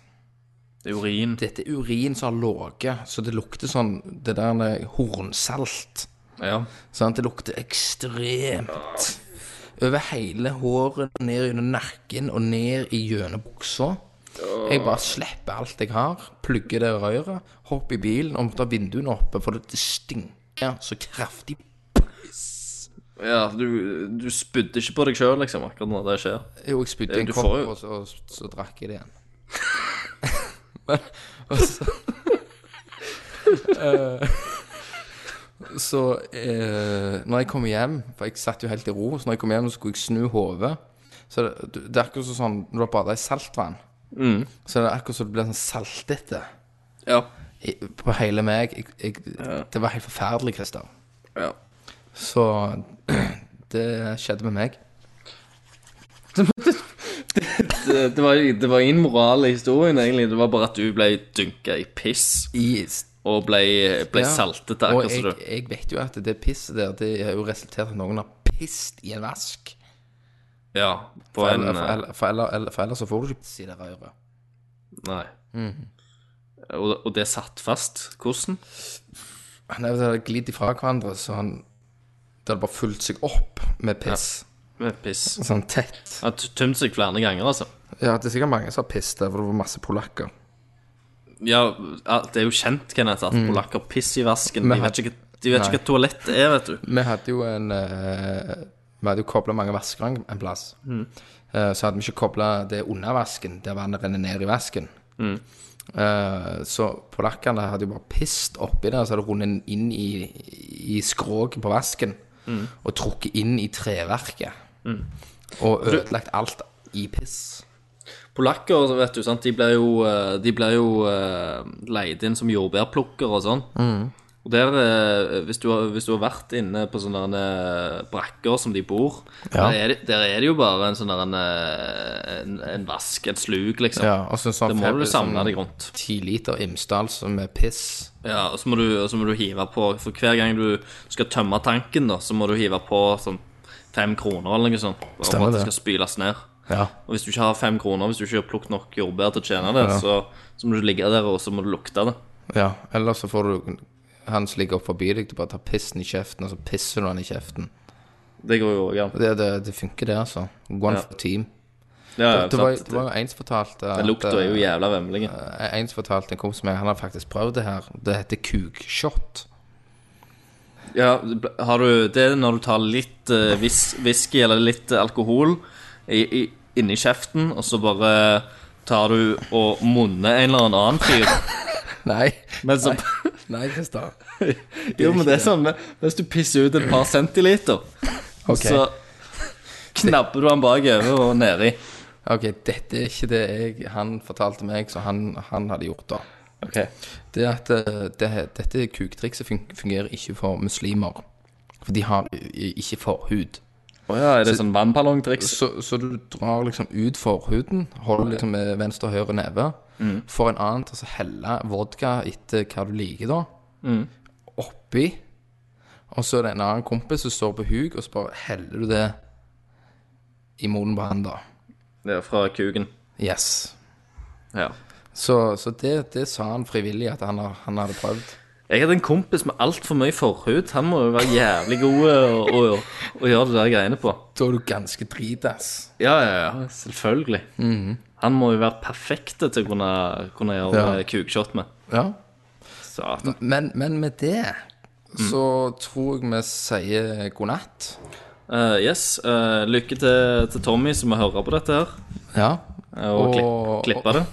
Det er urin.
Dette er urin som har ligget, så det lukter sånn det der eh, hornsalt.
Ja.
Sant? Det lukter ekstremt. Over hele håret, ned gjennom nakken og ned i gjennom buksa. Jeg bare slipper alt jeg har, plugger det røret, hopper i bilen og måtte ha vinduene oppe, for det stinker så kraftig.
ja du, du spydde ikke på deg sjøl, liksom, akkurat når det skjer.
Jo, jeg spydde i en
Eh, Du
kopp,
får jo-
og så, så, drakk jeg det igjen. Men, og så Eh, Så eh, når jeg kom hjem For jeg satt jo helt i ro, så når jeg kom hjem, så skulle jeg snu hodet. Så det, det er akkurat som sånn når du har bada i saltvann.
Mm.
Så er det akkurat som det blir sånn saltete
Ja.
i- på hele meg. Jeg, jeg, Det var helt forferdelig, Christer.
ja.
Så det skjedde med meg.
Det, det, var, det var ingen moral i historien, egentlig. Det var bare at du ble dynka i piss
I
og ble, ble
Ja.
saltet. Akkurat som
Og
du
jeg, jeg vet jo at det pisset der, det har jo resultert i at noen har pisset i en vask.
Ja. På
For,
en
eller, for,
eh,
eller, for, eller, eller, for ellers så får du ikke piss i det røret.
Nei. Mhm. Og, og det satt fast. Hvordan?
Han er jo glidd ifra hverandre, så han Det hadde bare fulgt seg opp med piss.
Med piss.
Sånn tett.
Han t- tømte seg flere ganger, altså.
Ja, det er sikkert mange som har pisset der, for det var masse polakker.
Ja, ja, det er jo kjent, Kenneth, at polakker pisser i vasken.
Mm. Men
De vet
han-
ikke, de vet
Nei.
ikke hva toalett er, vet du.
Vi hadde jo en eh, Vi hadde jo kobla mange vasker en- en plass.
Mm.
Eh, så hadde vi ikke kobla det under vasken, der vannet renner ned i vasken.
Mm.
Eh, så polakkene hadde jo bare pisset oppi der, så hadde det rundet inn i, i skroget på vasken.
Mm.
Og trukket inn i treverket. Og ødelagt alt i piss.
Polakker, vet du, sant, de blir jo, eh, de blir jo eh, leid inn som jordbærplukker og sånn.
Mm.
Og der, eh, hvis du, har, hvis du har vært inne på sånne eh, brakker som de bor,
Ja.
der, er det, der er det jo bare en sånn der en, eh, en, en vask, et slug, liksom.
Ja, og så sånn
Det må
fem-
du samle
sånn
deg rundt.
Ti liter Imsdal som er piss.
Ja, og så må, du, og så må du hive på For hver gang du skal tømme tanken, da, så må du hive på sånn fem kroner eller noe sånt. Bare
Stemmer
for at det
det.
skal spyles ned.
Ja.
Og hvis du ikke har fem kroner, hvis du ikke har plukket nok jordbær til å tjene det,
Ja.
så, så må du ligge der, og så må du lukte det.
Ja, eller så får du han som ligger opp forbi deg, du bare tar pissen i kjeften, og så pisser du han i kjeften.
Det går jo òg an.
Det, det, det funker, det, altså. One
Ja.
for team.
Ja,
Det, det, var,
sant.
det var jo en som fortalte eh,
Den lukta er jo jævla vemmelig.
En som fortalte en kompis av meg, han har faktisk prøvd det her. Det heter kukshot.
Ja, har du Det er når du tar litt eh, whis- whisky eller litt eh, alkohol i, i, inni kjeften, og så bare tar du og munner en eller annen fyr.
Nei.
Men så
Nei, Kristian.
Jo, men det er sånn Hvis du pisser ut et par centiliter,
Ok.
så knabber du den bakover og nedi.
ok, dette er ikke det jeg, han fortalte meg, så han, han hadde gjort da.
Okay.
Det er at eh, det, dette kuktrikset fun- fungerer ikke for muslimer. For de har i- ikke forhud.
ja, er det sånn vannballongtriks?
Så, så du drar liksom ut forhuden, holder liksom med venstre og høyre neve, får en annen til å så helle vodka etter hva du liker, da, oppi. Og så er det en annen kompis som står på huk, og så bare heller du det i munnen på han, da.
Ja, fra kuken.
Yes.
Ja.
Så, så det, det sa han frivillig at han, har- han hadde prøvd.
Jeg hadde en kompis med altfor mye forhud. Han må jo være jævlig god å, å, å gjøre det der greiene på.
Da er du ganske dritass.
Ja, ja, ja. Selvfølgelig. Han må jo være perfekt til å kunne, kunne
Ja.
gjøre eh, kukshot med.
Ja.
Satan.
Men, men med det så tror jeg vi sier god natt.
Eh, yes. eh, lykke til, til Tommy som må høre på dette her,
Ja.
eh, og,
Og-
klipp, klippe det.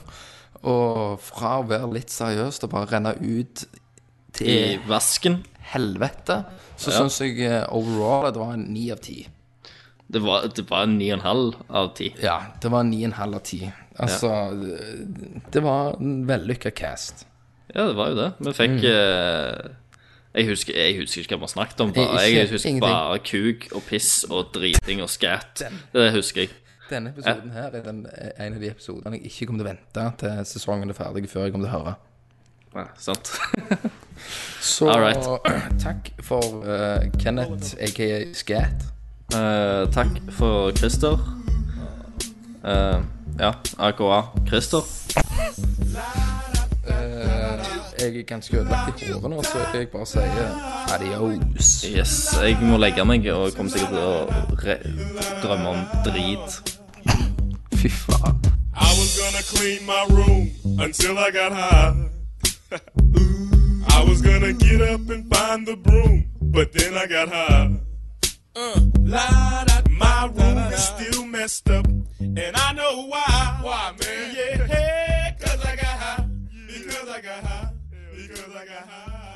Og fra å være litt seriøst og bare renne ut
I
til
vasken.
helvete, så
Ja.
syns jeg eh, overall at det var en ni av ti.
Det var, det var 9,5 av 10.
Ja, det var en ni og en halv av ti. Altså, eh, det var en vellykka cast.
Ja, det var jo det. Vi fikk eh, jeg, husker, jeg husker ikke hva vi snakket om. Bare.
Ikke-
Jeg husker
ingenting.
bare kuk og piss og driting og skæt. Det husker jeg.
Denne episoden her er den, er en av de episodene jeg ikke kommer til å vente til sesongen er ferdig, før jeg kommer til å høre.
Nei, sant?
Så
All right.
takk for eh, Kenneth, aka Scat.
Eh, takk for Christer. Eh, ja, AKA Christer.
Jeg er ganske ødelagt i hodet nå, så jeg bare sier adios.
Yes, jeg må legge meg og kommer sikkert til å re drømme om drit.
Fy faen.
I was gonna clean my room until I got high. I was gonna get up and find the broom, but then I got high. Uh, my room is still messed up, and I know why. Why, man? Yeah, hey, cause I got high. Because I got high. Because I got high.